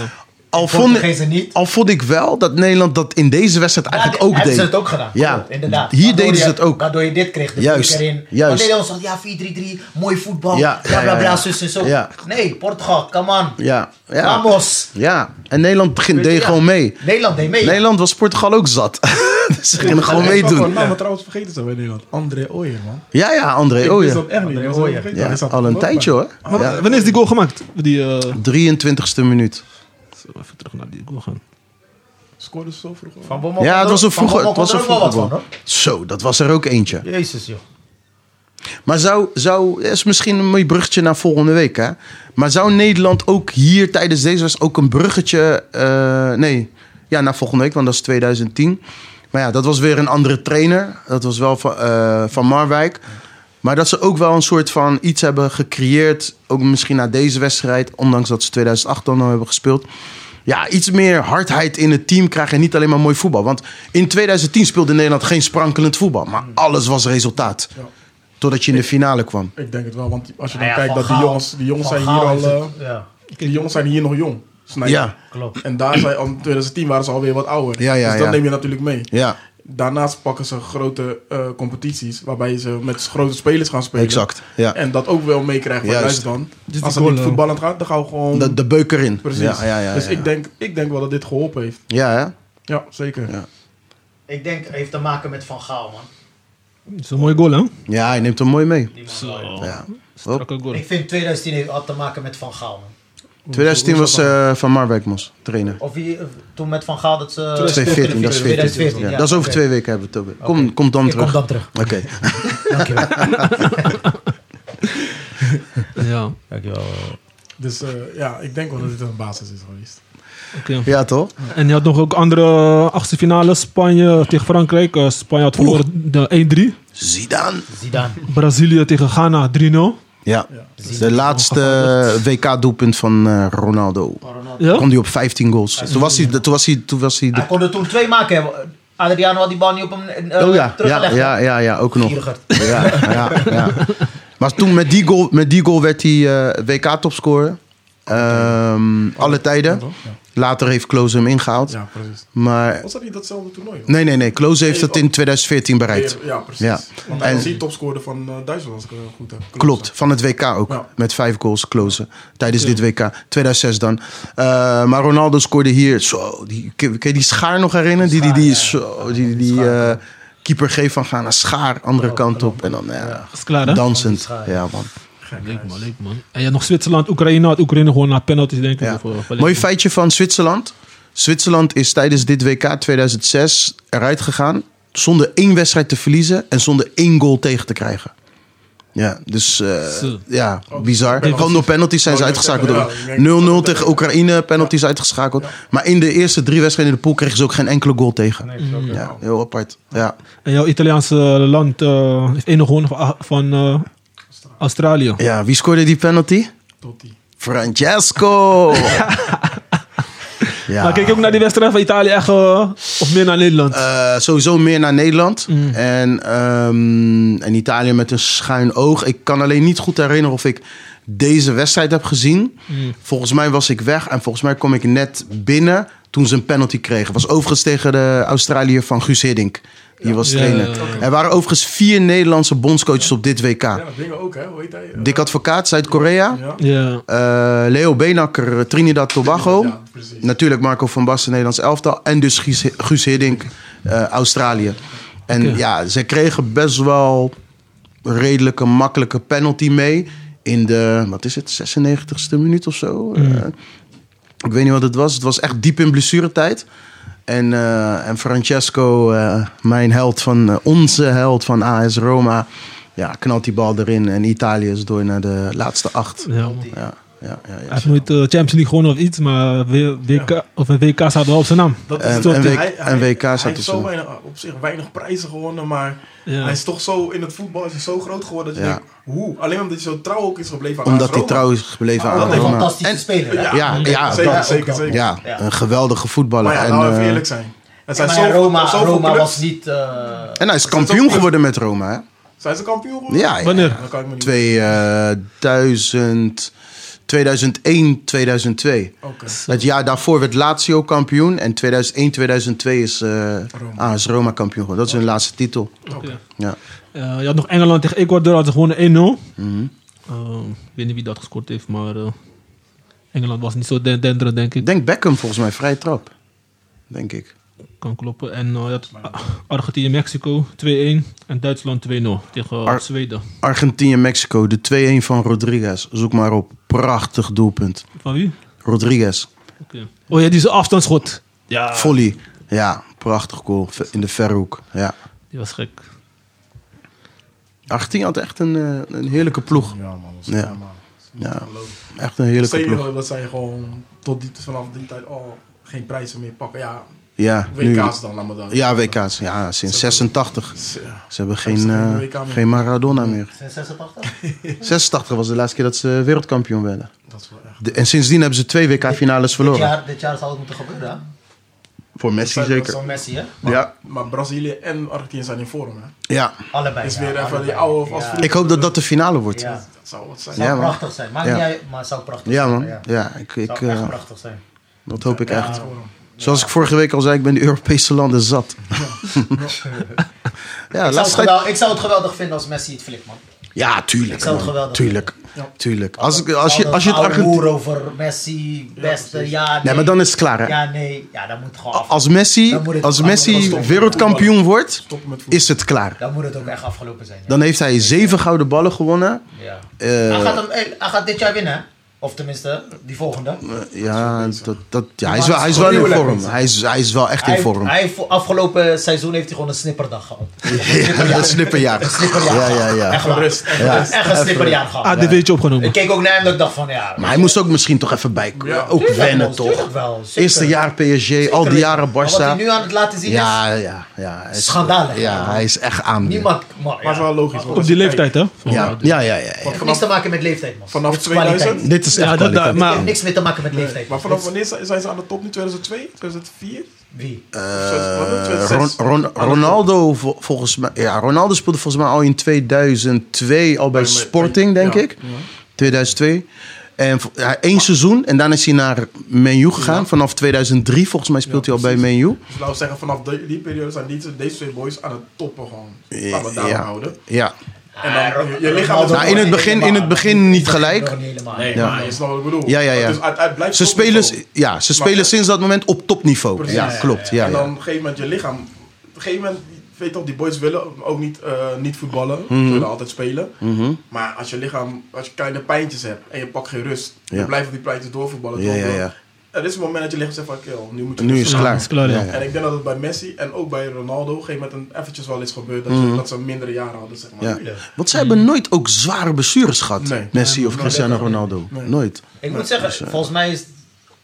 [SPEAKER 3] al, vond, ik-
[SPEAKER 4] Portugezen niet.
[SPEAKER 3] al vond ik wel dat Nederland dat in deze wedstrijd eigenlijk
[SPEAKER 4] Ja,
[SPEAKER 3] ook
[SPEAKER 4] hebben
[SPEAKER 3] deed.
[SPEAKER 4] ze het ook gedaan.
[SPEAKER 3] Ja.
[SPEAKER 4] Klopt, inderdaad.
[SPEAKER 3] Hier
[SPEAKER 4] Waardoor
[SPEAKER 3] deden ze
[SPEAKER 4] je-
[SPEAKER 3] het ook.
[SPEAKER 4] Waardoor je dit kreeg. De
[SPEAKER 3] Juist,
[SPEAKER 4] juist. Erin.
[SPEAKER 3] juist.
[SPEAKER 4] Want Nederland zegt, ja, 4-3-3, mooi voetbal,
[SPEAKER 3] Ja,
[SPEAKER 4] bla
[SPEAKER 3] ja,
[SPEAKER 4] bla
[SPEAKER 3] ja,
[SPEAKER 4] bla,
[SPEAKER 3] ja.
[SPEAKER 4] zus en zo.
[SPEAKER 3] Ja.
[SPEAKER 4] Nee, Portugal, come on.
[SPEAKER 3] Ja, ja.
[SPEAKER 4] Ramos.
[SPEAKER 3] Ja, en Nederland begint, deed
[SPEAKER 4] Ja.
[SPEAKER 3] gewoon mee.
[SPEAKER 4] Nederland deed mee.
[SPEAKER 3] Nederland was Portugal ook zat. dus ze gingen gewoon
[SPEAKER 5] Nou,
[SPEAKER 3] meedoen.
[SPEAKER 5] maar trouwens vergeten ze bij Nederland. André Ooyer, man.
[SPEAKER 3] Ja, ja, André
[SPEAKER 5] Ik wist
[SPEAKER 3] Ooyen.
[SPEAKER 5] dat echt niet.
[SPEAKER 4] André
[SPEAKER 5] ik was dat
[SPEAKER 4] Ooyer.
[SPEAKER 5] vergeten.
[SPEAKER 3] Ja,
[SPEAKER 5] Hij zat
[SPEAKER 3] al
[SPEAKER 5] er
[SPEAKER 3] een
[SPEAKER 5] ook
[SPEAKER 3] tijdje
[SPEAKER 5] bij.
[SPEAKER 3] hoor.
[SPEAKER 2] Wat-
[SPEAKER 3] Ja.
[SPEAKER 2] Wanneer is die goal gemaakt? Die, eh,
[SPEAKER 3] 23e minuut.
[SPEAKER 2] zullen we even terug naar die goal gaan.
[SPEAKER 5] Scoorde zo vroeg. hoor.
[SPEAKER 4] Van Bommel
[SPEAKER 3] Ja,
[SPEAKER 4] kon
[SPEAKER 3] het
[SPEAKER 4] er-
[SPEAKER 3] was een
[SPEAKER 4] Van
[SPEAKER 3] vroeger,
[SPEAKER 4] Bommel
[SPEAKER 3] het was
[SPEAKER 4] kon
[SPEAKER 3] een
[SPEAKER 4] er ook wel
[SPEAKER 3] vroeger
[SPEAKER 4] wat van,
[SPEAKER 3] goal. Zo, dat was er ook eentje.
[SPEAKER 4] hoor. Jezus, joh.
[SPEAKER 5] Nou
[SPEAKER 3] Maar zou, zou, is misschien een mooi bruggetje naar volgende week, hè? Maar zou Nederland ook hier tijdens deze wedstrijd ook een bruggetje, eh, nee, ja, naar volgende week, want dat is 2010. Maar ja, dat was weer een andere trainer. Dat was wel van, eh, van Marwijk. Maar dat ze ook wel een soort van iets hebben gecreëerd, ook misschien na deze wedstrijd, ondanks dat ze 2008 dan al hebben gespeeld. Ja, iets meer hardheid in het team krijgen en niet alleen maar mooi voetbal. Want in 2010 speelde Nederland geen sprankelend voetbal, maar alles was resultaat.
[SPEAKER 5] Ja.
[SPEAKER 3] Totdat je in de finale kwam.
[SPEAKER 5] Ik denk het wel, want als je
[SPEAKER 4] Nou
[SPEAKER 5] dan
[SPEAKER 4] ja,
[SPEAKER 5] kijkt
[SPEAKER 4] Van
[SPEAKER 5] dat die
[SPEAKER 4] Gaal-
[SPEAKER 5] jongens, die jongens
[SPEAKER 4] Van
[SPEAKER 5] zijn hier
[SPEAKER 4] Gaal
[SPEAKER 5] al,
[SPEAKER 4] heeft
[SPEAKER 5] eh,
[SPEAKER 4] het- Ja,
[SPEAKER 5] die jongens zijn hier nog jong. Snijden.
[SPEAKER 3] Ja,
[SPEAKER 4] klopt.
[SPEAKER 5] En daar zijn al in 2010 waren ze alweer wat ouder.
[SPEAKER 3] Ja, ja,
[SPEAKER 5] dus dat
[SPEAKER 3] ja.
[SPEAKER 5] neem je natuurlijk mee.
[SPEAKER 3] ja,
[SPEAKER 5] Daarnaast pakken ze grote eh, competities waarbij ze met grote spelers gaan spelen.
[SPEAKER 3] exact. Ja.
[SPEAKER 5] En dat ook wel meekrijgen. Want
[SPEAKER 3] Juist.
[SPEAKER 5] juist dan,
[SPEAKER 4] Dus
[SPEAKER 2] die
[SPEAKER 5] als het
[SPEAKER 2] goal,
[SPEAKER 5] niet
[SPEAKER 2] eh,
[SPEAKER 5] voetballend gaat, dan gaan we gewoon...
[SPEAKER 3] De, de beuker in.
[SPEAKER 5] precies.
[SPEAKER 3] Ja, ja, ja,
[SPEAKER 5] dus
[SPEAKER 3] ja.
[SPEAKER 5] Ik, denk, ik denk wel dat dit geholpen heeft.
[SPEAKER 3] Ja, hè?
[SPEAKER 5] Ja, zeker.
[SPEAKER 3] Ja.
[SPEAKER 4] Ik denk, het heeft te maken met Van Gaal, man.
[SPEAKER 2] Dat is een mooie goal, hè?
[SPEAKER 3] ja, hij neemt hem mooi mee.
[SPEAKER 4] Die man
[SPEAKER 2] Zo.
[SPEAKER 4] wel,
[SPEAKER 3] Ja.
[SPEAKER 2] Strakke goal.
[SPEAKER 4] joh. Ik vind 2010 heeft had te maken met Van Gaal, man.
[SPEAKER 3] 2010 was eh, Van Marwijk Mos, trainer.
[SPEAKER 4] Of wie, eh, toen met Van Gaal dat ze...
[SPEAKER 3] 2014, dat is 14. Ja, dat is over
[SPEAKER 4] oké.
[SPEAKER 3] twee weken hebben we het over. Kom,
[SPEAKER 4] Oké.
[SPEAKER 3] kom dan
[SPEAKER 4] Ik kom
[SPEAKER 3] terug.
[SPEAKER 4] dan terug.
[SPEAKER 3] Oké.
[SPEAKER 4] Dankjewel.
[SPEAKER 2] Ja, oké.
[SPEAKER 4] Dankjewel.
[SPEAKER 5] Dus eh, ja, ik denk wel dat dit een basis is geweest.
[SPEAKER 3] Ja, toch?
[SPEAKER 2] En je had nog ook andere achtste finale. Spanje tegen Frankrijk. Eh, Spanje had verloren de 1-3.
[SPEAKER 3] Zidane.
[SPEAKER 4] Zidane.
[SPEAKER 2] Brazilië tegen Ghana 3-0.
[SPEAKER 3] Ja.
[SPEAKER 5] Ja.
[SPEAKER 3] De laatste WK-doelpunt van eh, Ronaldo.
[SPEAKER 2] Ja?
[SPEAKER 3] Kwam hij op 15 goals. Toen was hij, toen was hij, toen was hij
[SPEAKER 4] Hij
[SPEAKER 3] de...
[SPEAKER 4] kon er toen twee maken. hè. Adriano had die bal niet op hem eh,
[SPEAKER 3] Oh ja, ja,
[SPEAKER 4] teruggelegd.
[SPEAKER 3] ja, ja, ja, ook nog.
[SPEAKER 4] Gierigerd.
[SPEAKER 3] Ja, ja, ja. Maar toen met die goal, met die goal werd hij eh, WK-topscorer. Ehm, alle tijden.
[SPEAKER 5] toch? Ja.
[SPEAKER 3] Later heeft Klose hem ingehaald.
[SPEAKER 5] ja, precies.
[SPEAKER 3] Maar
[SPEAKER 5] Was dat niet datzelfde toernooi? hoor?
[SPEAKER 3] nee, nee, nee. Klose heeft dat in 2014 bereikt.
[SPEAKER 5] Ja, precies.
[SPEAKER 3] Ja.
[SPEAKER 5] Want hij
[SPEAKER 3] En-
[SPEAKER 5] was hier topscorer van eh, Duitsland, als ik eh, goed heb.
[SPEAKER 3] Klopt, van het WK ook.
[SPEAKER 5] Ja.
[SPEAKER 3] Met vijf goals Klose tijdens dit WK. 2006 dan. Eh, maar Ronaldo scoorde hier. Zo, die, kun kun je die schaar nog herinneren? Die, die, die, is zo, die, die eh, keeper geeft van Ghana schaar andere kant op. En dan ja,
[SPEAKER 2] Is klaar, hè?
[SPEAKER 3] dansend. Ja, man.
[SPEAKER 2] Leuk man, leuk man. En je had nog Zwitserland, Oekraïne. Had Oekraïne gewoon naar penalties, denk ik.
[SPEAKER 3] Ja.
[SPEAKER 2] of, eh, verlenging.
[SPEAKER 3] Mooi feitje van Zwitserland. Zwitserland is tijdens dit WK 2006 eruit gegaan zonder één wedstrijd te verliezen en zonder één goal tegen te krijgen. Ja, dus eh,
[SPEAKER 2] Zo.
[SPEAKER 3] ja,
[SPEAKER 5] Oh,
[SPEAKER 3] bizar.
[SPEAKER 5] penalties.
[SPEAKER 3] Gewoon door penalties zijn ze
[SPEAKER 5] Oh, ik wou
[SPEAKER 3] uitgeschakeld.
[SPEAKER 5] zeggen, ja, ik merk
[SPEAKER 3] door 0-0
[SPEAKER 5] dat-
[SPEAKER 3] tegen Oekraïne, penalties uitgeschakeld. Maar in de eerste drie wedstrijden in de pool kregen ze ook geen enkele goal tegen. Ja, heel apart. Ja,
[SPEAKER 2] En jouw Italiaanse land eh, heeft één gewonnen van, van eh, Australië.
[SPEAKER 3] ja wie scoorde die penalty?
[SPEAKER 5] Tot die.
[SPEAKER 3] Francesco! ja.
[SPEAKER 2] Maar kijk je ook naar die wedstrijd van Italië echt, eh, of meer naar Nederland?
[SPEAKER 3] Eh, sowieso meer naar Nederland.
[SPEAKER 2] Mm.
[SPEAKER 3] En, ehm, en Italië met een schuin oog. Ik kan alleen niet goed herinneren of ik deze wedstrijd heb gezien.
[SPEAKER 2] Mm.
[SPEAKER 3] Volgens mij was ik weg en volgens mij kom ik net binnen toen ze een penalty kregen. Was overigens tegen de Australiër van Guus Hiddink. Die was
[SPEAKER 2] Ja,
[SPEAKER 3] trainer.
[SPEAKER 2] ja, ja.
[SPEAKER 3] Er waren overigens vier Nederlandse bondscoaches op dit WK.
[SPEAKER 5] Ja, dat dingen ook, hè? Hoe heet hij? Eh,
[SPEAKER 3] Dick Advocaat, Zuid-Korea.
[SPEAKER 5] Ja.
[SPEAKER 2] Ja.
[SPEAKER 3] Eh, Leo Benakker, Trinidad Tobago.
[SPEAKER 5] Ja, precies.
[SPEAKER 3] Natuurlijk Marco van Basten, Nederlands elftal. En dus Guus, Guus Hiddink, eh, Australië. En
[SPEAKER 2] Oké.
[SPEAKER 3] ja, ze kregen best wel een redelijke, makkelijke penalty mee. In de, wat is het, 96e minuut of zo. Eh, ik weet niet wat het was. Het was echt diep in blessuretijd. En, eh, en Francesco, eh, mijn held van, eh, onze held van AS Roma, ja, knalt die bal erin en Italië is door naar de laatste acht.
[SPEAKER 2] Ja, man.
[SPEAKER 3] Ja, ja, ja,
[SPEAKER 2] Hij
[SPEAKER 3] ja.
[SPEAKER 2] heeft nooit de Champions League gewonnen of iets, maar w- WK, of een WK staat wel op zijn naam.
[SPEAKER 5] Dat
[SPEAKER 3] En-
[SPEAKER 5] is toch-
[SPEAKER 3] en W-
[SPEAKER 5] hij- hij-
[SPEAKER 3] en WK
[SPEAKER 5] Hij
[SPEAKER 3] staat op
[SPEAKER 5] heeft zo
[SPEAKER 3] zijn-
[SPEAKER 5] weinig, eh, op zich weinig prijzen gewonnen, maar
[SPEAKER 2] Ja.
[SPEAKER 5] hij is toch zo in het voetbal is hij zo groot geworden dat je
[SPEAKER 3] Ja.
[SPEAKER 5] denkt, hoe? Alleen omdat hij zo trouw ook is gebleven aan
[SPEAKER 3] Omdat
[SPEAKER 5] AS
[SPEAKER 3] hij
[SPEAKER 5] Roma.
[SPEAKER 3] trouw is gebleven
[SPEAKER 5] Ah,
[SPEAKER 3] aan
[SPEAKER 5] dat is
[SPEAKER 4] Een
[SPEAKER 5] een
[SPEAKER 3] Roma.
[SPEAKER 4] fantastische speler. hè?
[SPEAKER 5] Ja,
[SPEAKER 3] Ja, ja,
[SPEAKER 5] zeker,
[SPEAKER 3] dat-
[SPEAKER 5] zeker, zeker.
[SPEAKER 3] Ja,
[SPEAKER 4] Ja.
[SPEAKER 3] een geweldige voetballer.
[SPEAKER 5] Maar ja,
[SPEAKER 3] en,
[SPEAKER 5] laten we
[SPEAKER 3] eh,
[SPEAKER 5] even eerlijk zijn. Er zijn
[SPEAKER 4] Maar ja,
[SPEAKER 5] zoveel,
[SPEAKER 4] Roma,
[SPEAKER 5] zoveel
[SPEAKER 4] Roma
[SPEAKER 5] clubs.
[SPEAKER 4] was niet... eh,
[SPEAKER 3] en hij is
[SPEAKER 5] ook
[SPEAKER 3] kampioen
[SPEAKER 5] clubs-
[SPEAKER 3] geworden met Roma, hè?
[SPEAKER 5] Zijn ze kampioen geworden?
[SPEAKER 3] Ja, eh, ja.
[SPEAKER 2] Wanneer?
[SPEAKER 5] Dat kan ik me niet...
[SPEAKER 3] 2000, 2001, 2002.
[SPEAKER 5] Oké.
[SPEAKER 3] Het jaar daarvoor werd Lazio kampioen. En 2001, 2002 is eh
[SPEAKER 5] Roma. Oh.
[SPEAKER 3] AS Roma kampioen geworden. Dat is hun laatste titel.
[SPEAKER 2] Ja.
[SPEAKER 3] Ja.
[SPEAKER 2] Eh, je had nog Engeland tegen Ecuador, hadden ze gewonnen 1-0.
[SPEAKER 3] Mhm.
[SPEAKER 2] Eh, ik weet niet wie dat gescoord heeft, maar eh, Engeland was niet zo den- denderend, denk
[SPEAKER 3] Ik
[SPEAKER 2] ik.
[SPEAKER 3] denk Beckham volgens mij vrij trap. Denk ik.
[SPEAKER 2] Kan kloppen. En eh, je had Argentinië-Mexico 2-1 en Duitsland 2-0 tegen eh,
[SPEAKER 3] Ar-
[SPEAKER 2] Zweden.
[SPEAKER 3] Argentinië-Mexico, de 2-1 van Rodriguez. Zoek maar op. Prachtig doelpunt.
[SPEAKER 2] Van wie?
[SPEAKER 3] Rodriguez,
[SPEAKER 2] Oké. Oh ja, die is een afstandsschot. Ja.
[SPEAKER 3] volley. Ja, prachtig goal. Ve- In de verhoek. Ja.
[SPEAKER 2] Die was gek.
[SPEAKER 3] Argentinië had echt een, eh, een heerlijke ploeg.
[SPEAKER 5] Ja, man. Dat is
[SPEAKER 3] Ja.
[SPEAKER 5] ja. man. Dat is
[SPEAKER 3] Ja.
[SPEAKER 5] niet geloofd.
[SPEAKER 3] Echt een heerlijke
[SPEAKER 5] Zeker
[SPEAKER 3] ploeg.
[SPEAKER 5] wel dat zij gewoon tot die, vanaf die tijd al geen prijzen meer pakken. Ja,
[SPEAKER 3] Ja, nu,
[SPEAKER 5] WK's dan, laat maar dan.
[SPEAKER 3] ja WK's. Ja, sinds 86.
[SPEAKER 5] Ja.
[SPEAKER 3] Ze hebben geen,
[SPEAKER 5] Hebben ze geen
[SPEAKER 3] eh,
[SPEAKER 5] WK meer?
[SPEAKER 3] geen Maradona meer.
[SPEAKER 4] Zijn 86?
[SPEAKER 3] 86 was de laatste keer dat ze wereldkampioen werden.
[SPEAKER 5] Dat is wel echt.
[SPEAKER 3] De- en sindsien hebben ze twee WK-finales
[SPEAKER 4] Dit
[SPEAKER 3] verloren.
[SPEAKER 4] jaar, dit jaar zal het moeten gebeuren.
[SPEAKER 3] Voor Messi
[SPEAKER 5] Dat zijn- dat
[SPEAKER 3] zeker.
[SPEAKER 4] Zo'n Messi, hè?
[SPEAKER 5] Maar,
[SPEAKER 3] Ja.
[SPEAKER 5] maar Brazilië en Argentinië zijn in vorm, hè?
[SPEAKER 3] Ja,
[SPEAKER 4] Allebei.
[SPEAKER 5] Is
[SPEAKER 4] ja,
[SPEAKER 5] weer even
[SPEAKER 4] allebei.
[SPEAKER 5] die oude vast
[SPEAKER 4] Ja.
[SPEAKER 5] vroeger.
[SPEAKER 3] ik hoop dat dat de finale wordt.
[SPEAKER 4] Ja.
[SPEAKER 3] Ja,
[SPEAKER 5] Dat zou wat zijn.
[SPEAKER 4] Zou
[SPEAKER 3] Ja, man.
[SPEAKER 4] prachtig zijn. Maakt
[SPEAKER 3] Ja.
[SPEAKER 4] niet uit, maar zou prachtig zijn.
[SPEAKER 3] man. Ja, ik, ik,
[SPEAKER 4] zou echt
[SPEAKER 3] eh,
[SPEAKER 4] prachtig zijn.
[SPEAKER 3] dat hoop ik echt.
[SPEAKER 5] Ja, man.
[SPEAKER 3] Zoals ik vorige week al zei, ik ben de Europese landen zat. Ja,
[SPEAKER 4] ik, zou het
[SPEAKER 3] laatste tijd.
[SPEAKER 4] gewel- ik zou het geweldig vinden als Messi het flikt, man.
[SPEAKER 3] Ja,
[SPEAKER 4] Ik
[SPEAKER 3] tuurlijk.
[SPEAKER 4] zou het
[SPEAKER 3] man.
[SPEAKER 4] geweldig
[SPEAKER 3] Tuurlijk.
[SPEAKER 5] Ja.
[SPEAKER 3] Tuurlijk. Als, ik, als, je, als je het
[SPEAKER 4] Oude
[SPEAKER 3] Argentinië.
[SPEAKER 4] hoer over Messi, beste, ja, nee.
[SPEAKER 3] Nee, maar dan is het klaar. Hè?
[SPEAKER 4] Ja, nee. Ja, dan moet het gewoon af.
[SPEAKER 3] Als Messi,
[SPEAKER 4] Dan moet het
[SPEAKER 3] als
[SPEAKER 4] gewoon
[SPEAKER 3] Messi
[SPEAKER 4] afgelopen
[SPEAKER 5] zijn.
[SPEAKER 3] wereldkampioen wordt,
[SPEAKER 5] Stoppen met voetbal.
[SPEAKER 3] is het klaar.
[SPEAKER 4] Dan moet het ook echt afgelopen zijn. ja.
[SPEAKER 3] Dan heeft hij zeven gouden ballen gewonnen.
[SPEAKER 4] Ja.
[SPEAKER 3] Eh,
[SPEAKER 4] hij, gaat hem, eh, hij gaat dit jaar winnen, hè? Of tenminste, die volgende.
[SPEAKER 3] Eh, Ja, dat, dat, ja hij,
[SPEAKER 4] Maar
[SPEAKER 3] is wel,
[SPEAKER 4] het
[SPEAKER 3] hij
[SPEAKER 4] is
[SPEAKER 3] is wel in
[SPEAKER 4] gruwelijk,
[SPEAKER 3] vorm.
[SPEAKER 4] mensen.
[SPEAKER 3] Hij is, hij is wel echt
[SPEAKER 4] Hij
[SPEAKER 3] in
[SPEAKER 4] heeft-
[SPEAKER 3] vorm.
[SPEAKER 4] hij heeft- afgelopen seizoen heeft hij gewoon een snipperdag gehad.
[SPEAKER 3] Ja, een snipperjaar. Ja, ja,
[SPEAKER 4] Echt
[SPEAKER 3] ja.
[SPEAKER 4] waar.
[SPEAKER 5] rust,
[SPEAKER 4] Echt echt een snipperjaar gehad.
[SPEAKER 2] Ah, dit weet je opgenomen.
[SPEAKER 4] Ik keek ook naar hem dat ik dacht van, ja...
[SPEAKER 3] Maar hij moest ook misschien toch even bij.
[SPEAKER 5] Ja.
[SPEAKER 3] Ook
[SPEAKER 4] tuurlijk
[SPEAKER 3] wennen,
[SPEAKER 4] wel,
[SPEAKER 3] toch?
[SPEAKER 4] tuurlijk wel, zeker.
[SPEAKER 3] Eerste jaar PSG, al die jaren
[SPEAKER 4] Maar Wat hij
[SPEAKER 3] Barça.
[SPEAKER 4] nu aan het laten zien
[SPEAKER 3] Ja, ja, ja. Hij is-
[SPEAKER 4] Schandalig.
[SPEAKER 3] Ja, hij is echt aan.
[SPEAKER 4] is... Niemand... Maar,
[SPEAKER 5] Maar het is
[SPEAKER 4] ja.
[SPEAKER 5] wel logisch. want
[SPEAKER 2] Op
[SPEAKER 5] als
[SPEAKER 2] die
[SPEAKER 5] je
[SPEAKER 2] leeftijd,
[SPEAKER 5] kijkt-
[SPEAKER 2] hè?
[SPEAKER 3] Ja, ja, ja. ja, ja.
[SPEAKER 5] Want
[SPEAKER 4] Niks
[SPEAKER 5] vanaf,
[SPEAKER 4] te maken met leeftijd, man.
[SPEAKER 5] vanaf
[SPEAKER 4] Het is kwaliteit.
[SPEAKER 5] 2000?
[SPEAKER 3] Dit is echt
[SPEAKER 2] Ja, dat, dat,
[SPEAKER 3] kwaliteit.
[SPEAKER 4] Het heeft
[SPEAKER 2] maar
[SPEAKER 4] niks meer te maken met leeftijd.
[SPEAKER 5] Maar vanaf
[SPEAKER 4] Het
[SPEAKER 5] wanneer zijn zijn ze aan de top nu? 2002? 2004?
[SPEAKER 4] is- Wie?
[SPEAKER 3] Eh,
[SPEAKER 5] 2006?
[SPEAKER 3] Ron- Ron- Ronaldo, vol- volgens mij, ja, Ronaldo speelde volgens mij al in 2002 al bij
[SPEAKER 5] Bij- bij-
[SPEAKER 3] Sporting, denk
[SPEAKER 5] ja.
[SPEAKER 3] ik. 2002. En v- ja, één seizoen en daarna is hij naar Menu gegaan. Vanaf 2003 volgens mij speelt
[SPEAKER 5] Ja,
[SPEAKER 3] hij al bij
[SPEAKER 5] precies.
[SPEAKER 3] Menu.
[SPEAKER 5] Dus laten we zeggen, vanaf die, die periode zijn deze, deze twee boys aan het toppen gewoon. Laten we daar
[SPEAKER 3] Ja.
[SPEAKER 5] houden.
[SPEAKER 3] Ja.
[SPEAKER 5] En dan,
[SPEAKER 4] Ah,
[SPEAKER 5] je, je lichaam is
[SPEAKER 4] Ronaldo
[SPEAKER 5] ook-
[SPEAKER 3] Nou, in het
[SPEAKER 4] nog
[SPEAKER 3] begin-
[SPEAKER 4] niet
[SPEAKER 3] in het
[SPEAKER 4] helemaal.
[SPEAKER 3] begin niet
[SPEAKER 4] Nog
[SPEAKER 3] gelijk.
[SPEAKER 4] helemaal.
[SPEAKER 5] Nee,
[SPEAKER 3] Ja.
[SPEAKER 5] maar Ah, je snapt wat ik bedoel.
[SPEAKER 3] Ja, ja, ja.
[SPEAKER 5] Dus het, het blijft
[SPEAKER 3] Ze,
[SPEAKER 5] topniveau.
[SPEAKER 3] spelen, s- ja, ze
[SPEAKER 5] Maar-
[SPEAKER 3] spelen sinds dat moment op topniveau.
[SPEAKER 5] Precies.
[SPEAKER 3] Ja, klopt. Ja,
[SPEAKER 5] en
[SPEAKER 3] ja.
[SPEAKER 5] dan op een gegeven moment je lichaam. Op een gegeven moment, je weet toch, die boys willen ook niet, eh, niet voetballen.
[SPEAKER 3] Mhm.
[SPEAKER 5] Ze willen altijd spelen. Maar als je lichaam, als je kleine pijntjes hebt en je pakt geen rust.
[SPEAKER 3] Ja.
[SPEAKER 5] Je blijft op die pijntjes doorvoetballen.
[SPEAKER 3] Ja, ja,
[SPEAKER 5] doorvoetballen.
[SPEAKER 3] ja.
[SPEAKER 5] Er is een moment dat je lichaam zegt van, oké, joh, nu moet je
[SPEAKER 3] Nu
[SPEAKER 5] rust
[SPEAKER 3] is
[SPEAKER 5] gaan.
[SPEAKER 3] het klaar.
[SPEAKER 2] is klaar, ja.
[SPEAKER 5] En ik denk dat het bij Messi en ook bij Ronaldo op een gegeven moment een- eventjes wel is gebeurd. Dat, je- dat ze mindere jaren hadden, zeg maar.
[SPEAKER 3] Mhm. Ja. Want ze hebben nooit ook zware blessures gehad.
[SPEAKER 5] Nee.
[SPEAKER 3] Messi of Cristiano Ronaldo. Nooit.
[SPEAKER 4] Ik moet zeggen,
[SPEAKER 3] dus, eh,
[SPEAKER 4] volgens mij is het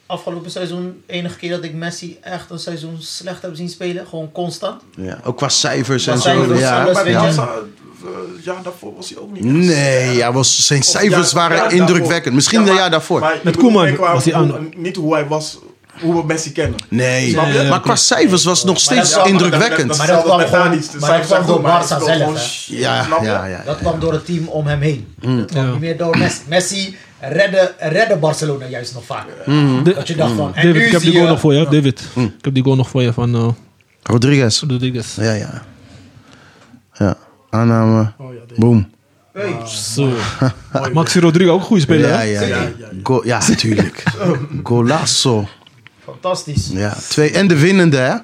[SPEAKER 4] afgelopen seizoen de enige keer dat ik Messi echt een seizoen slecht heb zien spelen. Gewoon constant.
[SPEAKER 3] Ja. Ook qua cijfers en
[SPEAKER 4] Qua
[SPEAKER 3] zo.
[SPEAKER 4] cijfers,
[SPEAKER 3] Ja.
[SPEAKER 5] Maar bij
[SPEAKER 4] Ja.
[SPEAKER 5] Barca, eh, ja, daarvoor was hij ook niet. echt
[SPEAKER 3] Nee, ja, was, zijn
[SPEAKER 5] Of
[SPEAKER 3] cijfers
[SPEAKER 5] ja,
[SPEAKER 3] waren
[SPEAKER 5] ja,
[SPEAKER 3] indrukwekkend. Misschien
[SPEAKER 5] Ja,
[SPEAKER 3] een
[SPEAKER 5] maar-
[SPEAKER 3] jaar daarvoor.
[SPEAKER 5] maar ik
[SPEAKER 2] Met
[SPEAKER 5] bedoel,
[SPEAKER 2] Koeman
[SPEAKER 5] meer qua
[SPEAKER 2] was hij
[SPEAKER 5] hoe-
[SPEAKER 2] aan-
[SPEAKER 5] Niet hoe hij was, hoe we Messi kennen.
[SPEAKER 3] nee,
[SPEAKER 5] Snap je?
[SPEAKER 3] maar qua cijfers was het nog
[SPEAKER 4] Maar dat
[SPEAKER 3] steeds
[SPEAKER 4] is wel-
[SPEAKER 3] indrukwekkend.
[SPEAKER 4] Maar dat kwam
[SPEAKER 5] Met
[SPEAKER 4] gewoon-
[SPEAKER 5] Tadic, de
[SPEAKER 4] maar dat
[SPEAKER 5] cijfers zijn
[SPEAKER 4] kwam door
[SPEAKER 5] goed, maar
[SPEAKER 4] Barca
[SPEAKER 5] hij speelt
[SPEAKER 4] zelf,
[SPEAKER 5] gewoon
[SPEAKER 4] hè?
[SPEAKER 5] shit,
[SPEAKER 3] Ja,
[SPEAKER 5] snap je?
[SPEAKER 3] ja, ja. Mm.
[SPEAKER 4] Dat kwam door het team om hem heen. Dat kwam
[SPEAKER 2] Ja.
[SPEAKER 4] niet meer door Messi. Messi redde, redde Barcelona juist nog vaak.
[SPEAKER 3] Mm.
[SPEAKER 2] De-
[SPEAKER 4] Dat je dacht van, en
[SPEAKER 2] Mm. David,
[SPEAKER 4] nu
[SPEAKER 2] ik heb die
[SPEAKER 4] zie
[SPEAKER 3] eh,
[SPEAKER 2] goal nog
[SPEAKER 4] je...
[SPEAKER 2] voor je.
[SPEAKER 3] Hm.
[SPEAKER 2] David, ik heb die goal nog voor je van eh
[SPEAKER 3] Rodriguez.
[SPEAKER 2] Rodriguez.
[SPEAKER 3] Ja, ja. Ja, aanname.
[SPEAKER 5] Oh, ja, dit-
[SPEAKER 3] Boom.
[SPEAKER 4] Hey,
[SPEAKER 2] Zo. Maxi Rodriguez, ook een goede speler.
[SPEAKER 3] Ja,
[SPEAKER 2] hè?
[SPEAKER 3] ja, ja.
[SPEAKER 5] Ja, ja, ja.
[SPEAKER 3] Go- ja, natuurlijk. Golazo.
[SPEAKER 4] fantastisch.
[SPEAKER 3] Ja, twee. En de winnende, hè?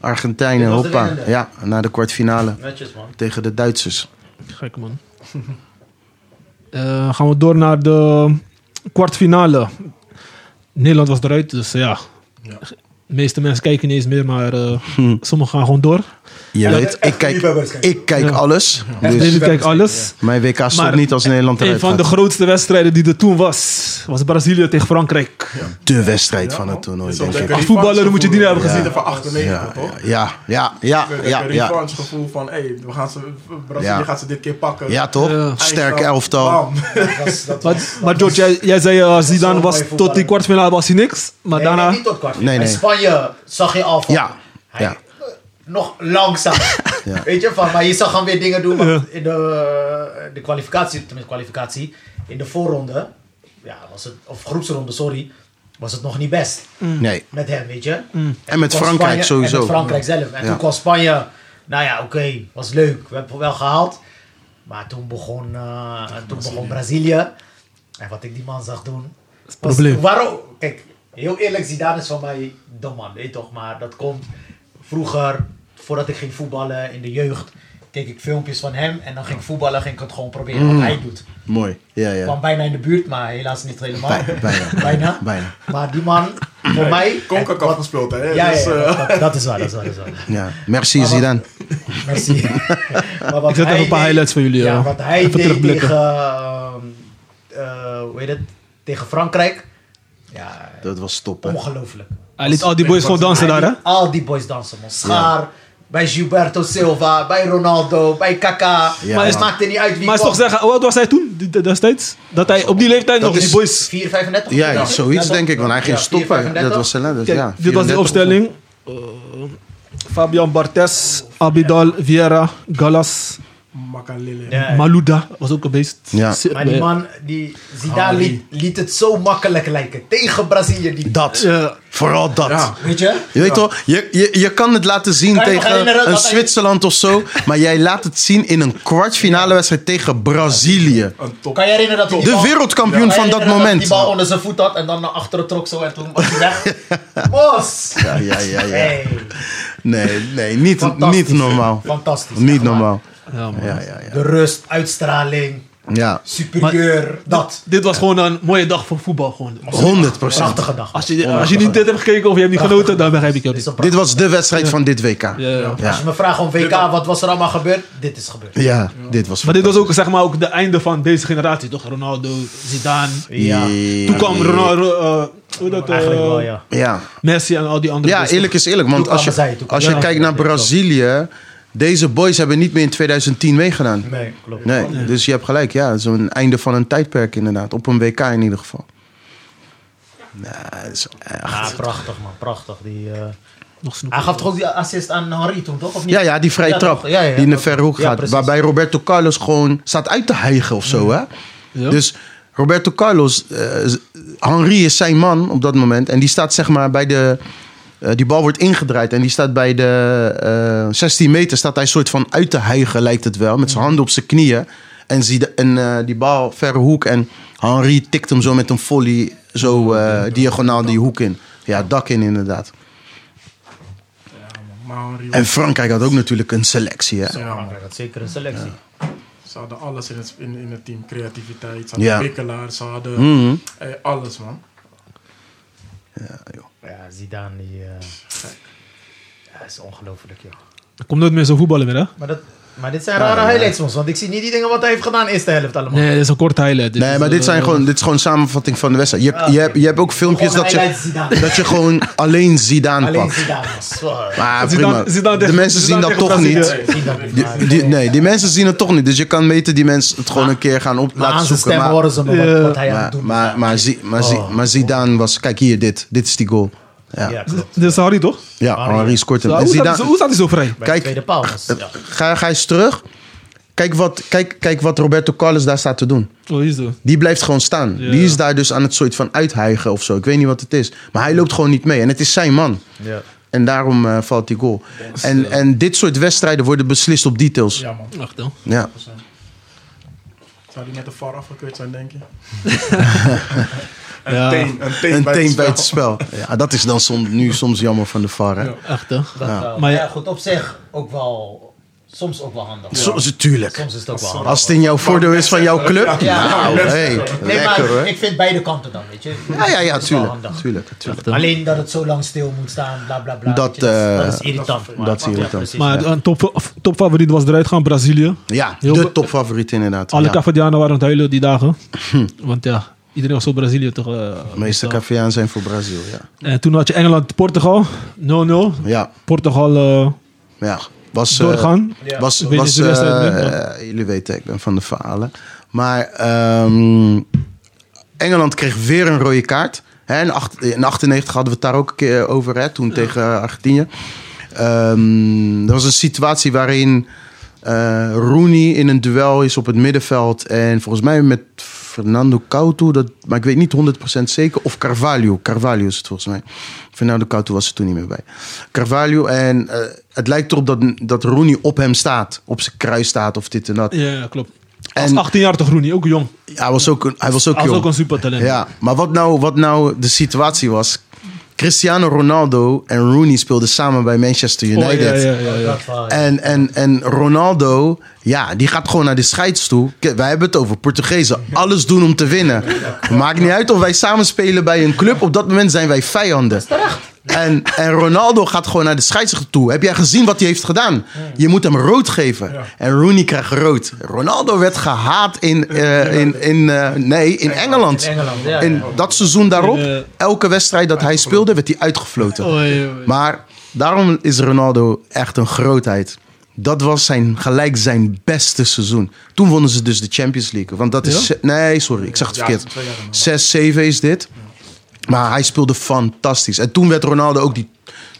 [SPEAKER 3] Argentijnen,
[SPEAKER 4] Dit was de
[SPEAKER 3] hoppa.
[SPEAKER 4] winnende.
[SPEAKER 3] Ja, naar de kwartfinale
[SPEAKER 4] Netjes man.
[SPEAKER 3] tegen de Duitsers.
[SPEAKER 2] Gek man. Eh, gaan we door naar de kwartfinale. Nederland was eruit, dus ja.
[SPEAKER 5] Ja.
[SPEAKER 3] Hm.
[SPEAKER 2] De meeste mensen kijken niet eens meer, maar eh, sommigen gaan gewoon door.
[SPEAKER 3] Je weet, ik kijk, Oh, ik kijk
[SPEAKER 2] Ja.
[SPEAKER 3] alles.
[SPEAKER 2] Dus
[SPEAKER 3] Dus
[SPEAKER 2] kijk alles.
[SPEAKER 3] mijn WK stond
[SPEAKER 2] Maar
[SPEAKER 3] niet als Nederland
[SPEAKER 2] Een
[SPEAKER 3] eruit
[SPEAKER 2] van de
[SPEAKER 3] gaat.
[SPEAKER 2] grootste wedstrijden die er toen was, was Brazilië tegen Frankrijk.
[SPEAKER 3] De wedstrijd van het toernooi,
[SPEAKER 5] Is dat
[SPEAKER 3] denk
[SPEAKER 5] een
[SPEAKER 3] ik.
[SPEAKER 2] Als voetballer moet je die hebben
[SPEAKER 5] revanchegevoel?
[SPEAKER 2] gezien.
[SPEAKER 5] Ja. van 98,
[SPEAKER 3] Ja,
[SPEAKER 5] toch?
[SPEAKER 3] ja, ja, ja,
[SPEAKER 5] Ik heb
[SPEAKER 3] ja,
[SPEAKER 5] een
[SPEAKER 3] ja.
[SPEAKER 5] revanche gevoel van, hé, we gaan ze, Brazilië
[SPEAKER 3] Ja.
[SPEAKER 5] gaat ze dit keer pakken.
[SPEAKER 3] Ja, toch?
[SPEAKER 2] Ja.
[SPEAKER 3] Sterk
[SPEAKER 5] Eindstand,
[SPEAKER 3] elftal.
[SPEAKER 5] bam.
[SPEAKER 4] Dat was, dat was,
[SPEAKER 2] Maar, maar George, jij, jij zei eh, Zidane
[SPEAKER 4] een
[SPEAKER 2] was
[SPEAKER 4] mooie
[SPEAKER 2] tot die
[SPEAKER 4] voetballer.
[SPEAKER 2] kwartfinale was hij niks, maar
[SPEAKER 4] nee,
[SPEAKER 2] daarna
[SPEAKER 4] nee, niet tot kwart.
[SPEAKER 3] Nee, nee.
[SPEAKER 4] In Spanje zag je al van...
[SPEAKER 3] Ja,
[SPEAKER 4] Hij,
[SPEAKER 3] ja.
[SPEAKER 4] eh, nog langzaam. Weet je, van, maar je zag hem weer dingen doen. want In de, eh, de kwalificatie, tenminste kwalificatie, in de voorronde, ja, was het, of groepsronde, sorry, was het nog niet best.
[SPEAKER 2] Mm.
[SPEAKER 3] Nee.
[SPEAKER 4] Met hem, weet je.
[SPEAKER 3] En met
[SPEAKER 4] Kwam
[SPEAKER 3] Frankrijk
[SPEAKER 4] Spanje- En met
[SPEAKER 3] sowieso.
[SPEAKER 4] Frankrijk zelf. En
[SPEAKER 3] Ja.
[SPEAKER 4] toen kwam Spanje, nou ja, oké, was leuk. We hebben het wel gehaald. Maar toen begon, eh, toen begon Brazilië. En wat ik die man zag doen.
[SPEAKER 2] het
[SPEAKER 4] was-
[SPEAKER 2] probleem.
[SPEAKER 4] Waarom? Kijk, heel eerlijk, Zidane is van mij de man, weet je toch? Maar dat komt vroeger, voordat ik ging voetballen in de jeugd, keek ik filmpjes van hem. En dan ging ik voetballen, ging ik het gewoon proberen
[SPEAKER 2] Mm.
[SPEAKER 4] wat hij doet.
[SPEAKER 3] Mooi. Ja,
[SPEAKER 4] Ik kwam
[SPEAKER 3] ja.
[SPEAKER 4] bijna in de buurt, maar helaas niet helemaal.
[SPEAKER 3] Bij- bijna.
[SPEAKER 4] bijna.
[SPEAKER 3] Bijna.
[SPEAKER 4] Maar die man, voor
[SPEAKER 5] Hey,
[SPEAKER 4] mij...
[SPEAKER 5] Concacaf
[SPEAKER 4] wat-
[SPEAKER 5] gespeeld, hè?
[SPEAKER 4] ja,
[SPEAKER 5] Dus,
[SPEAKER 4] ja,
[SPEAKER 5] eh,
[SPEAKER 4] ja, dat, dat is waar, dat is waar, dat is waar.
[SPEAKER 3] Ja. Merci
[SPEAKER 4] Maar wat-
[SPEAKER 3] Zidane.
[SPEAKER 4] Merci. Maar wat
[SPEAKER 2] Ik zet even
[SPEAKER 4] hij
[SPEAKER 2] een paar
[SPEAKER 4] deed-
[SPEAKER 2] highlights voor jullie,
[SPEAKER 4] Ja,
[SPEAKER 2] ja.
[SPEAKER 4] wat hij
[SPEAKER 2] Even
[SPEAKER 4] deed
[SPEAKER 2] terugblikken.
[SPEAKER 4] tegen, ehm, eh, hoe heet het? tegen Frankrijk. Ja,
[SPEAKER 3] Dat was top, hè?
[SPEAKER 4] ongelooflijk.
[SPEAKER 2] hij liet al die boys gewoon dansen daar, hè?
[SPEAKER 4] Al die boys dansen, man. Schaar, bij Gilberto Silva, bij Ronaldo, bij Kaká.
[SPEAKER 3] Ja,
[SPEAKER 4] maar het
[SPEAKER 3] man.
[SPEAKER 4] maakte niet uit wie
[SPEAKER 2] Maar is
[SPEAKER 4] kwam.
[SPEAKER 2] toch zeggen, hoe oud was hij toen, die- die- destijds? Dat hij op die leeftijd
[SPEAKER 3] Dat
[SPEAKER 2] nog die
[SPEAKER 3] is-
[SPEAKER 2] boys...
[SPEAKER 4] 4,35?
[SPEAKER 3] Ja, ja,
[SPEAKER 4] Ja,
[SPEAKER 3] zoiets
[SPEAKER 4] toch?
[SPEAKER 3] denk ik, want hij ging
[SPEAKER 4] Ja,
[SPEAKER 3] stoppen.
[SPEAKER 4] 4,35.
[SPEAKER 3] Dat was zijn letters,
[SPEAKER 2] Kijk,
[SPEAKER 3] Dus ja.
[SPEAKER 2] dit was de
[SPEAKER 3] 34
[SPEAKER 2] opstelling. Eh, Fabian Bartes, Abidal, Vieira, Galas,
[SPEAKER 5] Makalele.
[SPEAKER 4] Ja.
[SPEAKER 2] Malouda was ook eh, een beest.
[SPEAKER 3] Ja.
[SPEAKER 2] Zit
[SPEAKER 4] Maar die
[SPEAKER 2] bij-
[SPEAKER 4] man, die Zidane liet, liet het zo makkelijk lijken. Tegen Brazilië. Die,
[SPEAKER 3] Dat.
[SPEAKER 2] Ja.
[SPEAKER 3] Vooral dat.
[SPEAKER 5] Ja.
[SPEAKER 4] Weet je?
[SPEAKER 3] Je weet toch, je, je, je kan het laten zien
[SPEAKER 4] Kan je nog herinneren
[SPEAKER 3] tegen een
[SPEAKER 4] dat hij-
[SPEAKER 3] Zwitserland of zo. Maar jij laat het zien in een kwartfinale wedstrijd tegen Brazilië.
[SPEAKER 5] Een top.
[SPEAKER 4] Kan je herinneren dat hij die
[SPEAKER 3] De
[SPEAKER 4] bal-
[SPEAKER 3] wereldkampioen
[SPEAKER 4] Kan je
[SPEAKER 3] van dat
[SPEAKER 4] herinneren Die
[SPEAKER 3] moment.
[SPEAKER 4] bal onder zijn voet had en dan naar achteren trok zo en toen was hij weg. Bos!
[SPEAKER 3] Ja, ja, ja, ja.
[SPEAKER 4] Hey,
[SPEAKER 3] Nee, nee, niet,
[SPEAKER 4] fantastisch.
[SPEAKER 3] niet normaal.
[SPEAKER 4] Fantastisch. echt
[SPEAKER 3] Niet
[SPEAKER 4] waar.
[SPEAKER 3] normaal.
[SPEAKER 2] Ja, man.
[SPEAKER 3] Ja, ja, ja.
[SPEAKER 4] De rust, uitstraling,
[SPEAKER 3] ja.
[SPEAKER 4] superieur, dat.
[SPEAKER 2] Dit was gewoon een mooie dag voor voetbal. Gewoon.
[SPEAKER 3] 100 procent.
[SPEAKER 4] Prachtige dag.
[SPEAKER 2] Als je, als je niet dit hebt gekeken of je hebt niet genoten, dan begrijp ik jou
[SPEAKER 4] Dit is
[SPEAKER 2] niet.
[SPEAKER 4] een
[SPEAKER 3] Dit
[SPEAKER 4] prachtig-
[SPEAKER 3] was de wedstrijd van dit WK.
[SPEAKER 2] Ja, ja.
[SPEAKER 4] Als je me vraagt om WK, wat was er allemaal gebeurd? Dit is gebeurd.
[SPEAKER 3] Ja, dit was
[SPEAKER 2] Maar dit was ook, zeg maar, ook de einde van deze generatie, toch? Ronaldo, Zidane.
[SPEAKER 4] Ja.
[SPEAKER 2] Toen kwam Ronaldo, eh, hoe dat, eh,
[SPEAKER 4] Eigenlijk wel, ja.
[SPEAKER 3] Ja.
[SPEAKER 2] Messi en al die andere.
[SPEAKER 3] Ja,
[SPEAKER 2] boys, toch?
[SPEAKER 3] eerlijk is eerlijk. Want
[SPEAKER 4] Toen
[SPEAKER 3] als
[SPEAKER 4] kwamen
[SPEAKER 3] je,
[SPEAKER 4] zij, toen
[SPEAKER 3] als je
[SPEAKER 4] kwamen-
[SPEAKER 3] kijkt
[SPEAKER 4] Ja,
[SPEAKER 3] naar
[SPEAKER 4] dat klopt.
[SPEAKER 3] Brazilië. Deze boys hebben niet meer in 2010 meegedaan.
[SPEAKER 4] Nee, klopt.
[SPEAKER 3] Nee, dus je hebt gelijk. Ja, dat is een einde van een tijdperk inderdaad. Op een WK in ieder geval. Nee, dat is echt-
[SPEAKER 4] Ja, prachtig man, prachtig. Die, eh,
[SPEAKER 2] Nog snoep.
[SPEAKER 4] Hij gaf toch ook die assist aan Henri toen, toch? Of niet?
[SPEAKER 3] Ja, ja, die vrije
[SPEAKER 4] Ja,
[SPEAKER 3] trap
[SPEAKER 4] toch? Ja, ja,
[SPEAKER 3] die in de
[SPEAKER 4] dat-
[SPEAKER 3] verhoek
[SPEAKER 4] ja,
[SPEAKER 3] gaat.
[SPEAKER 4] precies.
[SPEAKER 3] waarbij Roberto Carlos gewoon staat uit te hijgen of zo. Hè?
[SPEAKER 2] Ja.
[SPEAKER 3] Dus Roberto Carlos, eh, z- Henry is zijn man op dat moment. En die staat zeg maar bij de... eh, die bal wordt ingedraaid en die staat bij de eh 16 meter. Staat hij soort van uit te hijgen, lijkt het wel. Met zijn handen op zijn knieën. En, zie de, en eh, die bal verre hoek. En Henry tikt hem zo met een volley. Zo eh, diagonaal die hoek in. Ja, dak in inderdaad.
[SPEAKER 5] Ja, man. Maar Henri
[SPEAKER 3] En Frankrijk had ook natuurlijk een selectie. Hè?
[SPEAKER 5] Ja, man.
[SPEAKER 4] Frankrijk had zeker een selectie.
[SPEAKER 5] Ze hadden alles in het, in, in het team. Creativiteit, ze hadden
[SPEAKER 3] Ja.
[SPEAKER 5] prikkelaar, ze hadden
[SPEAKER 3] Mhm.
[SPEAKER 5] eh, alles, man.
[SPEAKER 4] Ja, Zidane, die... eh, ja, is ongelooflijk, joh.
[SPEAKER 2] Er komt nooit meer zo'n voetballen weer, hè?
[SPEAKER 3] Oh.
[SPEAKER 4] Maar, dat, maar dit zijn rare highlights soms, want ik zie niet die dingen wat hij heeft gedaan eerste helft allemaal.
[SPEAKER 2] Nee, dit is een kort highlight.
[SPEAKER 3] Nee,
[SPEAKER 2] is,
[SPEAKER 3] maar
[SPEAKER 2] eh,
[SPEAKER 3] dit,
[SPEAKER 2] Ah,
[SPEAKER 3] zijn gewoon, dit is gewoon een samenvatting van de wedstrijd. Je, hebt- je, hebt, je hebt ook filmpjes
[SPEAKER 4] Gewoon
[SPEAKER 3] dat je,
[SPEAKER 4] highlights Zidane.
[SPEAKER 3] dat je gewoon alleen Zidane
[SPEAKER 4] Alleen
[SPEAKER 3] pakt.
[SPEAKER 4] Zidane was. zo, eh,
[SPEAKER 3] Maar
[SPEAKER 2] Zidane-
[SPEAKER 3] prima.
[SPEAKER 2] Zidane
[SPEAKER 3] De
[SPEAKER 2] tegen-
[SPEAKER 3] mensen zien
[SPEAKER 2] Zidane
[SPEAKER 3] dat
[SPEAKER 2] tegen
[SPEAKER 3] toch
[SPEAKER 2] Brazilië.
[SPEAKER 3] niet.
[SPEAKER 4] Zidane heeft maar-
[SPEAKER 3] Die- die- nee, die mensen zien het toch niet. Dus je kan beter die mensen het gewoon een keer gaan op
[SPEAKER 4] Maar aan
[SPEAKER 3] laten
[SPEAKER 4] zijn
[SPEAKER 3] zoeken.
[SPEAKER 4] stem
[SPEAKER 3] Maar,
[SPEAKER 4] horen ze me wat,
[SPEAKER 2] Ja.
[SPEAKER 4] wat hij aan het
[SPEAKER 3] maar,
[SPEAKER 4] doen is.
[SPEAKER 3] maar, maar, Zi- maar, Zi-
[SPEAKER 4] Oh.
[SPEAKER 3] maar Zidane was... Kijk hier, dit. Dit is die goal.
[SPEAKER 4] Ja,
[SPEAKER 3] Ja,
[SPEAKER 4] klopt.
[SPEAKER 2] Dit is Harry, toch?
[SPEAKER 3] ja Henri scoort hem.
[SPEAKER 2] Zo,
[SPEAKER 3] En
[SPEAKER 2] hoe, staat, hij zo-
[SPEAKER 3] Zidane,
[SPEAKER 2] hoe staat hij zo vrij?
[SPEAKER 4] Bij de
[SPEAKER 3] Kijk.
[SPEAKER 4] tweede paal was. Ja.
[SPEAKER 3] ga, ga eens terug. Kijk wat, kijk, kijk wat Roberto Carlos daar staat te doen.
[SPEAKER 2] Oh, hier is de-
[SPEAKER 3] Die blijft gewoon staan.
[SPEAKER 2] Ja.
[SPEAKER 3] Die is daar dus aan het soort van uithijgen of zo. Ik weet niet wat het is. Maar hij loopt gewoon niet mee. En het is zijn man.
[SPEAKER 4] Ja.
[SPEAKER 3] En daarom eh, valt die goal. En, en dit soort wedstrijden worden beslist op details. Ja.
[SPEAKER 5] Ja, man.
[SPEAKER 2] Wacht, dan.
[SPEAKER 5] Zou die met de VAR afgekeurd zijn, denk je?
[SPEAKER 2] Ja.
[SPEAKER 5] een teen, een teen
[SPEAKER 3] Een
[SPEAKER 5] bij
[SPEAKER 3] teen
[SPEAKER 5] het
[SPEAKER 3] bij
[SPEAKER 5] spel.
[SPEAKER 3] het spel. Ja, dat is dan som- nu soms jammer van de VAR. Hè?
[SPEAKER 5] Ja.
[SPEAKER 2] Echt, hè?
[SPEAKER 4] Dat, eh,
[SPEAKER 2] Maar
[SPEAKER 4] maar
[SPEAKER 2] ja.
[SPEAKER 4] ja, goed, op zich ook wel soms ook wel handig.
[SPEAKER 3] Zo- zo- tuurlijk.
[SPEAKER 4] Soms is het ook wel handig.
[SPEAKER 3] Als het in jouw voordeel is van jouw club.
[SPEAKER 4] Ja.
[SPEAKER 3] Nou, hey,
[SPEAKER 4] Nee, maar
[SPEAKER 3] lekker hoor.
[SPEAKER 4] ik vind beide kanten dan, weet je.
[SPEAKER 3] Ja, ja, ja,
[SPEAKER 4] Dat is wel
[SPEAKER 3] tuurlijk.
[SPEAKER 4] handig.
[SPEAKER 3] tuurlijk, tuurlijk.
[SPEAKER 4] Alleen dat het zo lang stil moet staan, bla bla bla.
[SPEAKER 3] Dat,
[SPEAKER 4] weet je,
[SPEAKER 3] eh,
[SPEAKER 4] dat is irritant. maar-
[SPEAKER 3] dat is
[SPEAKER 4] ja,
[SPEAKER 3] irritant.
[SPEAKER 4] precies.
[SPEAKER 2] Maar een top, of- topfavoriet was eruit gaan, Brazilië.
[SPEAKER 3] Ja,
[SPEAKER 2] Heel
[SPEAKER 3] de
[SPEAKER 2] be-
[SPEAKER 3] topfavoriet inderdaad.
[SPEAKER 2] Alle
[SPEAKER 3] Ja. Hm.
[SPEAKER 2] Cavadianen waren aan het huilen die dagen. Want ja, iedereen was zo Brazilië toch. eh,
[SPEAKER 3] De meeste
[SPEAKER 2] meestal.
[SPEAKER 3] Caviaan zijn voor Brazil, ja.
[SPEAKER 2] En toen had je Engeland-Portugal, 0-0.
[SPEAKER 3] Ja,
[SPEAKER 2] Portugal eh,
[SPEAKER 3] ja. Was, eh,
[SPEAKER 2] doorgaan.
[SPEAKER 4] Ja.
[SPEAKER 3] Was,
[SPEAKER 2] Weet je
[SPEAKER 3] was,
[SPEAKER 2] de wedstrijd
[SPEAKER 3] eh,
[SPEAKER 2] niet,
[SPEAKER 3] eh, jullie weten, ik ben van de verhalen. Maar ehm, Engeland kreeg weer een rode kaart. Hè, in, acht, in 98 hadden we het daar ook een keer over, hè, toen tegen Argentinië. Ehm dat was een situatie waarin eh, Rooney in een duel is op het middenveld. En volgens mij met Fernando Couto, dat, maar ik weet niet 100% zeker. Of Carvalho. Carvalho is het volgens mij. Fernando Couto was er toen niet meer bij. Carvalho. En eh, het lijkt erop dat, dat Rooney op hem staat. Op zijn kruis staat of dit en dat.
[SPEAKER 2] Ja, ja, klopt. Als
[SPEAKER 3] En-
[SPEAKER 2] 18-jarige Groenie, ook jong.
[SPEAKER 3] Hij was ook, een- hij was ook
[SPEAKER 2] Hij was
[SPEAKER 3] jong.
[SPEAKER 2] ook een supertalent.
[SPEAKER 3] Ja, maar wat nou, wat nou de situatie was. Cristiano Ronaldo en Rooney speelden samen bij Manchester
[SPEAKER 2] Oh, ja,
[SPEAKER 3] United.
[SPEAKER 2] ja, ja, ja, ja.
[SPEAKER 4] Dat wel, ja.
[SPEAKER 3] En, en, en Ronaldo, ja, die gaat gewoon naar de scheids toe. K- Wij hebben het over Portugezen. Alles doen om te winnen. Maakt niet uit of wij samen spelen bij een club. Op dat moment zijn wij vijanden. En, en Ronaldo gaat gewoon naar de scheidsrechter toe. Heb jij gezien wat hij heeft gedaan? Je moet hem rood geven. En Rooney krijgt rood. Ronaldo werd gehaat in, eh, in, in, eh, nee, in Engeland.
[SPEAKER 4] In Engeland, ja,
[SPEAKER 3] In
[SPEAKER 4] ja.
[SPEAKER 3] dat seizoen daarop,
[SPEAKER 2] In, eh,
[SPEAKER 3] elke wedstrijd dat hij speelde, werd hij uitgefloten.
[SPEAKER 2] Oei, oei.
[SPEAKER 3] Maar daarom is Ronaldo echt een grootheid. Dat was zijn, gelijk zijn beste seizoen. Toen wonnen ze dus de Champions League. Want dat is. Nee, sorry, ik zag het
[SPEAKER 5] Ja,
[SPEAKER 3] verkeerd.
[SPEAKER 5] twee jaar daarna.
[SPEAKER 3] 6, 7 is dit. Maar hij speelde fantastisch. En toen werd Ronaldo ook die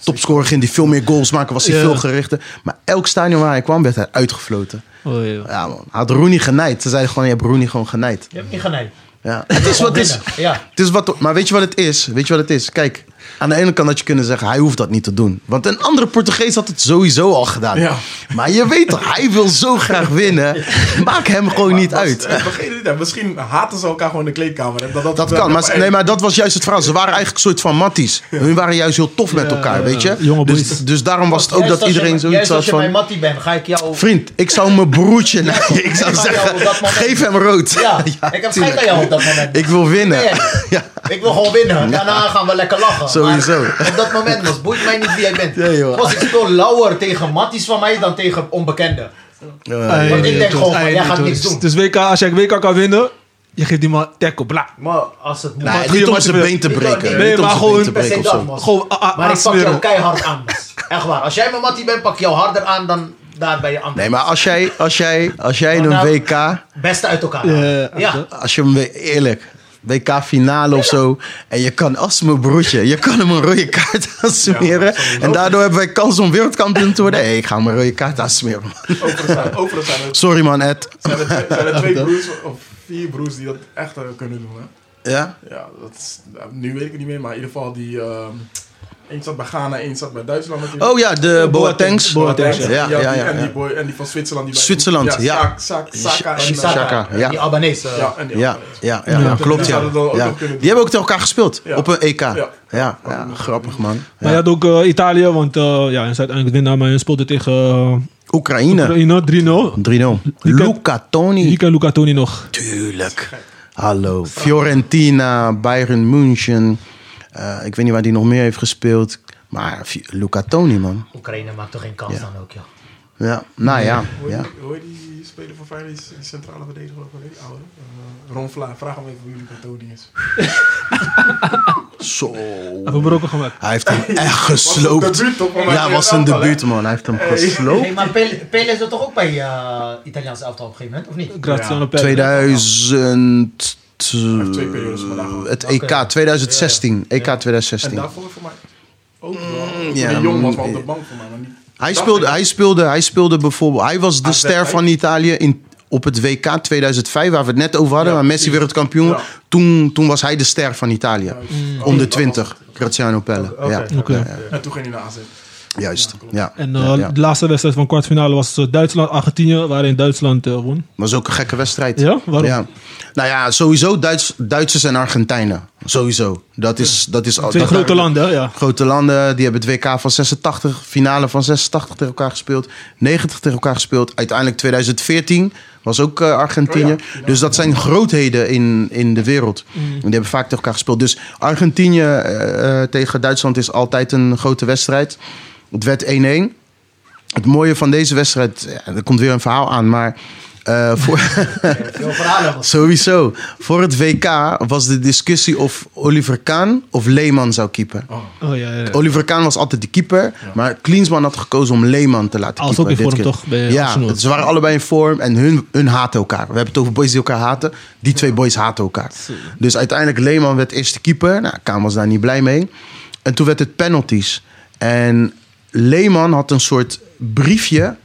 [SPEAKER 3] topscorer. Ging die veel meer goals maken, was hij
[SPEAKER 2] Ja.
[SPEAKER 3] veel gerichter. Maar elk stadion waar hij kwam, werd hij uitgefloten.
[SPEAKER 2] Oei, oei.
[SPEAKER 3] Ja, man. Hij had Rooney genijd. Ze zeiden gewoon: Je hebt Rooney gewoon genijd.
[SPEAKER 4] Je hebt niet genaaid.
[SPEAKER 3] Ja. Het is wat het is.
[SPEAKER 4] Ja.
[SPEAKER 3] Het is wat, maar weet je wat het is? Weet je wat het is? Kijk, aan de ene kant had je kunnen zeggen, hij hoeft dat niet te doen. Want een andere Portugees had het sowieso al gedaan.
[SPEAKER 5] Ja.
[SPEAKER 3] Maar je weet toch, hij wil zo graag winnen. Maak hem gewoon niet
[SPEAKER 5] Maar
[SPEAKER 3] uit.
[SPEAKER 5] was- eh, vergeet het niet, Misschien haten ze elkaar gewoon in de kleedkamer. hè, Dat, dat,
[SPEAKER 3] Dat kan, maar,
[SPEAKER 5] eh,
[SPEAKER 3] nee, maar dat was juist het verhaal. Ze waren eigenlijk een soort van matties. Hun waren juist heel tof met elkaar, weet je?
[SPEAKER 2] jonge
[SPEAKER 3] dus,
[SPEAKER 2] boys.
[SPEAKER 3] dus daarom was het ook
[SPEAKER 4] Juist
[SPEAKER 3] dat
[SPEAKER 4] als je-
[SPEAKER 3] iedereen zoiets
[SPEAKER 4] juist
[SPEAKER 3] had
[SPEAKER 4] als je mijn
[SPEAKER 3] van...
[SPEAKER 4] mattie bent, ga ik jou...
[SPEAKER 3] Vriend, ik zou mijn broertje... Nee, ik zou
[SPEAKER 4] Ik zou jou
[SPEAKER 3] zeggen,
[SPEAKER 4] op dat moment-
[SPEAKER 3] geef hem rood.
[SPEAKER 4] Ja, ik heb
[SPEAKER 3] tuurlijk.
[SPEAKER 4] gek aan jou op dat moment.
[SPEAKER 3] Ik wil winnen.
[SPEAKER 4] Nee.
[SPEAKER 3] Ja,
[SPEAKER 4] Ik wil gewoon winnen. Daarna gaan we lekker lachen.
[SPEAKER 3] Sowieso.
[SPEAKER 4] Maar op dat moment was boeit mij niet wie jij bent.
[SPEAKER 3] Ja, joh.
[SPEAKER 4] was ik veel lauwer tegen matties van mij dan tegen onbekenden.
[SPEAKER 3] Eh,
[SPEAKER 4] Want ik denk gewoon van,
[SPEAKER 2] Oei,
[SPEAKER 4] jij gaat
[SPEAKER 2] oei.
[SPEAKER 4] niks doen.
[SPEAKER 2] Dus WK, als jij WK kan winnen, je geeft die man tackle, bla.
[SPEAKER 4] Maar als het moet.
[SPEAKER 3] nee,
[SPEAKER 2] het
[SPEAKER 3] niet om
[SPEAKER 2] goede
[SPEAKER 3] zijn been te
[SPEAKER 4] Ik wou-
[SPEAKER 3] breken.
[SPEAKER 4] nee,
[SPEAKER 3] Niet om
[SPEAKER 2] maar
[SPEAKER 3] zijn been
[SPEAKER 2] gewoon-
[SPEAKER 3] te
[SPEAKER 4] per se
[SPEAKER 3] breken of
[SPEAKER 4] dat,
[SPEAKER 3] zo.
[SPEAKER 4] Mos.
[SPEAKER 2] Gewoon a- a-
[SPEAKER 4] maar ik pak
[SPEAKER 2] aansmeren.
[SPEAKER 4] jou keihard aan. Mos. Echt waar. Als jij mijn mattie bent, pak ik jou harder aan dan daar bij je andere.
[SPEAKER 3] Nee, maar als jij, als jij, als jij in een
[SPEAKER 4] nou-
[SPEAKER 3] WK,
[SPEAKER 4] Beste uit elkaar.
[SPEAKER 2] Ja,
[SPEAKER 4] halen. ja.
[SPEAKER 3] als je hem we- eerlijk, WK finale of zo, en je kan als mijn broertje, je kan hem een rode kaart aansmeren. en daardoor hebben wij kans om wereldkampioen te worden. Hey, ik ga hem een rode kaart aansmeren. man.
[SPEAKER 5] Overigens zijn, overigens zijn er,
[SPEAKER 3] Sorry man, Ed.
[SPEAKER 5] zijn er, twee- zijn er twee broers of vier broers die dat echt eh, kunnen doen. Hè?
[SPEAKER 3] Ja?
[SPEAKER 5] Ja, dat is, nou, nu weet ik het niet meer, maar in ieder geval die... ehm Eén zat bij Ghana, één zat bij Duitsland natuurlijk.
[SPEAKER 3] Oh ja, de Boatengs.
[SPEAKER 2] Boatengs,
[SPEAKER 3] ja. Ja,
[SPEAKER 5] die-
[SPEAKER 3] ja, ja.
[SPEAKER 5] En die, boy, en die van Zwitserland. Die bij-
[SPEAKER 3] Zwitserland, ja.
[SPEAKER 5] Sa- Sa- Saka en, eh,
[SPEAKER 3] Saka, ja.
[SPEAKER 4] Die Albanese. eh,
[SPEAKER 5] Ja, en die
[SPEAKER 3] Ja,
[SPEAKER 5] andere.
[SPEAKER 3] ja, ja, ja, klopt ja. ja. Die hebben ook tegen elkaar gespeeld, op een EK. Ja, ja, grappig man.
[SPEAKER 2] Maar je had ook eh, Italië, want eh, ja, ze uiteindelijk winnaar, maar hun speelde tegen eh,
[SPEAKER 3] Oekraïne,
[SPEAKER 2] Oekraïne 3-0.
[SPEAKER 3] 3-0. Luca Toni.
[SPEAKER 2] Hier kan Luca Toni nog.
[SPEAKER 3] Tuurlijk. Hallo. Fiorentina, Bayern München. Eh, ik weet niet waar die nog meer heeft gespeeld. Maar Fi- Luca Toni, man.
[SPEAKER 4] Oekraïne maakt toch geen kans dan ook, joh.
[SPEAKER 3] Ja, nou ja. ja.
[SPEAKER 5] Hoor je die speler van Feyenoord, die- die centrale verdediger, ook alweer, die oude? Eh, Ron Vlaar, vraag hem even wie Luca Toni is.
[SPEAKER 3] Zo.
[SPEAKER 2] Hebben we Marokko gemaakt.
[SPEAKER 3] Hij heeft hem echt
[SPEAKER 5] Was een
[SPEAKER 3] gesloopt.
[SPEAKER 5] debuut, toch? Maar
[SPEAKER 3] Ja,
[SPEAKER 5] hij
[SPEAKER 3] was
[SPEAKER 5] deed
[SPEAKER 3] een
[SPEAKER 5] het aantal, hè?
[SPEAKER 3] debuut, man. Hij heeft hem
[SPEAKER 4] Nee,
[SPEAKER 3] gesloopt.
[SPEAKER 4] maar Pele, Pele is er toch ook bij eh Italiaanse elftal op een gegeven moment, of niet?
[SPEAKER 2] Graziano Pelle.
[SPEAKER 3] 2000.
[SPEAKER 5] heeft twee periodes gedaan.
[SPEAKER 3] eh, Het E EK 2016. EK
[SPEAKER 5] En
[SPEAKER 3] 2016.
[SPEAKER 5] daarvoor voor mij ook
[SPEAKER 2] Mm.
[SPEAKER 5] wel.
[SPEAKER 3] ja,
[SPEAKER 5] een jong was
[SPEAKER 3] mm,
[SPEAKER 5] wel op de
[SPEAKER 3] eh,
[SPEAKER 5] bank voor mij, maar niet...
[SPEAKER 3] Hij
[SPEAKER 5] dacht
[SPEAKER 3] speelde,
[SPEAKER 5] ik-
[SPEAKER 3] hij, speelde, hij speelde bijvoorbeeld. Hij was de
[SPEAKER 5] AZ,
[SPEAKER 3] ster
[SPEAKER 5] hij-
[SPEAKER 3] van Italië in, op het WK 2005, waar we het net over hadden,
[SPEAKER 5] Ja,
[SPEAKER 3] waar Messi
[SPEAKER 5] precies.
[SPEAKER 3] wereldkampioen
[SPEAKER 5] Ja.
[SPEAKER 3] toen, toen was hij de ster van Italië.
[SPEAKER 2] Mm.
[SPEAKER 3] Om de 20, Graziano Pelle.
[SPEAKER 5] Oké.
[SPEAKER 3] Ja,
[SPEAKER 2] Oké.
[SPEAKER 5] Oh. En toen ging hij naar AZ.
[SPEAKER 3] juist. Ja.
[SPEAKER 2] En
[SPEAKER 3] Ja,
[SPEAKER 2] eh,
[SPEAKER 3] ja.
[SPEAKER 2] de laatste wedstrijd van kwartfinale was eh, Duitsland-Argentinië, waarin Duitsland eh, won.
[SPEAKER 3] Oh, was ook een gekke wedstrijd.
[SPEAKER 2] Ja? Waarom?
[SPEAKER 3] Ja. Nou ja, sowieso Duits, Duitsers en Argentijnen. Sowieso. Dat is, dat is al-
[SPEAKER 2] Twee
[SPEAKER 3] dat-
[SPEAKER 2] grote landen, hè? ja.
[SPEAKER 3] Grote landen, die hebben het WK van 86, finale van 86 tegen elkaar gespeeld. 90 tegen elkaar gespeeld. Uiteindelijk 2014 was ook eh, Argentinië.
[SPEAKER 5] Oh ja. Mm.
[SPEAKER 3] Dus dat zijn grootheden in, in de wereld. En die hebben vaak tegen elkaar gespeeld. Dus Argentinië eh, eh, tegen Duitsland is altijd een grote wedstrijd. Het werd 1-1. Het mooie van deze wedstrijd, ja, er komt weer een verhaal aan, maar... eh, voor,
[SPEAKER 4] Veel verhalen. man.
[SPEAKER 3] sowieso. Voor het WK was de discussie of Oliver Kahn of Lehman zou keeper.
[SPEAKER 2] Oh, ja, ja, ja.
[SPEAKER 3] Oliver Kahn was altijd de keeper. Maar Klinsman had gekozen om Leeman te laten
[SPEAKER 2] Hij was
[SPEAKER 3] keeper.
[SPEAKER 2] ook in
[SPEAKER 3] dit
[SPEAKER 2] vorm,
[SPEAKER 3] keer.
[SPEAKER 2] toch, bij
[SPEAKER 3] Ja,
[SPEAKER 2] Arsenal?
[SPEAKER 3] ze waren allebei in vorm en hun, hun haten elkaar. We hebben het over boys die elkaar haten. Die twee boys haten elkaar. Dus uiteindelijk Leeman werd eerste keeper. Nou, Kahn was daar niet blij mee. En toen werd het penalties. En Leeman had een soort briefje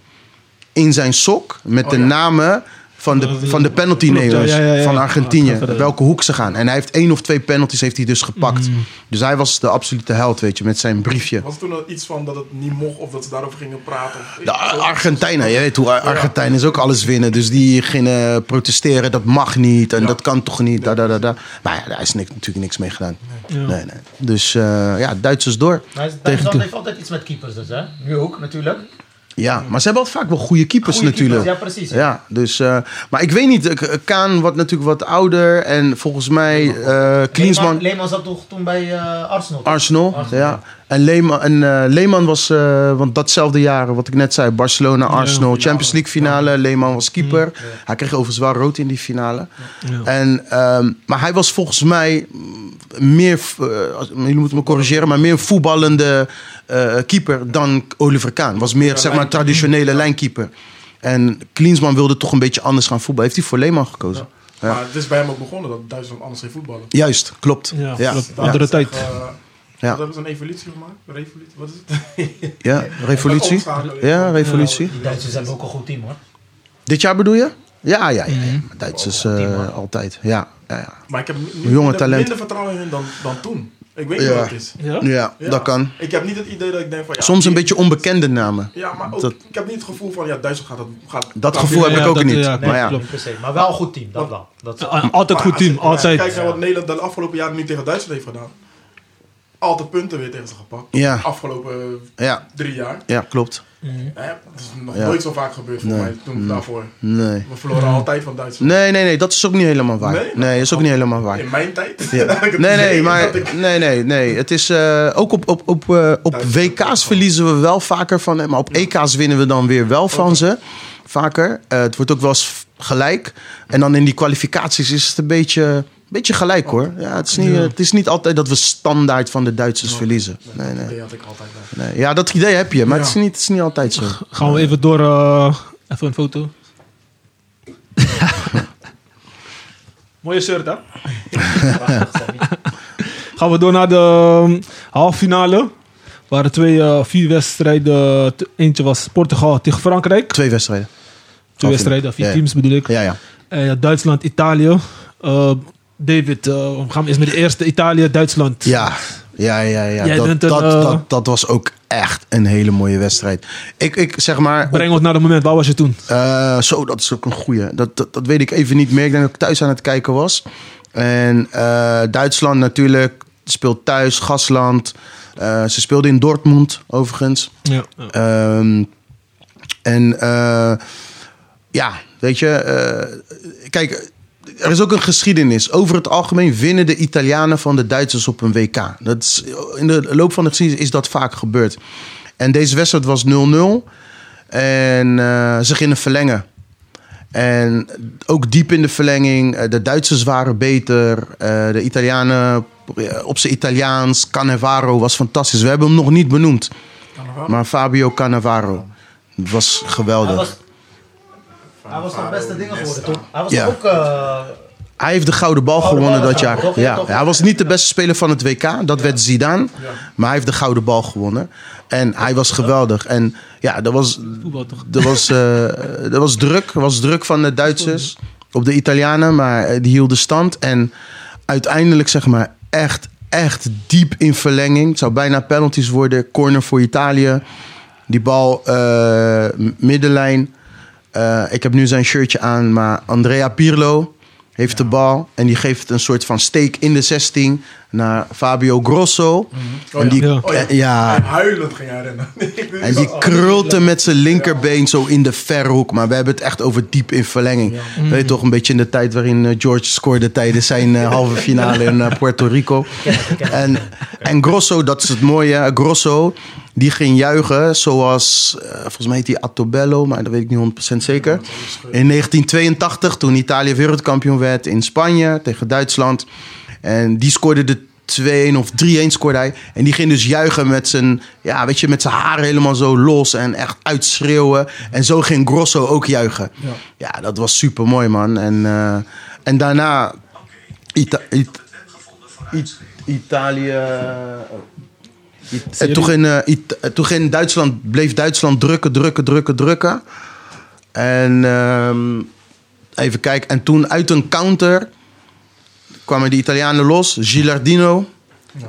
[SPEAKER 3] in zijn sok met de namen van de,
[SPEAKER 2] Eh,
[SPEAKER 3] van de
[SPEAKER 2] klopt,
[SPEAKER 3] penaltynemers
[SPEAKER 2] ja, ja, ja, ja.
[SPEAKER 3] van Argentinië.
[SPEAKER 2] Ah, ga verder.
[SPEAKER 3] welke hoek ze gaan. En hij heeft één of twee penalties heeft hij dus gepakt. Dus hij was de absolute held, weet je, met zijn briefje.
[SPEAKER 5] Was er toen al iets van dat het niet mocht of dat ze daarover gingen praten? Of,
[SPEAKER 3] De Ar- Argentijnen, je weet hoe Ar- Argentijnen is ook alles winnen. Dus die gingen protesteren, dat mag niet en dat kan toch niet. Da, da, da, da. Maar ja, daar is niks, natuurlijk niks mee gedaan.
[SPEAKER 2] Ja.
[SPEAKER 3] Nee, nee. Dus eh, ja, Duitsers door.
[SPEAKER 4] Maar hij-
[SPEAKER 3] Tegen-
[SPEAKER 4] Duitsland heeft altijd iets met keepers dus, hè? Nu ook, natuurlijk.
[SPEAKER 3] Ja, maar ze hebben altijd vaak wel goede keepers
[SPEAKER 4] Goeie keepers,
[SPEAKER 3] natuurlijk.
[SPEAKER 4] ja, precies.
[SPEAKER 3] Ja, dus, eh, maar ik weet niet, eh, K- Kaan wordt natuurlijk wat ouder en volgens mij eh
[SPEAKER 4] Klinsman.
[SPEAKER 3] Klinsman,
[SPEAKER 4] Leeman zat toch toen bij eh, Arsenal? toch?
[SPEAKER 3] Arsenal.
[SPEAKER 4] Arsenal.
[SPEAKER 3] Ja. En Leeman, en, eh, Leeman was, eh, want datzelfde jaar, wat ik net zei, Barcelona, Arsenal, Champions League finale. Leeman was keeper. Hij kreeg overigens wel rood in die finale.
[SPEAKER 2] Ja.
[SPEAKER 3] En, ehm, maar hij was volgens mij mm, meer, eh, als- jullie moeten me corrigeren, maar meer een voetballende eh, keeper dan Oliver Kaan. Was meer, zeg maar, traditionele lijnkeeper. En Klinsman wilde toch een beetje anders gaan voetballen. Heeft hij voor Leeman gekozen? Ja.
[SPEAKER 5] Maar het is bij hem ook begonnen dat Duitsland anders ging voetballen.
[SPEAKER 3] Juist, klopt.
[SPEAKER 2] Ja,
[SPEAKER 3] ja.
[SPEAKER 2] klopt. Andere
[SPEAKER 5] Dat is
[SPEAKER 2] tijd.
[SPEAKER 5] echt, eh,
[SPEAKER 3] Ja.
[SPEAKER 5] Dat hebben ze een evolutie gemaakt. Revolutie, wat is het?
[SPEAKER 3] ja. revolutie.
[SPEAKER 5] Omschakelen.
[SPEAKER 3] Ja, revolutie.
[SPEAKER 4] Die Duitsers hebben ook een goed team, hoor.
[SPEAKER 3] Dit jaar bedoel je? Ja, ja, ja. ja.
[SPEAKER 2] Mm.
[SPEAKER 3] Duitsers eh, altijd. Ja, ja, ja.
[SPEAKER 5] Maar ik heb nu
[SPEAKER 3] Jonge
[SPEAKER 5] minder,
[SPEAKER 3] talent.
[SPEAKER 5] minder vertrouwen in hen dan, dan toen. Ik weet niet
[SPEAKER 3] Ja.
[SPEAKER 5] wat het is.
[SPEAKER 2] Ja?
[SPEAKER 3] ja,
[SPEAKER 5] Ja.
[SPEAKER 3] dat kan.
[SPEAKER 5] Ik heb niet het idee dat ik denk van... Ja,
[SPEAKER 3] Soms een
[SPEAKER 5] die-
[SPEAKER 3] beetje onbekende namen.
[SPEAKER 5] Ja, maar ook,
[SPEAKER 3] Dat-
[SPEAKER 5] ik heb niet het gevoel van... Ja, Duitsland gaat dat... Gaat,
[SPEAKER 3] Dat
[SPEAKER 5] gaat
[SPEAKER 3] gevoel
[SPEAKER 5] winnen.
[SPEAKER 3] heb ik ook
[SPEAKER 2] dat-
[SPEAKER 3] niet.
[SPEAKER 2] ja, nee,
[SPEAKER 3] maar ja,
[SPEAKER 2] klopt.
[SPEAKER 4] Niet per se, maar wel een goed team, dat wel. Dat is-
[SPEAKER 2] Ah, Altijd
[SPEAKER 5] Maar
[SPEAKER 2] goed team,
[SPEAKER 5] als je- Als je
[SPEAKER 2] altijd.
[SPEAKER 5] kijkt naar wat Nederland de afgelopen jaren nu tegen Duitsland heeft gedaan. Altijd punten weer tegen ze gepakt.
[SPEAKER 3] Ja.
[SPEAKER 5] Afgelopen eh,
[SPEAKER 3] ja,
[SPEAKER 5] drie jaar.
[SPEAKER 3] ja, klopt.
[SPEAKER 4] Mhm.
[SPEAKER 5] Hè, dat is nog
[SPEAKER 3] Ja.
[SPEAKER 5] nooit zo vaak gebeurd voor
[SPEAKER 3] Nee.
[SPEAKER 5] mij toen daarvoor.
[SPEAKER 3] Nee.
[SPEAKER 5] We verloren altijd van Duitsland.
[SPEAKER 3] Nee, nee, nee, dat is ook niet helemaal waar.
[SPEAKER 5] Nee?
[SPEAKER 3] Nee, dat is ook niet helemaal waar.
[SPEAKER 5] In mijn tijd.
[SPEAKER 3] Ja.
[SPEAKER 5] had ik het
[SPEAKER 3] Nee, nee,
[SPEAKER 5] idee
[SPEAKER 3] maar
[SPEAKER 5] dat ik-
[SPEAKER 3] nee, nee, nee. Het is eh, ook op, op, op, eh, op WK's verliezen we wel vaker van hem, maar op EK's winnen we dan weer wel van ze. Vaker. Eh, het wordt ook wel eens gelijk. En dan in die kwalificaties is het een beetje, beetje gelijk hoor. Ja, het, is niet, het is niet altijd dat we standaard van de Duitsers verliezen. Nee,
[SPEAKER 5] Dat
[SPEAKER 3] nee,
[SPEAKER 5] idee had ik altijd. wel.
[SPEAKER 3] nee. Ja, dat idee heb je, maar het, is
[SPEAKER 5] Ja.
[SPEAKER 3] niet, het is niet altijd zo.
[SPEAKER 2] Gaan we even door. eh, even een foto. Mooie shirt, hè?
[SPEAKER 4] Prachtig, Sammy.
[SPEAKER 2] Gaan we door naar de ehm, halffinale. Waren twee, eh, vier wedstrijden. T- Eentje was Portugal tegen Frankrijk.
[SPEAKER 3] Twee wedstrijden.
[SPEAKER 2] Twee wedstrijden, vier
[SPEAKER 3] Ja, ja.
[SPEAKER 2] teams bedoel ik.
[SPEAKER 3] Ja, ja.
[SPEAKER 2] En ja, Duitsland, Italië. Eh, David, eh, we gaan eerst met de eerste. Italië, Duitsland.
[SPEAKER 3] Ja, ja, ja, ja.
[SPEAKER 2] Jij
[SPEAKER 3] Dat,
[SPEAKER 2] bent een,
[SPEAKER 3] dat,
[SPEAKER 2] eh,
[SPEAKER 3] dat, dat was ook echt een hele mooie wedstrijd. Ik, ik zeg maar. op-
[SPEAKER 2] Breng ons naar het moment. Waar was je toen?
[SPEAKER 3] Eh, zo, dat is ook een goeie. Dat, dat, dat weet ik even niet meer. Ik denk dat ik thuis aan het kijken was. En eh, Duitsland natuurlijk speelt thuis, gasland. Eh, ze speelde in Dortmund overigens.
[SPEAKER 2] Ja.
[SPEAKER 3] Ehm, en eh, ja, weet je, eh, kijk, er is ook een geschiedenis. Over het algemeen winnen de Italianen van de Duitsers op een WK. Dat is, in de loop van de geschiedenis is dat vaak gebeurd. En deze wedstrijd was 0-0 en eh, ze gingen verlengen. En ook diep in de verlenging, eh, de Duitsers waren beter, eh, de Italianen eh, op zijn Italiaans, Cannavaro was fantastisch. We hebben hem nog niet benoemd.
[SPEAKER 5] Cannavaro?
[SPEAKER 3] Maar Fabio Cannavaro het was
[SPEAKER 4] Hij
[SPEAKER 3] geweldig.
[SPEAKER 4] was, hij was toch beste dingen geworden, toch? Hij was
[SPEAKER 3] Ja.
[SPEAKER 4] ook... eh,
[SPEAKER 3] Hij heeft de gouden bal
[SPEAKER 4] Gouden
[SPEAKER 3] gewonnen
[SPEAKER 4] bal
[SPEAKER 3] dat
[SPEAKER 4] gewonnen,
[SPEAKER 3] jaar.
[SPEAKER 4] toch? Ja,
[SPEAKER 3] Ja.
[SPEAKER 4] toch?
[SPEAKER 3] Hij was niet de beste speler van het WK, dat werd Zidane. Maar hij heeft de gouden bal gewonnen. En hij was geweldig. En ja, er was,
[SPEAKER 2] Voetbal toch?
[SPEAKER 3] er was, eh, er was druk. Er was druk van de Duitsers op de Italianen, maar eh, die hielden stand. En uiteindelijk, zeg maar, echt, echt diep in verlenging. Het zou bijna penalties worden. Corner voor Italië. Die bal eh, m- middenlijn. Eh, ik heb nu zijn shirtje aan, maar Andrea Pirlo heeft de bal en die geeft een soort van steek in de 16 naar Fabio Grosso.
[SPEAKER 5] Oh,
[SPEAKER 3] en, die,
[SPEAKER 2] Mhm. Ja.
[SPEAKER 5] Oh, ja.
[SPEAKER 3] eh, ja.
[SPEAKER 5] En huilend ging hij rennen.
[SPEAKER 3] en die krult hem met zijn linkerbeen zo in de verhoek. Maar we hebben het echt over diep in verlenging. Weet je toch, een beetje in de tijd waarin eh, George scoorde tijdens zijn eh, halve finale in eh, Puerto Rico. En, en Grosso, dat is het mooie. hè. Grosso, die ging juichen zoals, eh, volgens mij heet hij Attobello, maar dat weet ik niet 100% zeker. In 1982, toen Italië wereldkampioen werd in Spanje tegen Duitsland. En die scoorde de 2-1 of 3-1 scoorde hij. En die ging dus juichen met zijn, ja, weet je, met zijn haren helemaal zo los en echt uitschreeuwen. En zo ging Grosso ook juichen. Ja, dat was super mooi, man. En, eh, en daarna Ita- It- It- Italië. oh. It- en toen, ging, eh, It- eh, toen ging Duitsland, bleef Duitsland drukken, drukken, drukken, drukken. En ehm, even kijken. En toen uit een counter kwamen de Italianen los. Gilardino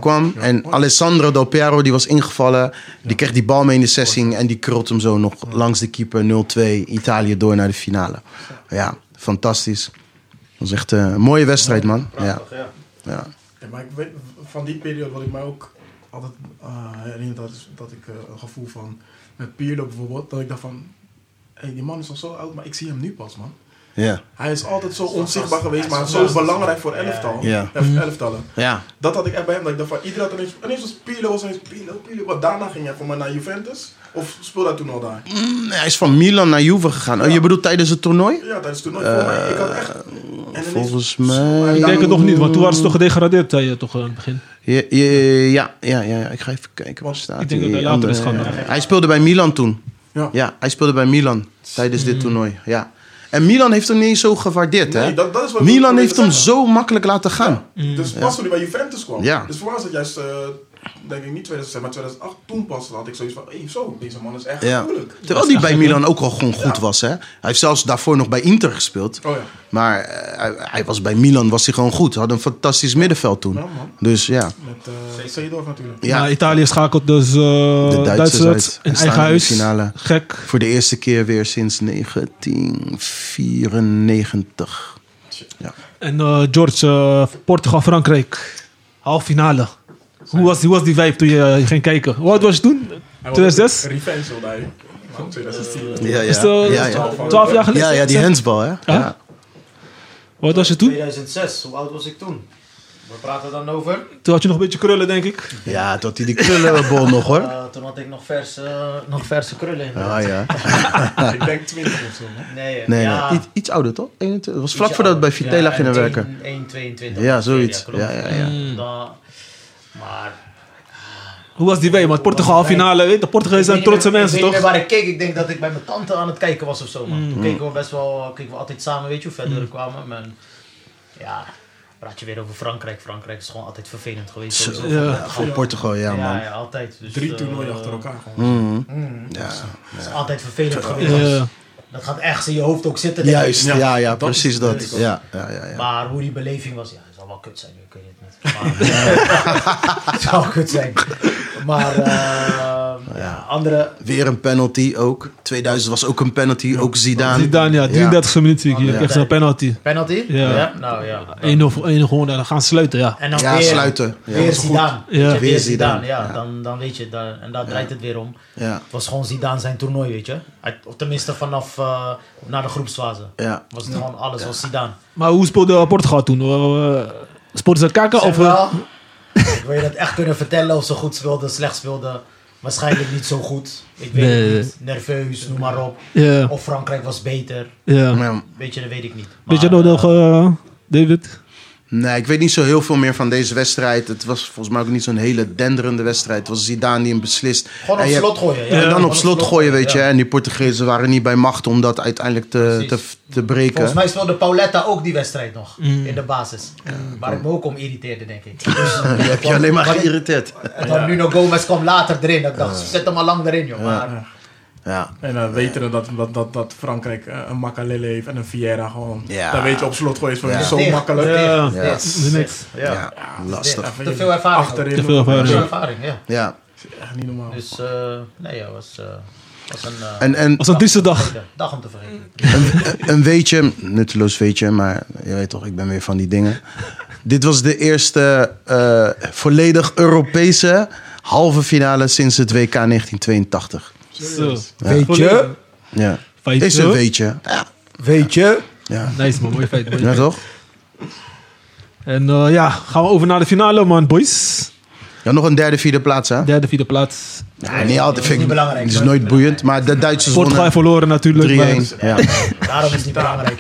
[SPEAKER 3] kwam. En Alessandro Del Piero, die was ingevallen. Die kreeg die bal mee in de 16 en die krult hem zo nog langs de keeper 0-2. Italië door naar de finale. Ja, fantastisch. Dat was echt eh, een mooie wedstrijd, man. Ja,
[SPEAKER 4] Prachtig, ja.
[SPEAKER 3] ja.
[SPEAKER 5] Ja, maar ik weet, van die periode wat ik mij ook altijd eh, herinner, dat, is, dat ik eh, een gevoel van, met Pierlo bijvoorbeeld, dat ik dacht van, hey, die man is al zo oud, maar ik zie hem nu pas, man.
[SPEAKER 3] ja.
[SPEAKER 5] Hij is altijd zo onzichtbaar geweest, maar zo belangrijk voor elftal.
[SPEAKER 3] Ja. Mhm.
[SPEAKER 5] Elf- elftallen.
[SPEAKER 3] ja.
[SPEAKER 5] Dat had ik echt bij hem, dat ik dacht van, iedereen had ineens, ineens was Pirlo, was ineens Pirlo, Pirlo. Want daarna ging hij voor mij naar Juventus, of speelde hij toen al daar?
[SPEAKER 3] Nee, hij is van Milan naar Juve gegaan. Oh, je bedoelt tijdens het toernooi?
[SPEAKER 5] Ja, tijdens toen nooit voor mij. Ik had echt... en ineens-
[SPEAKER 3] volgens
[SPEAKER 5] Zo, hij
[SPEAKER 3] mij-
[SPEAKER 5] had
[SPEAKER 2] Ik denk het
[SPEAKER 5] daarna-
[SPEAKER 2] nog niet, want toen waren ze toch gedegradeerd, zei je toch eh, aan het begin.
[SPEAKER 3] Ja, ja, ja, ja, ja. Ik ga even kijken. Waar
[SPEAKER 5] Want
[SPEAKER 3] staat
[SPEAKER 2] ik denk
[SPEAKER 3] die
[SPEAKER 2] dat hij later is
[SPEAKER 3] andere-
[SPEAKER 2] gaan.
[SPEAKER 3] Hij speelde bij Milan toen.
[SPEAKER 5] Ja.
[SPEAKER 3] Ja, hij speelde bij Milan tijdens
[SPEAKER 2] Hmm.
[SPEAKER 3] dit toernooi. Ja. En Milan heeft hem niet eens zo gewaardeerd, hè?
[SPEAKER 5] Nee, dat- dat is wat ik
[SPEAKER 3] Milan
[SPEAKER 5] probeer
[SPEAKER 3] heeft
[SPEAKER 5] te
[SPEAKER 3] hem
[SPEAKER 5] zeggen.
[SPEAKER 3] zo makkelijk laten gaan.
[SPEAKER 4] Mm.
[SPEAKER 5] Dus pas toen hij bij Juventus kwam.
[SPEAKER 3] Ja.
[SPEAKER 5] Dus voor mij was het juist, eh, denk ik niet 2006, maar 2008. Toen pas had ik zoiets van, hey, zo, deze man is echt
[SPEAKER 3] Ja.
[SPEAKER 5] moeilijk.
[SPEAKER 3] Terwijl hij bij Milan ook al gewoon goed was, hè? Hij heeft zelfs daarvoor nog bij Inter gespeeld.
[SPEAKER 5] Oh ja.
[SPEAKER 3] Maar eh, hij, hij was bij Milan was hij gewoon goed. Had een fantastisch middenveld toen.
[SPEAKER 5] Ja, man.
[SPEAKER 3] Dus ja.
[SPEAKER 5] Met eh Seedorf natuurlijk.
[SPEAKER 3] ja.
[SPEAKER 2] Maar Italië schakelt dus Nou, eh
[SPEAKER 3] Duitsers uit
[SPEAKER 2] Duitsland
[SPEAKER 3] en
[SPEAKER 2] in
[SPEAKER 3] staan
[SPEAKER 2] eigen
[SPEAKER 3] in de
[SPEAKER 2] huis.
[SPEAKER 3] finale.
[SPEAKER 2] Gek.
[SPEAKER 3] Voor de eerste keer weer sinds 1994.
[SPEAKER 2] En eh, George, eh, Portugal-Frankrijk, half finale. Hoe was, hoe was die vibe toen je eh, ging kijken? Hoe oud was je toen?
[SPEAKER 5] Hij was
[SPEAKER 2] 2006?
[SPEAKER 5] Revenge wilde hij. Van
[SPEAKER 4] dus,
[SPEAKER 5] 2010.
[SPEAKER 3] Ja,
[SPEAKER 2] Is het, eh,
[SPEAKER 3] ja, ja.
[SPEAKER 2] 12 jaar geleden?
[SPEAKER 3] ja, ja die handsbal, hè? Ja.
[SPEAKER 2] Hoe oud was je toen?
[SPEAKER 4] 2006, hoe oud was ik toen? We praten dan over.
[SPEAKER 2] Toen had je nog een beetje krullen, denk ik.
[SPEAKER 3] ja, tot hij die krullenbol nog, hoor.
[SPEAKER 4] Eh, toen had ik nog verse, eh, nog verse krullen in.
[SPEAKER 3] Ah, ja.
[SPEAKER 5] ik denk 20 of zo. man.
[SPEAKER 4] Nee, eh,
[SPEAKER 3] Nee,
[SPEAKER 4] ja,
[SPEAKER 3] nee. Iets, iets ouder, toch? 21. Het was
[SPEAKER 4] ietsje
[SPEAKER 3] vlak voordat we bij
[SPEAKER 4] ouder.
[SPEAKER 3] Vitela
[SPEAKER 4] Ja,
[SPEAKER 3] gingen
[SPEAKER 4] en
[SPEAKER 3] werken.
[SPEAKER 4] 1, 22.
[SPEAKER 3] Ja, zoiets.
[SPEAKER 4] klopt.
[SPEAKER 3] Ja, ja, ja.
[SPEAKER 4] Dan- maar
[SPEAKER 2] Hoe was die vibe? Want Portugal finale, weet je, Portugal zijn
[SPEAKER 4] Ik weet niet
[SPEAKER 2] trotse
[SPEAKER 4] meer-
[SPEAKER 2] mensen,
[SPEAKER 4] Ik weet
[SPEAKER 2] toch?
[SPEAKER 4] niet meer waar ik keek. Ik denk dat ik bij mijn tante aan het kijken was of zo. Man. Toen
[SPEAKER 3] Hmm.
[SPEAKER 4] keken we best wel, keken we altijd samen, weet je, hoe verder we kwamen. Maar ja, praat je weer over Frankrijk. Frankrijk is gewoon altijd vervelend geweest.
[SPEAKER 3] Zo,
[SPEAKER 4] sowieso.
[SPEAKER 2] ja.
[SPEAKER 3] Ja, voor Portugal, ja,
[SPEAKER 4] ja,
[SPEAKER 3] man.
[SPEAKER 4] ja, altijd. Dus,
[SPEAKER 5] Drie
[SPEAKER 4] eh,
[SPEAKER 5] toernooien achter elkaar gewoon.
[SPEAKER 3] Mhm.
[SPEAKER 4] mm,
[SPEAKER 3] Ja,
[SPEAKER 4] het is altijd vervelend geweest.
[SPEAKER 2] Ja.
[SPEAKER 4] Dat gaat echt in je hoofd ook zitten. denk ik.
[SPEAKER 3] Juist, ja,
[SPEAKER 5] Ja,
[SPEAKER 3] ja,
[SPEAKER 5] dat is
[SPEAKER 3] precies dat.
[SPEAKER 5] het.
[SPEAKER 3] Ja, ja, ja, ja.
[SPEAKER 4] Maar hoe die beleving was, ja, het zal wel kut zijn, ik weet het niet. Maar, eh, het zal kut zijn. Maar eh, ja, andere,
[SPEAKER 3] Weer een penalty ook. 2000 was ook een penalty, ook Zidane.
[SPEAKER 2] Zidane, ja, 33 e minuut zie ik hier.
[SPEAKER 4] Ja.
[SPEAKER 2] Echt zo'n penalty.
[SPEAKER 4] Penalty?
[SPEAKER 2] Ja.
[SPEAKER 4] Nou ja.
[SPEAKER 2] 1-0 voor 1-0 gewoon, en dan gaan ze sluiten, ja.
[SPEAKER 4] En dan
[SPEAKER 3] Ja,
[SPEAKER 4] weer,
[SPEAKER 3] sluiten. Ja,
[SPEAKER 4] weer
[SPEAKER 3] dat is goed.
[SPEAKER 4] Zidane.
[SPEAKER 2] Ja.
[SPEAKER 4] Weet je,
[SPEAKER 3] Weer
[SPEAKER 4] weer Zidane.
[SPEAKER 3] Zidane,
[SPEAKER 4] Ja,
[SPEAKER 3] ja.
[SPEAKER 4] Dan, dan weet je, daar, en daar draait het weer om.
[SPEAKER 3] Ja,
[SPEAKER 4] Het was gewoon Zidane zijn toernooi, weet je. Hij- Of tenminste vanaf eh na de groepsfase.
[SPEAKER 3] ja.
[SPEAKER 4] Was het gewoon alles, was Zidane.
[SPEAKER 2] Maar hoe speelde Portugal toen? Eh, Speelden ze kakken?
[SPEAKER 4] Zeg
[SPEAKER 2] Of, eh,
[SPEAKER 4] wel, ik wil je dat echt kunnen vertellen of ze goed speelden, slecht speelden. Waarschijnlijk niet zo goed. Ik weet
[SPEAKER 2] Nee.
[SPEAKER 4] het niet. Nerveus, noem maar op.
[SPEAKER 2] ja,
[SPEAKER 4] Of Frankrijk was beter.
[SPEAKER 2] ja.
[SPEAKER 3] Ja.
[SPEAKER 4] Weet je, dat weet ik niet.
[SPEAKER 2] Weet je
[SPEAKER 4] Maar,
[SPEAKER 2] dat nog,
[SPEAKER 4] eh,
[SPEAKER 2] eh, David?
[SPEAKER 3] Nee, ik weet niet zo heel veel meer van deze wedstrijd. Het was volgens mij ook niet zo'n hele denderende wedstrijd. Het was Zidane die hem beslist.
[SPEAKER 4] Gewoon op
[SPEAKER 3] En je-
[SPEAKER 4] slot gooien. Ja.
[SPEAKER 3] en dan
[SPEAKER 4] Gewoon
[SPEAKER 3] op slot gooien, weet je.
[SPEAKER 4] ja.
[SPEAKER 3] En die Portugezen waren niet bij macht om dat uiteindelijk te, te,
[SPEAKER 4] Precies.
[SPEAKER 3] te breken.
[SPEAKER 4] Volgens mij speelde Pauletta ook die wedstrijd nog.
[SPEAKER 2] Mm.
[SPEAKER 4] In de basis. Waar ik me ook om irriteerde, denk ik. Dus,
[SPEAKER 3] Die heb je alleen maar geïrriteerd.
[SPEAKER 4] En dan Nuno Gomez kwam later erin. Dat ik dacht, zet hem al lang erin, joh. Maar
[SPEAKER 3] Ja.
[SPEAKER 5] En dan weten we dat, dat, dat, dat Frankrijk eh, een Makalele heeft en een Vieira gewoon.
[SPEAKER 3] Ja.
[SPEAKER 5] Dan weet je op slot gooien is voor
[SPEAKER 3] Ja.
[SPEAKER 5] je zo
[SPEAKER 4] Dicht,
[SPEAKER 5] makkelijk.
[SPEAKER 4] dicht,
[SPEAKER 2] Ja.
[SPEAKER 4] dicht,
[SPEAKER 3] Ja.
[SPEAKER 4] dicht.
[SPEAKER 2] Niks.
[SPEAKER 4] Ja.
[SPEAKER 3] Ja, lastig.
[SPEAKER 5] Even
[SPEAKER 4] Te veel ervaring ook.
[SPEAKER 5] Achterin.
[SPEAKER 2] Te veel ervaring.
[SPEAKER 4] Te veel
[SPEAKER 5] Ja.
[SPEAKER 4] ervaring, ja.
[SPEAKER 3] Ja,
[SPEAKER 5] Echt niet normaal.
[SPEAKER 4] Dus, eh, nee, Dus, ja, was... eh, Was een, eh,
[SPEAKER 3] En, en
[SPEAKER 2] Als een dinsdag.
[SPEAKER 4] vergeten. Dag om te vergeten.
[SPEAKER 3] een weetje, nutteloos weetje, maar je weet toch, ik ben weer van die dingen. Dit was de eerste eh, volledig Europese halve finale sinds het WK 1982.
[SPEAKER 2] Zo.
[SPEAKER 1] Weet je,
[SPEAKER 3] Ja.
[SPEAKER 2] Feitje.
[SPEAKER 3] Is een weetje. Ja,
[SPEAKER 1] weet je.
[SPEAKER 3] ja.
[SPEAKER 2] Nice man, mooi feit. mooi
[SPEAKER 3] ja
[SPEAKER 2] feit.
[SPEAKER 3] toch?
[SPEAKER 2] En eh, ja, gaan we over naar de finale man, boys.
[SPEAKER 3] Ja, nog een derde, vierde plaats, hè?
[SPEAKER 2] Derde, vierde plaats.
[SPEAKER 3] Nee, niet altijd.
[SPEAKER 4] Niet
[SPEAKER 3] Vind ik,
[SPEAKER 4] belangrijk,
[SPEAKER 3] het is
[SPEAKER 4] hoor.
[SPEAKER 3] nooit boeiend, maar de Duitsers
[SPEAKER 2] Portugal
[SPEAKER 3] wonnen 3-1.
[SPEAKER 2] verloren natuurlijk. maar-
[SPEAKER 3] Ja,
[SPEAKER 4] Daarom is het niet belangrijk.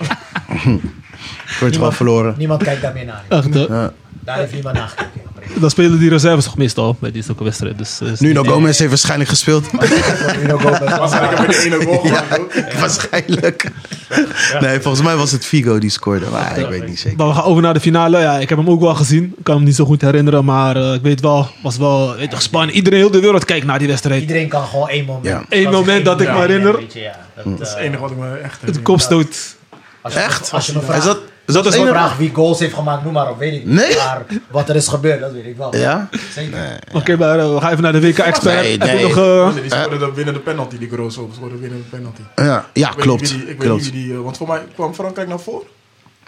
[SPEAKER 3] Portugal verloren.
[SPEAKER 4] Niemand kijkt daar meer naar.
[SPEAKER 2] Echt, eh,
[SPEAKER 3] Ja.
[SPEAKER 4] Daar heeft niemand naar gekeken.
[SPEAKER 2] dan spelen die reserves toch meestal bij die zulke wedstrijden. Dus, eh, is
[SPEAKER 3] Nu
[SPEAKER 2] niet-
[SPEAKER 3] nog Gomez heeft waarschijnlijk gespeeld.
[SPEAKER 4] Nuno Gomez.
[SPEAKER 5] Waarschijnlijk heb ik de ene goal gemaakt. ook.
[SPEAKER 3] waarschijnlijk. Nee, volgens mij was het Figo die scoorde, maar ik weet niet zeker.
[SPEAKER 2] Maar we gaan over naar de finale. Ja, ik heb hem ook wel gezien. Ik kan hem niet zo goed herinneren, maar eh, ik weet wel, was wel, weet toch, Spanje. Iedereen heel de wereld kijkt naar die wedstrijd.
[SPEAKER 4] Iedereen kan gewoon één moment.
[SPEAKER 3] Ja. Mm.
[SPEAKER 4] kan
[SPEAKER 2] Eén
[SPEAKER 4] zich
[SPEAKER 2] moment
[SPEAKER 4] één
[SPEAKER 2] dat ik
[SPEAKER 4] moment
[SPEAKER 2] me herinner.
[SPEAKER 4] weet je, ja. Dat,
[SPEAKER 5] Dat is
[SPEAKER 4] eh,
[SPEAKER 5] het enige wat ik me echt
[SPEAKER 2] Het
[SPEAKER 5] herinner.
[SPEAKER 2] kopstoot.
[SPEAKER 4] als je-
[SPEAKER 3] Echt?
[SPEAKER 4] Als je me
[SPEAKER 3] Is dat,
[SPEAKER 4] vraagt,
[SPEAKER 3] is dat
[SPEAKER 4] als
[SPEAKER 3] de
[SPEAKER 4] je me
[SPEAKER 3] enige-
[SPEAKER 4] vraagt wie goals heeft gemaakt, noem maar op, weet ik niet.
[SPEAKER 3] Nee?
[SPEAKER 4] Maar wat er is gebeurd, dat weet ik wel.
[SPEAKER 3] Ja?
[SPEAKER 4] Zeker.
[SPEAKER 2] Oké, maar eh, we gaan even naar de WK-expert.
[SPEAKER 3] Nee,
[SPEAKER 2] Heb je
[SPEAKER 3] nee.
[SPEAKER 2] nog, eh,
[SPEAKER 5] Die scoorde de winnende penalty, die Grosso. Die scoorde de winnende penalty. Ik
[SPEAKER 3] Ja, ja
[SPEAKER 5] weet niet
[SPEAKER 3] klopt.
[SPEAKER 5] wie die- Ik weet
[SPEAKER 3] klopt.
[SPEAKER 5] niet wie die... eh, Want voor mij kwam Frankrijk naar voren.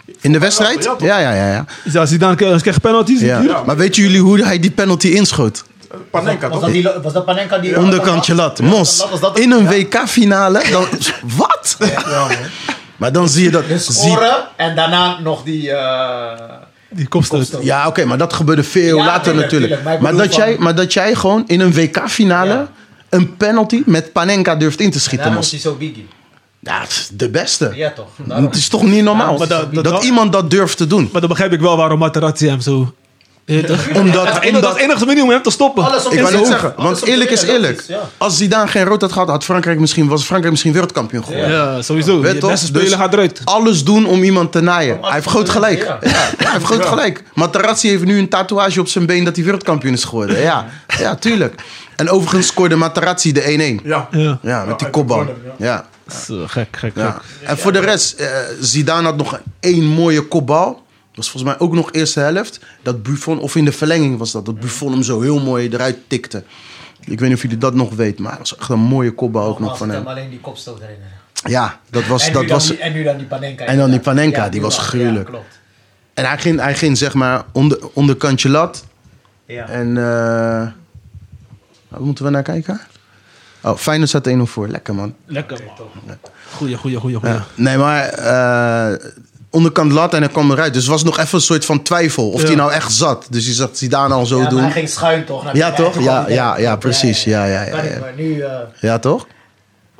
[SPEAKER 5] Eh,
[SPEAKER 3] In de wedstrijd?
[SPEAKER 5] Ja,
[SPEAKER 3] Ja,
[SPEAKER 5] toch?
[SPEAKER 3] ja, ja. ja, ja.
[SPEAKER 2] ja, Zidane kreeg- kreeg penalties natuurlijk.
[SPEAKER 3] Maar weten jullie hoe hij die penalty inschoot?
[SPEAKER 5] Eh, Panenka,
[SPEAKER 4] Was dat,
[SPEAKER 5] toch?
[SPEAKER 4] die, lo- was dat Panenka die...
[SPEAKER 3] Onderkantje lat, mos.
[SPEAKER 4] Was dat-
[SPEAKER 3] In een WK-finale? Dan, wat?
[SPEAKER 5] Ja, man.
[SPEAKER 3] Maar dan zie je dat.
[SPEAKER 4] Dus
[SPEAKER 3] zie-
[SPEAKER 4] scoren en daarna nog die... eh,
[SPEAKER 2] Die kopstoot.
[SPEAKER 4] Kopstoot.
[SPEAKER 3] ja, oké, maar dat gebeurde veel
[SPEAKER 4] Ja,
[SPEAKER 3] later
[SPEAKER 4] tuurlijk,
[SPEAKER 3] natuurlijk.
[SPEAKER 4] tuurlijk, maar ik
[SPEAKER 3] maar,
[SPEAKER 4] bedoel
[SPEAKER 3] dat jij,
[SPEAKER 4] van-
[SPEAKER 3] maar dat jij gewoon in een WK-finale
[SPEAKER 4] Ja.
[SPEAKER 3] een penalty met Panenka durft in te schieten,
[SPEAKER 4] daarna was
[SPEAKER 3] mos. Mm.
[SPEAKER 4] hij zo biggie.
[SPEAKER 3] Ja, dat is de beste.
[SPEAKER 4] Ja toch? Daarom.
[SPEAKER 3] Het is toch niet normaal
[SPEAKER 2] maar dat-
[SPEAKER 3] dat,
[SPEAKER 2] dat- dat-
[SPEAKER 3] iemand dat durft te doen?
[SPEAKER 2] Maar dan begrijp ik wel waarom Materazzi hem zo... Ja, toch?
[SPEAKER 3] Omdat,
[SPEAKER 2] Dat is
[SPEAKER 3] omdat-
[SPEAKER 2] de enige manier om hem te stoppen.
[SPEAKER 4] Alles om
[SPEAKER 3] Ik
[SPEAKER 4] te
[SPEAKER 3] wou net
[SPEAKER 4] winnen.
[SPEAKER 3] zeggen,
[SPEAKER 4] Alles
[SPEAKER 3] want
[SPEAKER 4] om te
[SPEAKER 3] eerlijk is
[SPEAKER 4] winnen, dat
[SPEAKER 3] eerlijk.
[SPEAKER 4] ja.
[SPEAKER 3] Als Zidane geen rood had gehad, had Frankrijk misschien, was Frankrijk misschien wereldkampioen geworden.
[SPEAKER 2] Ja, sowieso.
[SPEAKER 3] Weet
[SPEAKER 2] De
[SPEAKER 3] toch?
[SPEAKER 2] beste speler
[SPEAKER 3] Dus
[SPEAKER 2] gaat eruit.
[SPEAKER 3] Alles doen om iemand te naaien. Hij heeft groot gelijk.
[SPEAKER 4] Ja.
[SPEAKER 3] Ja. hij heeft groot gelijk. Materazzi heeft nu een tatoeage op zijn been dat hij wereldkampioen is geworden. Ja, ja tuurlijk. En overigens scoorde Materazzi de 1-1.
[SPEAKER 5] Ja.
[SPEAKER 2] Ja.
[SPEAKER 3] Ja, met die
[SPEAKER 5] uit de
[SPEAKER 3] kopbal.
[SPEAKER 5] corner, ja.
[SPEAKER 3] Ja.
[SPEAKER 2] Zo, gek, gek,
[SPEAKER 3] Ja.
[SPEAKER 2] gek.
[SPEAKER 3] En voor de rest, eh, Zidane had nog één mooie kopbal. Dat was volgens mij ook nog eerste helft. Dat Buffon, of in de verlenging was dat, dat Buffon hem zo heel mooi eruit tikte. Ik weet niet of jullie dat nog weten, maar dat was echt een mooie kopbal ook nog
[SPEAKER 4] Nogmaals,
[SPEAKER 3] van
[SPEAKER 4] ik kan
[SPEAKER 3] hem.
[SPEAKER 4] me alleen die kopstoot herinneren.
[SPEAKER 3] Ja, dat was...
[SPEAKER 4] en,
[SPEAKER 3] Dat
[SPEAKER 4] nu dan
[SPEAKER 3] was
[SPEAKER 4] die, en nu dan die Panenka.
[SPEAKER 3] En dan die
[SPEAKER 4] inderdaad.
[SPEAKER 3] Panenka, die was
[SPEAKER 4] wel.
[SPEAKER 3] gruwelijk.
[SPEAKER 4] Ja, klopt.
[SPEAKER 3] en hij ging, hij ging zeg maar onder, onderkantje lat.
[SPEAKER 4] Ja.
[SPEAKER 3] En eh waar moeten we naar kijken? Oh, Feyenoord staat 1-0 voor. Lekker man.
[SPEAKER 2] Lekker, man. Goeie, goeie, goeie, goeie.
[SPEAKER 3] Ja. Nee, maar eh, onderkant lat en hij kwam eruit. Dus er was nog even een soort van twijfel of
[SPEAKER 2] Ja.
[SPEAKER 3] hij nou echt zat. Dus hij zag Zidane al zo
[SPEAKER 4] ja, maar
[SPEAKER 3] doen.
[SPEAKER 4] hij ging schuin toch? Naar
[SPEAKER 3] Ja,
[SPEAKER 4] die
[SPEAKER 3] toch?
[SPEAKER 4] eigen
[SPEAKER 3] Ja,
[SPEAKER 4] kant.
[SPEAKER 3] ja, ja, precies. Ja, ja, ja,
[SPEAKER 4] Kan
[SPEAKER 3] ja.
[SPEAKER 4] ik, maar nu... eh,
[SPEAKER 3] Ja, toch?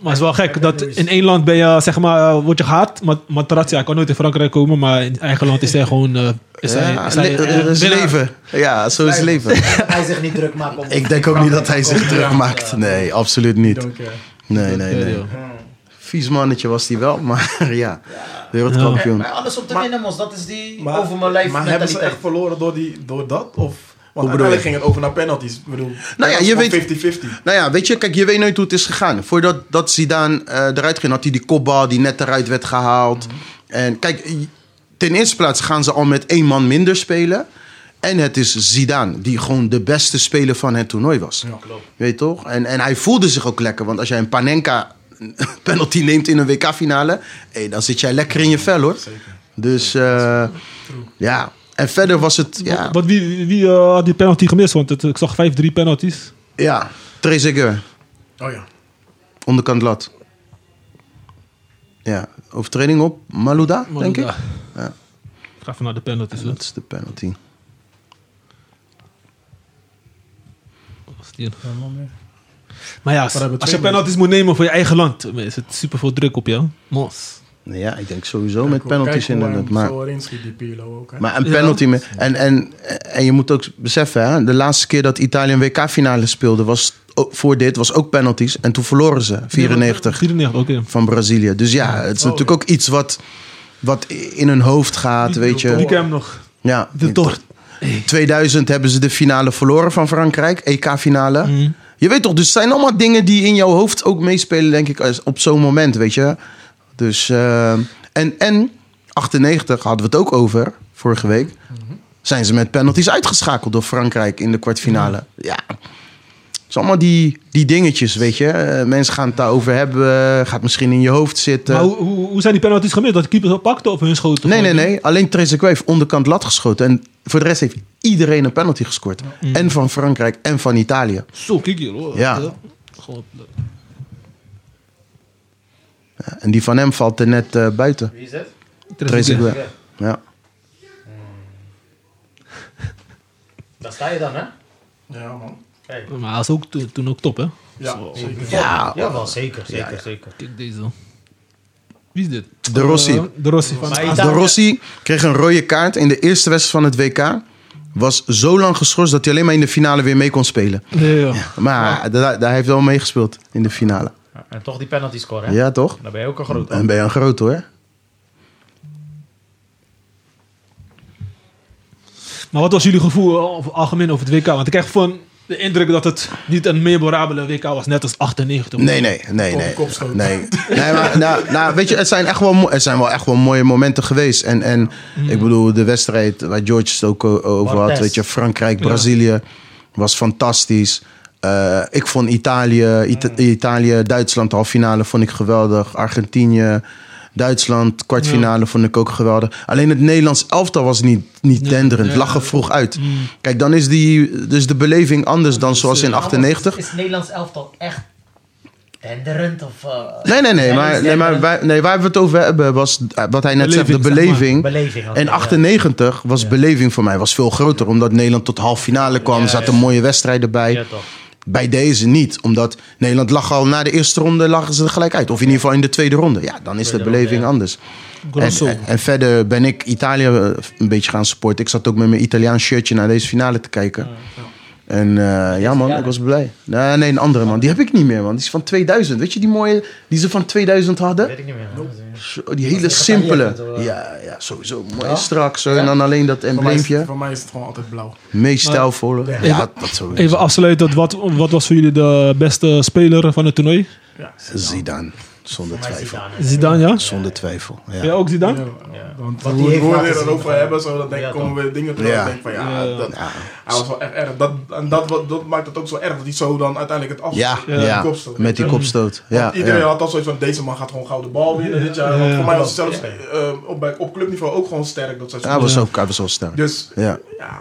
[SPEAKER 2] Maar het is wel gek dat in één land ben je, zeg maar, eh, word je gehaat. Ma- Materazzi, hij kan nooit in Frankrijk komen, maar in eigen land is hij gewoon... eh, is hij,
[SPEAKER 3] Ja,
[SPEAKER 2] is
[SPEAKER 3] le-
[SPEAKER 2] hij, eh,
[SPEAKER 3] eh, is
[SPEAKER 2] winnaar.
[SPEAKER 3] leven. Ja, zo is leven.
[SPEAKER 4] dat hij zich niet druk maakt om...
[SPEAKER 3] Ik denk ook niet dat hij zich druk maakt. Nee, absoluut niet.
[SPEAKER 5] Don't care.
[SPEAKER 3] Nee, nee, nee. Vies mannetje was hij wel, maar ja. Wereldkampioen.
[SPEAKER 4] Maar alles om te winnen, Mos. Dat is die
[SPEAKER 5] Maar-
[SPEAKER 4] over mijn lijf
[SPEAKER 5] Maar hebben ze
[SPEAKER 4] mentaliteit.
[SPEAKER 5] echt verloren door, die, door dat? Of... Want
[SPEAKER 3] bedoel je?
[SPEAKER 5] uiteindelijk ging het over naar penalties. Ik bedoel,
[SPEAKER 3] Nou ja, je
[SPEAKER 5] dat is
[SPEAKER 3] weet-
[SPEAKER 5] gewoon 50-50.
[SPEAKER 3] Nou ja, weet je, kijk, je weet nooit hoe het is gegaan. Voordat dat Zidane eh, eruit ging, had hij die kopbal die net eruit werd gehaald. En kijk, ten eerste plaats gaan ze al met één man minder spelen. En het is Zidane, die gewoon de beste speler van het toernooi was.
[SPEAKER 5] Ja, klopt.
[SPEAKER 3] Weet je toch? En, en hij voelde zich ook lekker. Want als jij een Panenka penalty neemt in een WK-finale... hé, dan zit jij lekker in je vel, hoor. Dus, eh, ja. En verder was het... Ja,
[SPEAKER 2] Want wie, wie, wie, eh, had die penalty gemist? Want het, ik zag 5-3 penalties.
[SPEAKER 3] ja. Trezeguet.
[SPEAKER 5] Oh ja.
[SPEAKER 3] Onderkant lat. Ja, overtreding op Malouda, denk ik.
[SPEAKER 2] Ja. Ik ga even naar de penalties. hoor.
[SPEAKER 3] Dat is de penalty.
[SPEAKER 2] Als die- Maar ja, als,
[SPEAKER 5] Maar hebben
[SPEAKER 2] als je
[SPEAKER 5] twee
[SPEAKER 2] penalties moet nemen voor je eigen land, is het super veel druk op jou. Mos.
[SPEAKER 3] Nou Ja, ik denk sowieso met penalties
[SPEAKER 5] in
[SPEAKER 3] in het
[SPEAKER 5] Maar
[SPEAKER 3] maar,
[SPEAKER 5] zo erin schiet die Pirlo ook. Hè.
[SPEAKER 3] maar een penalty met- en, en, en je moet ook beseffen, hè, de laatste keer dat Italië een WK-finale speelde, was ook- voor dit was ook penalties. En toen verloren ze 94
[SPEAKER 2] 94, oké.
[SPEAKER 3] van Brazilië. Dus ja, het is
[SPEAKER 5] Oh,
[SPEAKER 3] natuurlijk ook iets wat, wat in hun hoofd gaat, weet
[SPEAKER 2] Wie
[SPEAKER 3] je.
[SPEAKER 2] ken hem nog?
[SPEAKER 3] Ja,
[SPEAKER 2] De Tort.
[SPEAKER 3] 2000 hebben ze de finale verloren van Frankrijk, E EK-finale.
[SPEAKER 2] Mm.
[SPEAKER 3] Je weet toch, dus het zijn allemaal dingen die in jouw hoofd ook meespelen, denk ik, als- op zo'n moment, weet je. Dus, eh, en, en 98 hadden we het ook over, vorige week. Zijn ze met penalties uitgeschakeld door Frankrijk in de kwartfinale. Ja. is allemaal die, die dingetjes, weet je. Eh, mensen gaan het daarover hebben, gaat misschien in je hoofd zitten.
[SPEAKER 2] Maar hoe, hoe, hoe zijn die penalties gemist? Dat de keeper ze pakte of hun schoten?
[SPEAKER 3] Nee, nee,
[SPEAKER 2] gewoon?
[SPEAKER 3] nee. Alleen Theresa heeft onderkant lat geschoten. En voor de rest heeft iedereen een penalty gescoord.
[SPEAKER 2] Mm.
[SPEAKER 3] En van Frankrijk en van Italië.
[SPEAKER 2] Zo, kijk hier hoor.
[SPEAKER 3] Ja.
[SPEAKER 2] Gewoon, eh,
[SPEAKER 3] En die van hem valt er net eh, buiten.
[SPEAKER 4] Wie is het?
[SPEAKER 3] Trezeguet.
[SPEAKER 4] Ja.
[SPEAKER 3] Ja.
[SPEAKER 4] Daar sta je dan, hè?
[SPEAKER 5] Ja, man.
[SPEAKER 4] Hey.
[SPEAKER 2] Maar hij is ook to- toen ook top, hè?
[SPEAKER 5] Ja, zeker.
[SPEAKER 3] Ja.
[SPEAKER 4] Ja, wel zeker, zeker, zeker.
[SPEAKER 2] Kijk deze. Wie is dit?
[SPEAKER 3] De Rossi.
[SPEAKER 2] Eh, de Rossi van
[SPEAKER 4] Maar
[SPEAKER 2] AZ.
[SPEAKER 4] Italië-
[SPEAKER 3] De Rossi kreeg een rode kaart in de eerste wedstrijd van het WK. Was zo lang geschorst dat hij alleen maar in de finale weer mee kon spelen.
[SPEAKER 2] Nee, ja.
[SPEAKER 3] Maar daar, daar heeft hij wel meegespeeld in de finale.
[SPEAKER 4] Ja, En toch die penalty scoren, hè?
[SPEAKER 3] Ja, toch?
[SPEAKER 4] Dan ben je ook een groot.
[SPEAKER 3] En ben je een groot hoor.
[SPEAKER 2] Maar wat was jullie gevoel eh, over, algemeen over het WK? Want ik krijg van de indruk dat het niet een memorabele WK was, net als 98.
[SPEAKER 3] Nee, nee, nee, nee.
[SPEAKER 5] kopstoot.
[SPEAKER 3] Nee, nee maar nou, nou, weet je, het zijn, echt wel, mo- het zijn wel echt wel mooie momenten geweest. En, en ik bedoel, de wedstrijd waar George het ook o- over had,
[SPEAKER 4] Bartes.
[SPEAKER 3] weet je, Frankrijk, Brazilië, was fantastisch. Eh, ik vond Italië, Ita- Italië, Duitsland, de halffinale vond ik geweldig. Argentinië, Duitsland, kwartfinale vond ik ook geweldig. Alleen het Nederlands elftal was niet, niet denderend,
[SPEAKER 2] ja.
[SPEAKER 3] lag er vroeg uit.
[SPEAKER 2] Hmm,
[SPEAKER 3] Kijk, dan is die, dus de beleving anders dan zoals
[SPEAKER 4] eh,
[SPEAKER 3] in 98.
[SPEAKER 4] Is Nederlands elftal echt tenderend? Of, eh,
[SPEAKER 3] Nee, nee, nee. Maar, nee, maar wij, nee, waar we het over hebben was eh, wat hij net zegt, de
[SPEAKER 2] Beleving, zeg maar.
[SPEAKER 3] beleving.
[SPEAKER 4] Beleving, oké,
[SPEAKER 3] en
[SPEAKER 4] ja.
[SPEAKER 3] 98 was beleving voor mij was veel groter. Omdat Nederland tot half finale kwam.
[SPEAKER 4] Ja,
[SPEAKER 3] zaten
[SPEAKER 4] ja.
[SPEAKER 3] mooie wedstrijden bij.
[SPEAKER 4] Ja, toch.
[SPEAKER 3] Bij deze niet. Omdat Nederland lag al na de eerste ronde lagen ze er gelijk uit. Of in ieder geval in de tweede ronde. Ja, dan is de
[SPEAKER 4] Tweede
[SPEAKER 3] beleving
[SPEAKER 4] ronde, ja.
[SPEAKER 3] anders.
[SPEAKER 2] Grosso.
[SPEAKER 3] En, en- en verder ben ik Italië eh, een beetje gaan supporten. Ik zat ook met mijn Italiaans shirtje naar deze finale te kijken. En eh, ja man, ik was blij. Nee, nee, een andere man. Die heb ik niet meer man. Die is van 2000. Weet je die mooie die ze van 2000 hadden?
[SPEAKER 4] Weet ik niet meer.
[SPEAKER 3] Zo, die hele
[SPEAKER 4] echt
[SPEAKER 3] simpele.
[SPEAKER 4] Italië, dat wel.
[SPEAKER 3] Ja, ja, sowieso. Mooi strak zo. En dan alleen dat
[SPEAKER 5] Voor mij, is,
[SPEAKER 3] embleempje.
[SPEAKER 5] voor mij is het gewoon altijd blauw.
[SPEAKER 3] Meest stijlvolle. Ja, dat sowieso.
[SPEAKER 2] Even afsluitend, wat, wat was voor jullie de beste speler van het toernooi?
[SPEAKER 3] Zidane. Zonder
[SPEAKER 4] Maar is die
[SPEAKER 3] twijfel.
[SPEAKER 4] daar, hè?
[SPEAKER 2] Zidane, ja?
[SPEAKER 3] Zonder twijfel. Ja.
[SPEAKER 2] Ja, ook Zidane?
[SPEAKER 5] Ja, Want
[SPEAKER 4] Wat
[SPEAKER 5] hoe
[SPEAKER 4] die
[SPEAKER 5] hoe
[SPEAKER 4] heeft
[SPEAKER 5] we
[SPEAKER 4] laten
[SPEAKER 5] het
[SPEAKER 4] zien,
[SPEAKER 5] erover
[SPEAKER 4] ja.
[SPEAKER 5] hebben, zo, dan denk,
[SPEAKER 4] Ja,
[SPEAKER 5] komen we dingen terug.
[SPEAKER 3] Ja.
[SPEAKER 5] Ik denk van ja,
[SPEAKER 2] Ja.
[SPEAKER 5] dat, hij was wel echt erg. Dat, en dat, wat- dat maakt het ook zo erg dat hij zo dan uiteindelijk het eh, af.
[SPEAKER 3] Ja,
[SPEAKER 5] met die
[SPEAKER 3] ja.
[SPEAKER 5] kopstoot.
[SPEAKER 3] Met die kopstoot. Ja,
[SPEAKER 5] Want iedereen
[SPEAKER 3] ja.
[SPEAKER 5] had al zoiets van, deze man gaat gewoon gouden bal winnen dit jaar. Want
[SPEAKER 2] Ja.
[SPEAKER 5] voor mij was het zelfs eh, op, bij- op clubniveau ook gewoon sterk. Dat zij zo-
[SPEAKER 3] Hij was ook, hij was wel sterk.
[SPEAKER 5] Dus
[SPEAKER 3] Ja.
[SPEAKER 5] ja,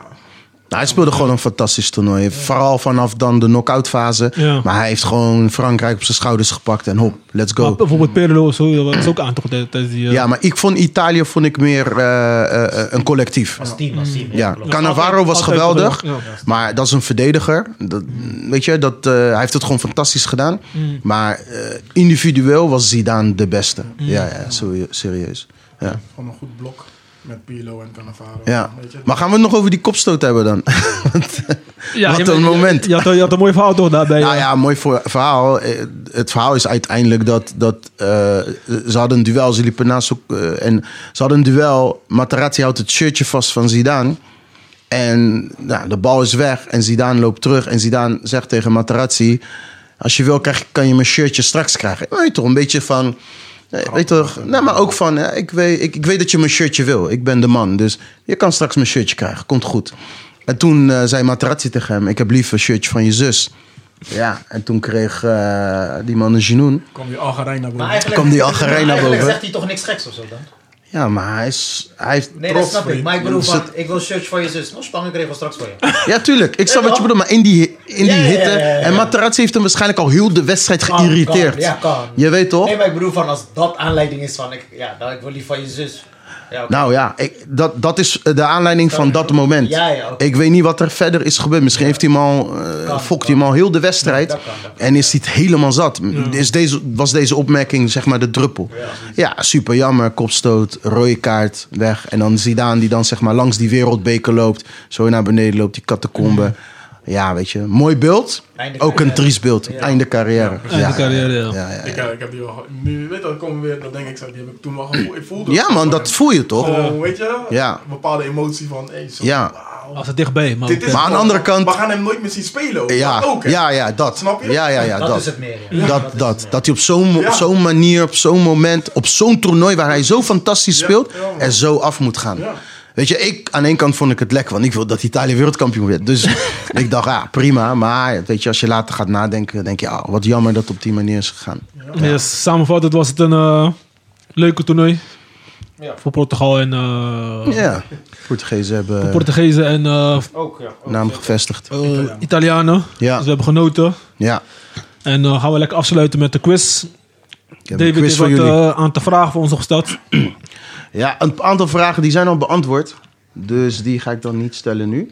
[SPEAKER 3] Nou, hij speelde gewoon een fantastisch toernooi. Vooral vanaf dan de knock-out fase.
[SPEAKER 2] Ja.
[SPEAKER 3] Maar hij heeft gewoon Frankrijk op zijn schouders gepakt en hop, let's go.
[SPEAKER 2] Maar bijvoorbeeld Perlo of zo, dat was ook aan toch tij- tijdens die... eh,
[SPEAKER 3] ja, maar ik vond Italië vond ik meer eh, eh, eh, een collectief.
[SPEAKER 4] Als team, als team.
[SPEAKER 3] Ja,
[SPEAKER 4] klopt.
[SPEAKER 3] Cannavaro was
[SPEAKER 2] altijd
[SPEAKER 3] geweldig,
[SPEAKER 2] geweldig, ja.
[SPEAKER 3] maar dat is een verdediger. Dat, weet je, dat, eh, hij heeft het gewoon fantastisch gedaan. Maar eh, individueel was Zidane de beste.
[SPEAKER 2] Mm.
[SPEAKER 3] Ja, ja serie- serieus. Ja.
[SPEAKER 5] gewoon een goed blok met Pirlo en Cannavaro.
[SPEAKER 3] Ja.
[SPEAKER 5] Weet je,
[SPEAKER 3] Maar gaan we het nog over die kopstoot hebben dan?
[SPEAKER 2] Ja,
[SPEAKER 3] Wat
[SPEAKER 2] je-
[SPEAKER 3] een
[SPEAKER 2] je-
[SPEAKER 3] moment.
[SPEAKER 2] Je had, je had een mooi verhaal toch eh, daarbij.
[SPEAKER 3] Nou ja, mooi voor- verhaal. Eh, Het verhaal is uiteindelijk dat, dat eh, ze hadden een duel. Ze liepen naast elkaar. eh, en ze hadden een duel. Materazzi houdt het shirtje vast van Zidane. En nou, de bal is weg. En Zidane loopt terug. En Zidane zegt tegen Materazzi... Als je wil, krijg, kan je mijn shirtje straks krijgen. Weet je toch, een beetje van... eh, Weet je toch, nou, maar ook van, eh, ik weet, ik, ik weet dat je mijn shirtje wil. Ik ben de man, dus je kan straks mijn shirtje krijgen. Komt goed. En toen eh, zei Materazzi tegen hem, ik heb liever een shirtje van je zus. Ja, en toen kreeg eh, die man een genoen.
[SPEAKER 5] kwam je Algerijn naar
[SPEAKER 4] Maar
[SPEAKER 5] boven.
[SPEAKER 4] eigenlijk,
[SPEAKER 3] Kwam die Algerijn
[SPEAKER 4] maar
[SPEAKER 3] naar
[SPEAKER 4] eigenlijk
[SPEAKER 3] boven?
[SPEAKER 4] zegt hij toch niks geks of zo dan?
[SPEAKER 3] Ja, maar hij is... Hij heeft
[SPEAKER 4] Nee, dat
[SPEAKER 3] trots
[SPEAKER 4] snap
[SPEAKER 3] voor
[SPEAKER 4] ik.
[SPEAKER 3] je.
[SPEAKER 4] Maar ik bedoel
[SPEAKER 3] Dus
[SPEAKER 4] van,
[SPEAKER 3] het-
[SPEAKER 4] ik wil shirts van je zus. Nog spang, ik regel straks voor je.
[SPEAKER 3] Ja, tuurlijk. Ik snap wat je bedoelt, maar in die, in die
[SPEAKER 4] Ja, ja, ja,
[SPEAKER 3] hitte...
[SPEAKER 4] ja, ja.
[SPEAKER 3] En Materazzi heeft hem waarschijnlijk al heel de wedstrijd
[SPEAKER 4] Kan,
[SPEAKER 3] geïrriteerd.
[SPEAKER 4] kan, ja, kan.
[SPEAKER 3] Je weet toch?
[SPEAKER 4] Nee, maar ik bedoel van, als dat aanleiding is van, ik, ja, dan ik wil liever van je zus. Ja, oké.
[SPEAKER 3] Nou ja, ik, dat, dat is de aanleiding van dat moment.
[SPEAKER 4] Ja, ja, oké.
[SPEAKER 3] Ik weet niet wat er verder is gebeurd. Misschien heeft hij hem al, eh,
[SPEAKER 4] Kan,
[SPEAKER 3] fokt
[SPEAKER 4] kan.
[SPEAKER 3] hij hem al heel de wedstrijd.
[SPEAKER 4] Ja, dat kan, dat kan.
[SPEAKER 3] en is hij het helemaal zat. Is deze, was deze opmerking zeg maar de druppel. Ja, super jammer. Kopstoot, rode kaart, weg. En dan Zidane die dan zeg maar langs die wereldbeker loopt. Zo naar beneden loopt, die catacombe. Ja, weet je. Mooi beeld.
[SPEAKER 4] Einde
[SPEAKER 3] Ook een
[SPEAKER 4] carrière.
[SPEAKER 3] triest beeld. Einde carrière. Ja,
[SPEAKER 2] Einde carrière, ja.
[SPEAKER 3] ja,
[SPEAKER 5] Ik,
[SPEAKER 3] ja.
[SPEAKER 5] eh, ik heb die wel. ge- Nu weet dat komen we weer. Dan denk ik zo. Die heb ik toen wel gevoeld. Ik voelde.
[SPEAKER 3] Ja, man, dat voel je toch?
[SPEAKER 5] Gewoon, weet je?
[SPEAKER 3] Ja.
[SPEAKER 5] Een bepaalde emotie van. Hey, zo,
[SPEAKER 3] Ja.
[SPEAKER 5] wauw.
[SPEAKER 2] Als het dichtbij, maar...
[SPEAKER 5] Dit is
[SPEAKER 3] Maar aan de
[SPEAKER 5] gewoon-
[SPEAKER 3] andere kant-
[SPEAKER 5] We gaan hem nooit meer zien spelen. ook.
[SPEAKER 3] Ja,
[SPEAKER 5] Dat ook, hè?
[SPEAKER 3] ja, ja, dat.
[SPEAKER 5] Snap je?
[SPEAKER 3] Ja, ja, ja,
[SPEAKER 4] dat,
[SPEAKER 3] dat.
[SPEAKER 4] is het meer. ja.
[SPEAKER 3] Dat,
[SPEAKER 4] is
[SPEAKER 3] dat,
[SPEAKER 4] het
[SPEAKER 3] dat,
[SPEAKER 4] meer.
[SPEAKER 3] hij op zo'n mo-
[SPEAKER 5] Ja.
[SPEAKER 3] op zo'n manier, op zo'n moment, op zo'n toernooi waar hij zo fantastisch
[SPEAKER 5] Ja,
[SPEAKER 3] speelt,
[SPEAKER 5] ja, man.
[SPEAKER 3] er zo af moet gaan.
[SPEAKER 5] Ja.
[SPEAKER 3] Weet je, ik, aan één kant vond ik het lekker, want ik wil dat Italië wereldkampioen werd. Dus ik dacht, ja, prima. Maar weet je, als je later gaat nadenken, denk je, ah, wat jammer dat het op die manier is gegaan.
[SPEAKER 2] Yes, samenvattend was het een eh, leuke toernooi.
[SPEAKER 4] Ja.
[SPEAKER 2] Voor Portugal en eh,
[SPEAKER 5] Oh.
[SPEAKER 3] Ja, Portugezen hebben
[SPEAKER 2] Portugezen en eh,
[SPEAKER 4] Ook, ja. ook
[SPEAKER 3] naam
[SPEAKER 4] zeker.
[SPEAKER 3] gevestigd.
[SPEAKER 5] Oh.
[SPEAKER 2] eh, Italianen. Dus
[SPEAKER 3] Ja,
[SPEAKER 2] we hebben genoten.
[SPEAKER 3] ja.
[SPEAKER 2] En eh, gaan we lekker afsluiten met de quiz.
[SPEAKER 3] Ik heb
[SPEAKER 2] David
[SPEAKER 3] een quiz
[SPEAKER 2] heeft
[SPEAKER 3] voor
[SPEAKER 2] wat
[SPEAKER 3] jullie.
[SPEAKER 2] eh, aan te vragen voor ons gesteld.
[SPEAKER 3] Ja, een aantal vragen die zijn al beantwoord. Dus die ga ik dan niet stellen nu.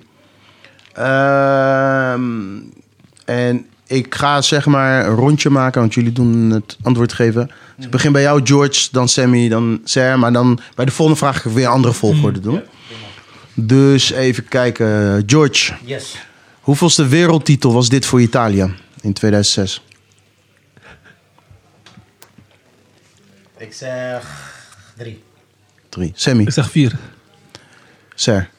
[SPEAKER 3] Ehm, en ik ga zeg maar een rondje maken, want jullie doen het antwoord geven. Dus ik begin bij jou, George, dan Sammy, dan Ser. Maar dan bij de volgende vraag ga ik weer een andere volgorde doen. Dus even kijken. George,
[SPEAKER 4] Yes.
[SPEAKER 3] hoeveelste wereldtitel was dit voor Italië in 2006?
[SPEAKER 4] Ik zeg drie.
[SPEAKER 3] Drie. Sammy,
[SPEAKER 2] Ik zeg vier.
[SPEAKER 3] Ser.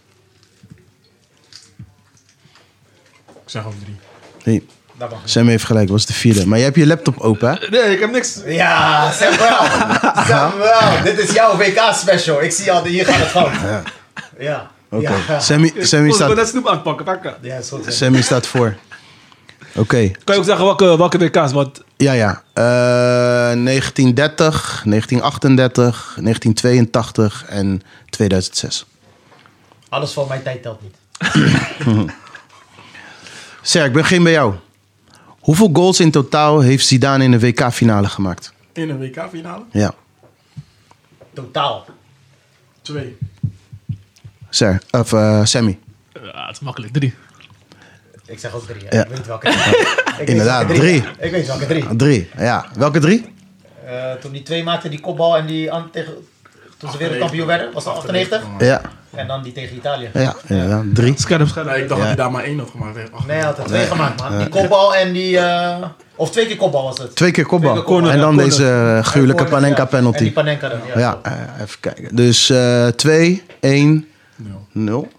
[SPEAKER 5] Ik zeg ook drie.
[SPEAKER 3] Nee,
[SPEAKER 4] Dat mag niet.
[SPEAKER 3] Sammy heeft gelijk, was de vierde. Maar jij hebt je laptop open, hè?
[SPEAKER 2] Nee, ik heb niks.
[SPEAKER 4] Ja, Samuel. Samuel, dit is jouw WK-special. Ik zie al, hier gaat het fout. Ja. Ja.
[SPEAKER 3] Oké.
[SPEAKER 4] Ja,
[SPEAKER 3] Sammy, Sammy
[SPEAKER 2] Ik wil
[SPEAKER 3] staat
[SPEAKER 2] net snoep aanpakken. pakken.
[SPEAKER 4] ja is goed.
[SPEAKER 3] Sammy staat voor. Oké,
[SPEAKER 2] Kan je ook zeggen welke, welke WK's? Want
[SPEAKER 3] ja, ja. Eh, 1930, 1938, 1982 en 2006.
[SPEAKER 4] Alles van mijn tijd telt niet.
[SPEAKER 3] Ser, ik begin bij jou. Hoeveel goals in totaal heeft Zidane in de WK-finale gemaakt?
[SPEAKER 5] In een WK-finale?
[SPEAKER 3] Ja,
[SPEAKER 4] Totaal.
[SPEAKER 5] Twee.
[SPEAKER 3] Ser, of eh, Sammy.
[SPEAKER 2] ja, het is makkelijk. Drie.
[SPEAKER 4] Ik zeg ook drie. hè.
[SPEAKER 3] Ja.
[SPEAKER 4] Ik weet welke drie. Ik weet
[SPEAKER 3] Inderdaad,
[SPEAKER 4] welke
[SPEAKER 3] drie.
[SPEAKER 4] Ik weet welke drie.
[SPEAKER 3] Drie, ja. Welke drie?
[SPEAKER 4] Eh, toen die twee maakten, die kopbal en die an- tegen... Toen ze wereldkampioen werden, was dat 98?
[SPEAKER 3] Ja,
[SPEAKER 4] En dan die tegen Italië.
[SPEAKER 3] ja, inderdaad, drie.
[SPEAKER 2] Scherp, scherp.
[SPEAKER 5] Nee, ik dacht
[SPEAKER 3] Ja.
[SPEAKER 5] dat hij daar maar één had gemaakt. Hij heeft acht
[SPEAKER 4] Nee, hij
[SPEAKER 5] gemaakt.
[SPEAKER 4] had er twee gemaakt, man. Die kopbal en die... eh, of twee keer kopbal was het.
[SPEAKER 3] Twee keer
[SPEAKER 2] Twee
[SPEAKER 3] kopbal.
[SPEAKER 2] keer corner,
[SPEAKER 3] en dan
[SPEAKER 2] ja,
[SPEAKER 3] deze eh, gruwelijke
[SPEAKER 4] Corner, ja. En die
[SPEAKER 3] Panenka-penalty.
[SPEAKER 4] Panenka dan, ja.
[SPEAKER 3] Ja, eh, even kijken. Dus eh 2, 1,
[SPEAKER 5] Nul.
[SPEAKER 3] 0.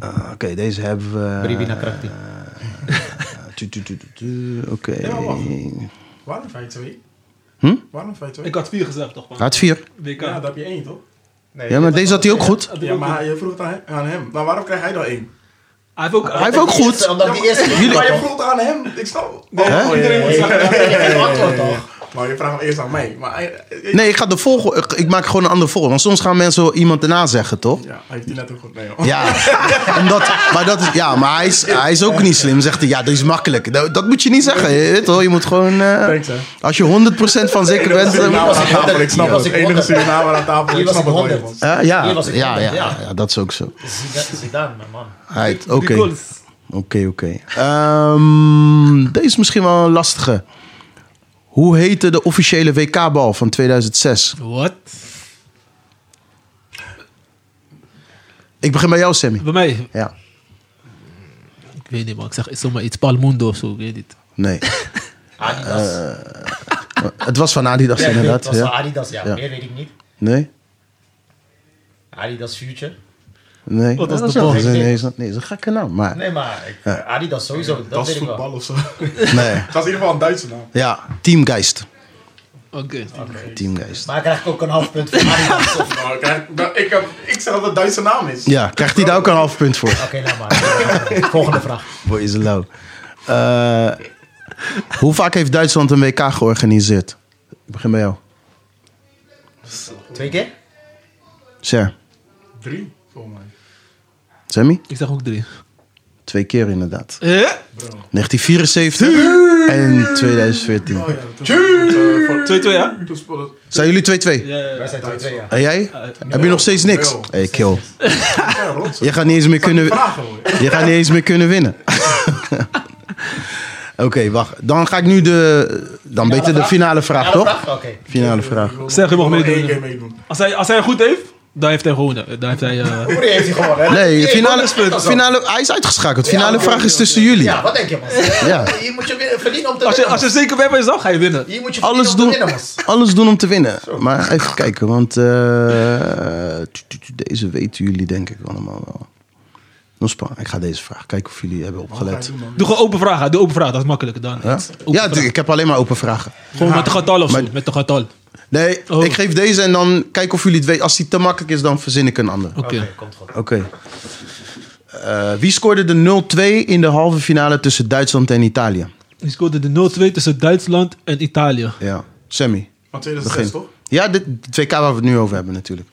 [SPEAKER 3] Ah, Oké, deze hebben we.
[SPEAKER 4] Bribina Krakti.
[SPEAKER 3] Tu, tu, tu, tu, tu. Oké.
[SPEAKER 5] Ja, wacht. Waarom heeft hij twee?
[SPEAKER 3] Hm?
[SPEAKER 5] Waarom heeft hij twee?
[SPEAKER 2] Ik had vier gezegd toch? man?
[SPEAKER 3] Gaat 4.
[SPEAKER 2] WK.
[SPEAKER 5] Ja, daar heb je één, toch?
[SPEAKER 4] Nee,
[SPEAKER 3] Ja, maar deze had hij ook goed.
[SPEAKER 2] Had ik
[SPEAKER 5] Ja,
[SPEAKER 2] ook
[SPEAKER 5] maar
[SPEAKER 2] niet.
[SPEAKER 5] je vroeg het aan hem. aan hem. Maar waarom krijgt hij dan één?
[SPEAKER 2] Hij heeft ook...
[SPEAKER 3] Hij heeft ook goed.
[SPEAKER 4] Omdat die eerste...
[SPEAKER 5] Jullie... Maar je
[SPEAKER 4] Nee,
[SPEAKER 5] vroeg het aan hem. Ik snap.
[SPEAKER 3] Hè?
[SPEAKER 5] Iedereen moet
[SPEAKER 4] dat vind ik geen antwoord,
[SPEAKER 5] Ja, ja, ja.
[SPEAKER 4] toch?
[SPEAKER 5] Maar je vraagt hem eerst aan mij. Maar hij,
[SPEAKER 3] Nee, ik ga de volgende. Ik, ik maak gewoon een andere volgorde. Want soms gaan mensen wel iemand erna zeggen, toch?
[SPEAKER 5] Ja, hij heeft die net ook goed. Nee, joh.
[SPEAKER 3] Ja, omdat, maar, dat is, ja maar hij, is, hij is ook niet slim. Zegt hij, ja, dat is makkelijk. Dat, dat moet je niet zeggen. Je, weet wel, je moet gewoon. eh,
[SPEAKER 5] Thanks, hè.
[SPEAKER 3] als je 100% van zeker
[SPEAKER 5] Enige
[SPEAKER 3] bent. eh, dan-
[SPEAKER 5] Surinamer aan tafel, ik snap
[SPEAKER 4] Hier was
[SPEAKER 5] het.
[SPEAKER 4] ik
[SPEAKER 5] Enige
[SPEAKER 4] honderd.
[SPEAKER 5] Surinamer aan tafel,
[SPEAKER 4] Hier
[SPEAKER 5] ik
[SPEAKER 4] was
[SPEAKER 5] snap
[SPEAKER 4] ik
[SPEAKER 5] het wel,
[SPEAKER 4] honderd.
[SPEAKER 3] Eh, ja,
[SPEAKER 4] Hier was ik
[SPEAKER 3] ja,
[SPEAKER 4] honderd,
[SPEAKER 3] ja, ja,
[SPEAKER 4] ja.
[SPEAKER 3] ja, dat is ook zo.
[SPEAKER 4] Zidane- Zidane, mijn man.
[SPEAKER 3] Right, Oké.
[SPEAKER 2] Die goals.
[SPEAKER 3] Oké, oké. Ehm, Deze is misschien wel een lastige. Hoe heette de officiële WK-bal van 2006?
[SPEAKER 2] Wat?
[SPEAKER 3] Ik begin bij jou, Sammy.
[SPEAKER 2] Bij mij?
[SPEAKER 3] Ja,
[SPEAKER 2] Ik weet niet, maar ik zeg zomaar iets Palmundo of zo. Ik weet niet.
[SPEAKER 3] nee.
[SPEAKER 4] Adidas.
[SPEAKER 3] Het Eh, was van Adidas,
[SPEAKER 4] Ja,
[SPEAKER 3] inderdaad.
[SPEAKER 4] Het was
[SPEAKER 3] Ja.
[SPEAKER 4] van Adidas, ja.
[SPEAKER 3] Ja.
[SPEAKER 4] Meer weet ik niet.
[SPEAKER 3] Nee?
[SPEAKER 4] Adidas Future.
[SPEAKER 3] Nee.
[SPEAKER 2] Wat was
[SPEAKER 3] Dat
[SPEAKER 2] de
[SPEAKER 3] is-
[SPEAKER 2] bal?
[SPEAKER 3] Nee, nee, is dat- nee, dat is een gekke naam. Maar
[SPEAKER 4] Nee, maar ik,
[SPEAKER 3] Ja.
[SPEAKER 4] Adidas sowieso, dat,
[SPEAKER 5] Dat
[SPEAKER 4] weet
[SPEAKER 5] is
[SPEAKER 4] ik wel.
[SPEAKER 5] voetbal of zo.
[SPEAKER 3] nee.
[SPEAKER 5] Het was in ieder geval een Duitse naam.
[SPEAKER 3] Ja, Teamgeist.
[SPEAKER 2] Oké.
[SPEAKER 3] Teamgeist.
[SPEAKER 4] Maar krijg ik ook een half punt voor Adidas. Oké,
[SPEAKER 5] Nou, kijk, nou, ik, heb, ik zeg dat het een Duitse naam is.
[SPEAKER 3] Ja, krijgt hij daar ook een half punt voor?
[SPEAKER 4] laat nou, maar. eh, Volgende vraag.
[SPEAKER 3] Boy is low. Eh, hoe vaak heeft Duitsland een WK georganiseerd? Ik begin bij jou.
[SPEAKER 4] Twee keer?
[SPEAKER 3] Ser.
[SPEAKER 5] Drie, volgens mij.
[SPEAKER 3] Sammy?
[SPEAKER 2] Ik zeg ook drie.
[SPEAKER 3] Twee keer inderdaad.
[SPEAKER 2] Eh?
[SPEAKER 3] 1974 en 2014.
[SPEAKER 5] Oh ja, toen eh, voor-
[SPEAKER 2] 2-2, ja?
[SPEAKER 5] toen speelde het-
[SPEAKER 3] Zijn jullie 2-2?
[SPEAKER 2] Ja, ja,
[SPEAKER 4] Wij zijn twee, twee, ja.
[SPEAKER 3] En jij? Heb je nog steeds niks?
[SPEAKER 5] Nul.
[SPEAKER 3] hey, kill.
[SPEAKER 5] Ja, rot.
[SPEAKER 3] Je gaat niet eens meer kunnen,
[SPEAKER 5] Vragen hoor.
[SPEAKER 3] je gaat niet eens meer kunnen winnen. Oké, wacht. Dan ga ik nu de... Dan beter de
[SPEAKER 4] vraag?
[SPEAKER 3] finale vraag,
[SPEAKER 4] Finale
[SPEAKER 3] toch?
[SPEAKER 4] vraag? Oké.
[SPEAKER 3] Finale vraag.
[SPEAKER 2] Zeg, je mag
[SPEAKER 5] Ik wil
[SPEAKER 2] meedoen.
[SPEAKER 5] één keer meedoen.
[SPEAKER 2] Als hij, als hij goed heeft, dan heeft hij gewonnen. Dan heeft hij... eh,
[SPEAKER 4] Hoe heeft hij gewonnen? hè?
[SPEAKER 3] Nee, de
[SPEAKER 4] Hey,
[SPEAKER 3] finale,
[SPEAKER 4] bonuspunt.
[SPEAKER 3] finale... Hij is uitgeschakeld. Finale
[SPEAKER 4] Ja,
[SPEAKER 3] vraag is tussen jullie.
[SPEAKER 4] Ja, wat denk je, man?
[SPEAKER 3] Ja.
[SPEAKER 4] Hier moet je winnen- verdienen om te
[SPEAKER 2] als, je,
[SPEAKER 4] winnen.
[SPEAKER 2] als je zeker bij bent, dan ga je winnen.
[SPEAKER 4] man. Hier moet je verdienen
[SPEAKER 3] Alles
[SPEAKER 4] om te
[SPEAKER 3] doen,
[SPEAKER 4] winnen, man.
[SPEAKER 3] alles doen om te winnen. Maar even kijken, want eh, tu- tu- tu- deze weten jullie denk ik allemaal wel. Nospa, ik ga deze vraag kijken of jullie hebben
[SPEAKER 5] Ga je
[SPEAKER 3] opgelet.
[SPEAKER 5] doen, man.
[SPEAKER 2] Doe gewoon open vragen. Doe open vragen. Dat is makkelijker dan.
[SPEAKER 3] Ja,
[SPEAKER 2] Open
[SPEAKER 3] ja
[SPEAKER 2] vragen.
[SPEAKER 3] tuurlijk, ik heb alleen maar open vragen.
[SPEAKER 2] Gewoon met de getal of zo.
[SPEAKER 3] Maar-
[SPEAKER 2] Met de getal.
[SPEAKER 3] Nee,
[SPEAKER 2] Oh.
[SPEAKER 3] ik geef deze en dan kijk of jullie het weten. Als die te makkelijk is, dan verzin ik een ander. Oké.
[SPEAKER 2] Oké.
[SPEAKER 4] komt goed.
[SPEAKER 3] Eh, wie scoorde de 0-2 in de halve finale tussen Duitsland en Italië?
[SPEAKER 2] Die scoorde de 0-2 tussen Duitsland en Italië.
[SPEAKER 3] Ja, Sammy.
[SPEAKER 5] Van 2006 toch?
[SPEAKER 3] Ja, dit, de 2K waar we het nu over hebben natuurlijk.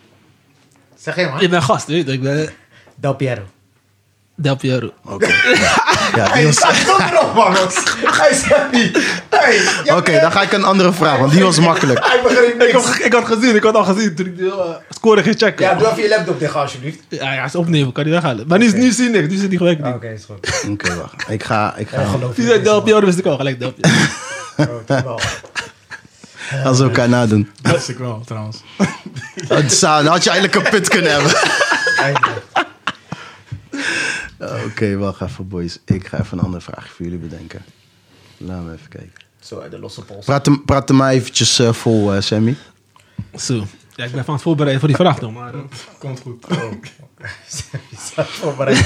[SPEAKER 4] Zeg je
[SPEAKER 2] Ik
[SPEAKER 4] man.
[SPEAKER 2] ben gast, weet je. Ik ben
[SPEAKER 4] Del Piero.
[SPEAKER 2] Del Piero.
[SPEAKER 3] Oké. Ja, die was-
[SPEAKER 5] Kom erop, man. Hij zegt niet. Hey,
[SPEAKER 3] Oké, dan ga ik een andere vraag, want die was makkelijk.
[SPEAKER 5] hij begreep
[SPEAKER 2] Ik had, ik had gezien, ik had al gezien toen ik de eh, score ging checken.
[SPEAKER 4] Ja,
[SPEAKER 2] Ja,
[SPEAKER 4] doe even je laptop dicht alsjeblieft.
[SPEAKER 2] ja, is opnemen, kan die weghalen. Maar nu, is- nu zie ik niks, nu zit hij gelijk
[SPEAKER 4] Ah, Oké,
[SPEAKER 2] niet.
[SPEAKER 4] is goed.
[SPEAKER 3] Oké, wacht. Ik ga, ik
[SPEAKER 4] Ja,
[SPEAKER 3] ga
[SPEAKER 4] geloof
[SPEAKER 2] Die zei
[SPEAKER 4] me.
[SPEAKER 2] Del Piero, wist ik al gelijk Del Piero.
[SPEAKER 4] Oh, toch wel.
[SPEAKER 3] als we elkaar nadoen.
[SPEAKER 5] Dat wist ik wel, trouwens.
[SPEAKER 3] Het zou- Dan had je eigenlijk een put kunnen hebben.
[SPEAKER 4] Eindelijk.
[SPEAKER 3] Oké, wacht even, boys. Ik ga even een andere vraag voor jullie bedenken. Laten we even kijken.
[SPEAKER 4] Zo uit de losse pols.
[SPEAKER 3] Praat hem, praat hem maar eventjes eh, vol, eh, Sammy.
[SPEAKER 2] Zo. Ja, ik ben van het voorbereiden voor die vraag dan, maar... eh,
[SPEAKER 5] Komt goed.
[SPEAKER 4] Sammy staat voorbereid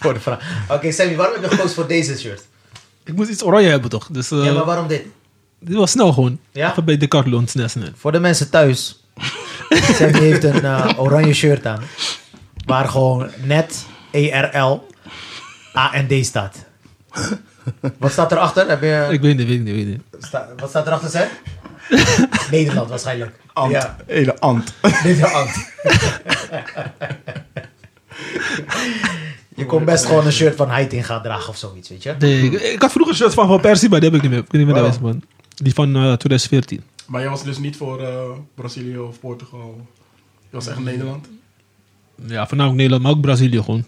[SPEAKER 4] voor de vraag. Oké, Sammy, waarom heb je gekozen voor deze shirt?
[SPEAKER 2] Ik moest iets oranje hebben toch, dus... eh,
[SPEAKER 4] Ja, maar waarom dit?
[SPEAKER 2] Dit was snel gewoon.
[SPEAKER 4] Ja?
[SPEAKER 2] Even bij Decathlon, SNES net.
[SPEAKER 4] Voor de mensen thuis. Sammy heeft een eh, oranje shirt aan. Waar gewoon net E ERL AND staat. Wat staat erachter? Heb je,
[SPEAKER 2] Ik weet niet, weet niet, weet niet.
[SPEAKER 4] sta- wat staat erachter, Sam? Nederland waarschijnlijk.
[SPEAKER 5] Ant.
[SPEAKER 4] Ja,
[SPEAKER 5] Hele ant.
[SPEAKER 4] Nederland. Ant. je kon best gewoon een shirt van Heiting gaan dragen of zoiets, weet je?
[SPEAKER 2] Nee, ik, ik had vroeger een shirt van Van Persie, maar die heb ik niet meer. Ik weet niet meer waar dat is, man. Die van eh, 2014.
[SPEAKER 5] Maar jij was dus niet voor eh, Brazilië of Portugal. Je was echt Nederland.
[SPEAKER 2] Ja, voornamelijk Nederland, maar ook Brazilië gewoon.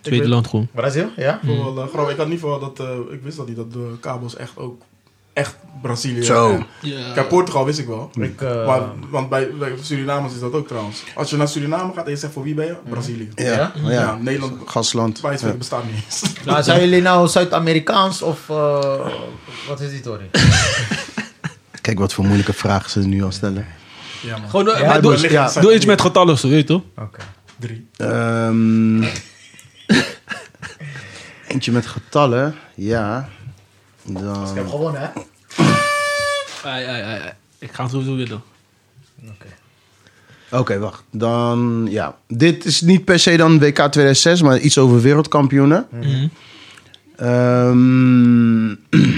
[SPEAKER 2] Tweede
[SPEAKER 5] weet-
[SPEAKER 2] land gewoon.
[SPEAKER 4] Brazil, ja?
[SPEAKER 5] Voor, eh, Gro- ik had niet voor dat. eh, ik wist dat niet dat de kabels echt ook. Echt Brazilië.
[SPEAKER 3] Zo.
[SPEAKER 5] en- Kijk, Portugal wist ik wel.
[SPEAKER 4] Ik, eh,
[SPEAKER 5] Maar, want bij, bij Surinamers is dat ook trouwens. Als je naar Suriname gaat en je zegt voor wie ben je? Brazilië.
[SPEAKER 3] Ja, ja.
[SPEAKER 5] Ja, Nederland.
[SPEAKER 3] Gastland.
[SPEAKER 5] Spijs
[SPEAKER 3] Ja.
[SPEAKER 5] bestaat niet eens.
[SPEAKER 4] Nou, zijn jullie nou Zuid-Amerikaans of eh, wat is die toren?
[SPEAKER 3] Kijk wat voor moeilijke vragen ze nu al stellen.
[SPEAKER 5] Ja, man.
[SPEAKER 2] Gewoon, eh,
[SPEAKER 4] Ja,
[SPEAKER 2] maar
[SPEAKER 3] het
[SPEAKER 2] doe,
[SPEAKER 3] was- ja.
[SPEAKER 2] doe iets met getallen of zo, weet je toch?
[SPEAKER 4] Oké.
[SPEAKER 5] Drie.
[SPEAKER 3] Ehm, eentje met getallen. Ja.
[SPEAKER 4] Ik
[SPEAKER 3] Dan...
[SPEAKER 4] heb gewonnen, hè? Oké.
[SPEAKER 2] Ai, ai, ai, ai. Ik ga het sowieso winnen.
[SPEAKER 3] Oké, wacht. Dan, ja. Dit is niet per se dan WK 2006, maar iets over wereldkampioenen.
[SPEAKER 2] Mhm.
[SPEAKER 3] Ehm,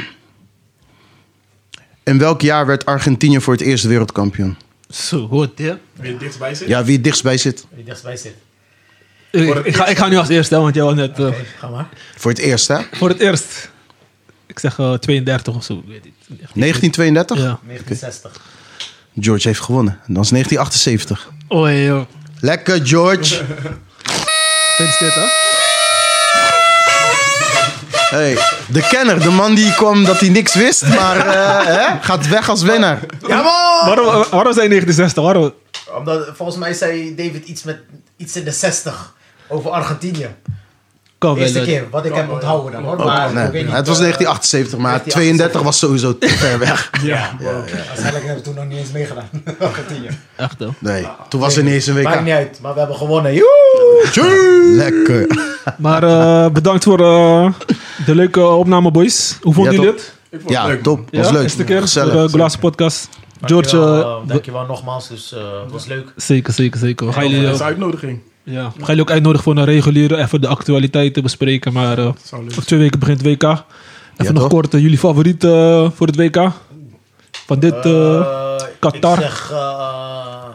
[SPEAKER 3] in welk jaar werd Argentinië voor het eerst wereldkampioen?
[SPEAKER 2] Zo, hoort je?
[SPEAKER 5] Wie het dichtstbij zit?
[SPEAKER 3] Ja, wie het dichtstbij zit.
[SPEAKER 4] Wie dichtstbij zit.
[SPEAKER 2] Ik, ik ga, ik ga nu als eerste, hè, want jij was net... eh,
[SPEAKER 4] Oké, ga maar.
[SPEAKER 3] Voor het eerst, hè?
[SPEAKER 2] Voor het eerst. Ik zeg eh, 32 of zo, ik weet niet. Echt niet.
[SPEAKER 3] 1932?
[SPEAKER 2] Ja.
[SPEAKER 4] 1960.
[SPEAKER 3] George heeft gewonnen. Dan is 1978.
[SPEAKER 2] Oh, joh.
[SPEAKER 3] Lekker, George.
[SPEAKER 2] Gefeliciteerd, hè?
[SPEAKER 3] Hey, de kenner, de man die kwam dat hij niks wist, maar eh, hè, gaat weg als winnaar.
[SPEAKER 4] Ja, man!
[SPEAKER 2] Waarom, waarom zijn 1960? Waarom?
[SPEAKER 4] Omdat, volgens mij zei David iets met iets in de 60 over Argentinië.
[SPEAKER 2] Kan wel.
[SPEAKER 4] De eerste
[SPEAKER 2] eh,
[SPEAKER 4] keer, wat ik heb onthouden dan hoor. Maar
[SPEAKER 3] Oh, Nee,
[SPEAKER 4] ik weet niet,
[SPEAKER 3] het was
[SPEAKER 4] eh,
[SPEAKER 3] 1978, maar
[SPEAKER 4] 1978.
[SPEAKER 3] 32 was sowieso te ver weg.
[SPEAKER 5] Ja.
[SPEAKER 4] Waarschijnlijk hebben we toen nog niet eens meegedaan. Argentinië.
[SPEAKER 2] Echt, hoor.
[SPEAKER 3] Nee, toen was er niet eens een
[SPEAKER 4] Maakt
[SPEAKER 3] WK.
[SPEAKER 4] niet uit, maar we hebben gewonnen. Joe!
[SPEAKER 3] Lekker.
[SPEAKER 2] Maar eh, bedankt voor eh, de leuke opname, boys. Hoe vonden
[SPEAKER 3] Ja,
[SPEAKER 2] jullie
[SPEAKER 3] top.
[SPEAKER 2] het?
[SPEAKER 5] Ik vond het
[SPEAKER 3] Ja,
[SPEAKER 5] leuk.
[SPEAKER 3] top. Was leuk.
[SPEAKER 2] Eerste keer
[SPEAKER 3] Gezellig.
[SPEAKER 2] voor de Glazen Podcast. George,
[SPEAKER 4] Dankjewel,
[SPEAKER 2] eh,
[SPEAKER 4] eh, dankjewel nogmaals, dus eh, het was leuk.
[SPEAKER 2] we- zeker, zeker, zeker. We gaan
[SPEAKER 5] Dat
[SPEAKER 2] jullie,
[SPEAKER 5] is
[SPEAKER 2] eh,
[SPEAKER 5] een uitnodiging.
[SPEAKER 2] ja, we gaan jullie ook uitnodigen voor een reguliere, even de actualiteiten bespreken. Maar eh,
[SPEAKER 5] Zou leuk
[SPEAKER 2] over twee weken begint WK. Even
[SPEAKER 3] Ja,
[SPEAKER 2] nog
[SPEAKER 3] toch?
[SPEAKER 2] kort, eh, jullie favoriet eh, voor het WK? Van dit... eh,
[SPEAKER 4] Eh,
[SPEAKER 2] Qatar.
[SPEAKER 4] Ik zeg, eh,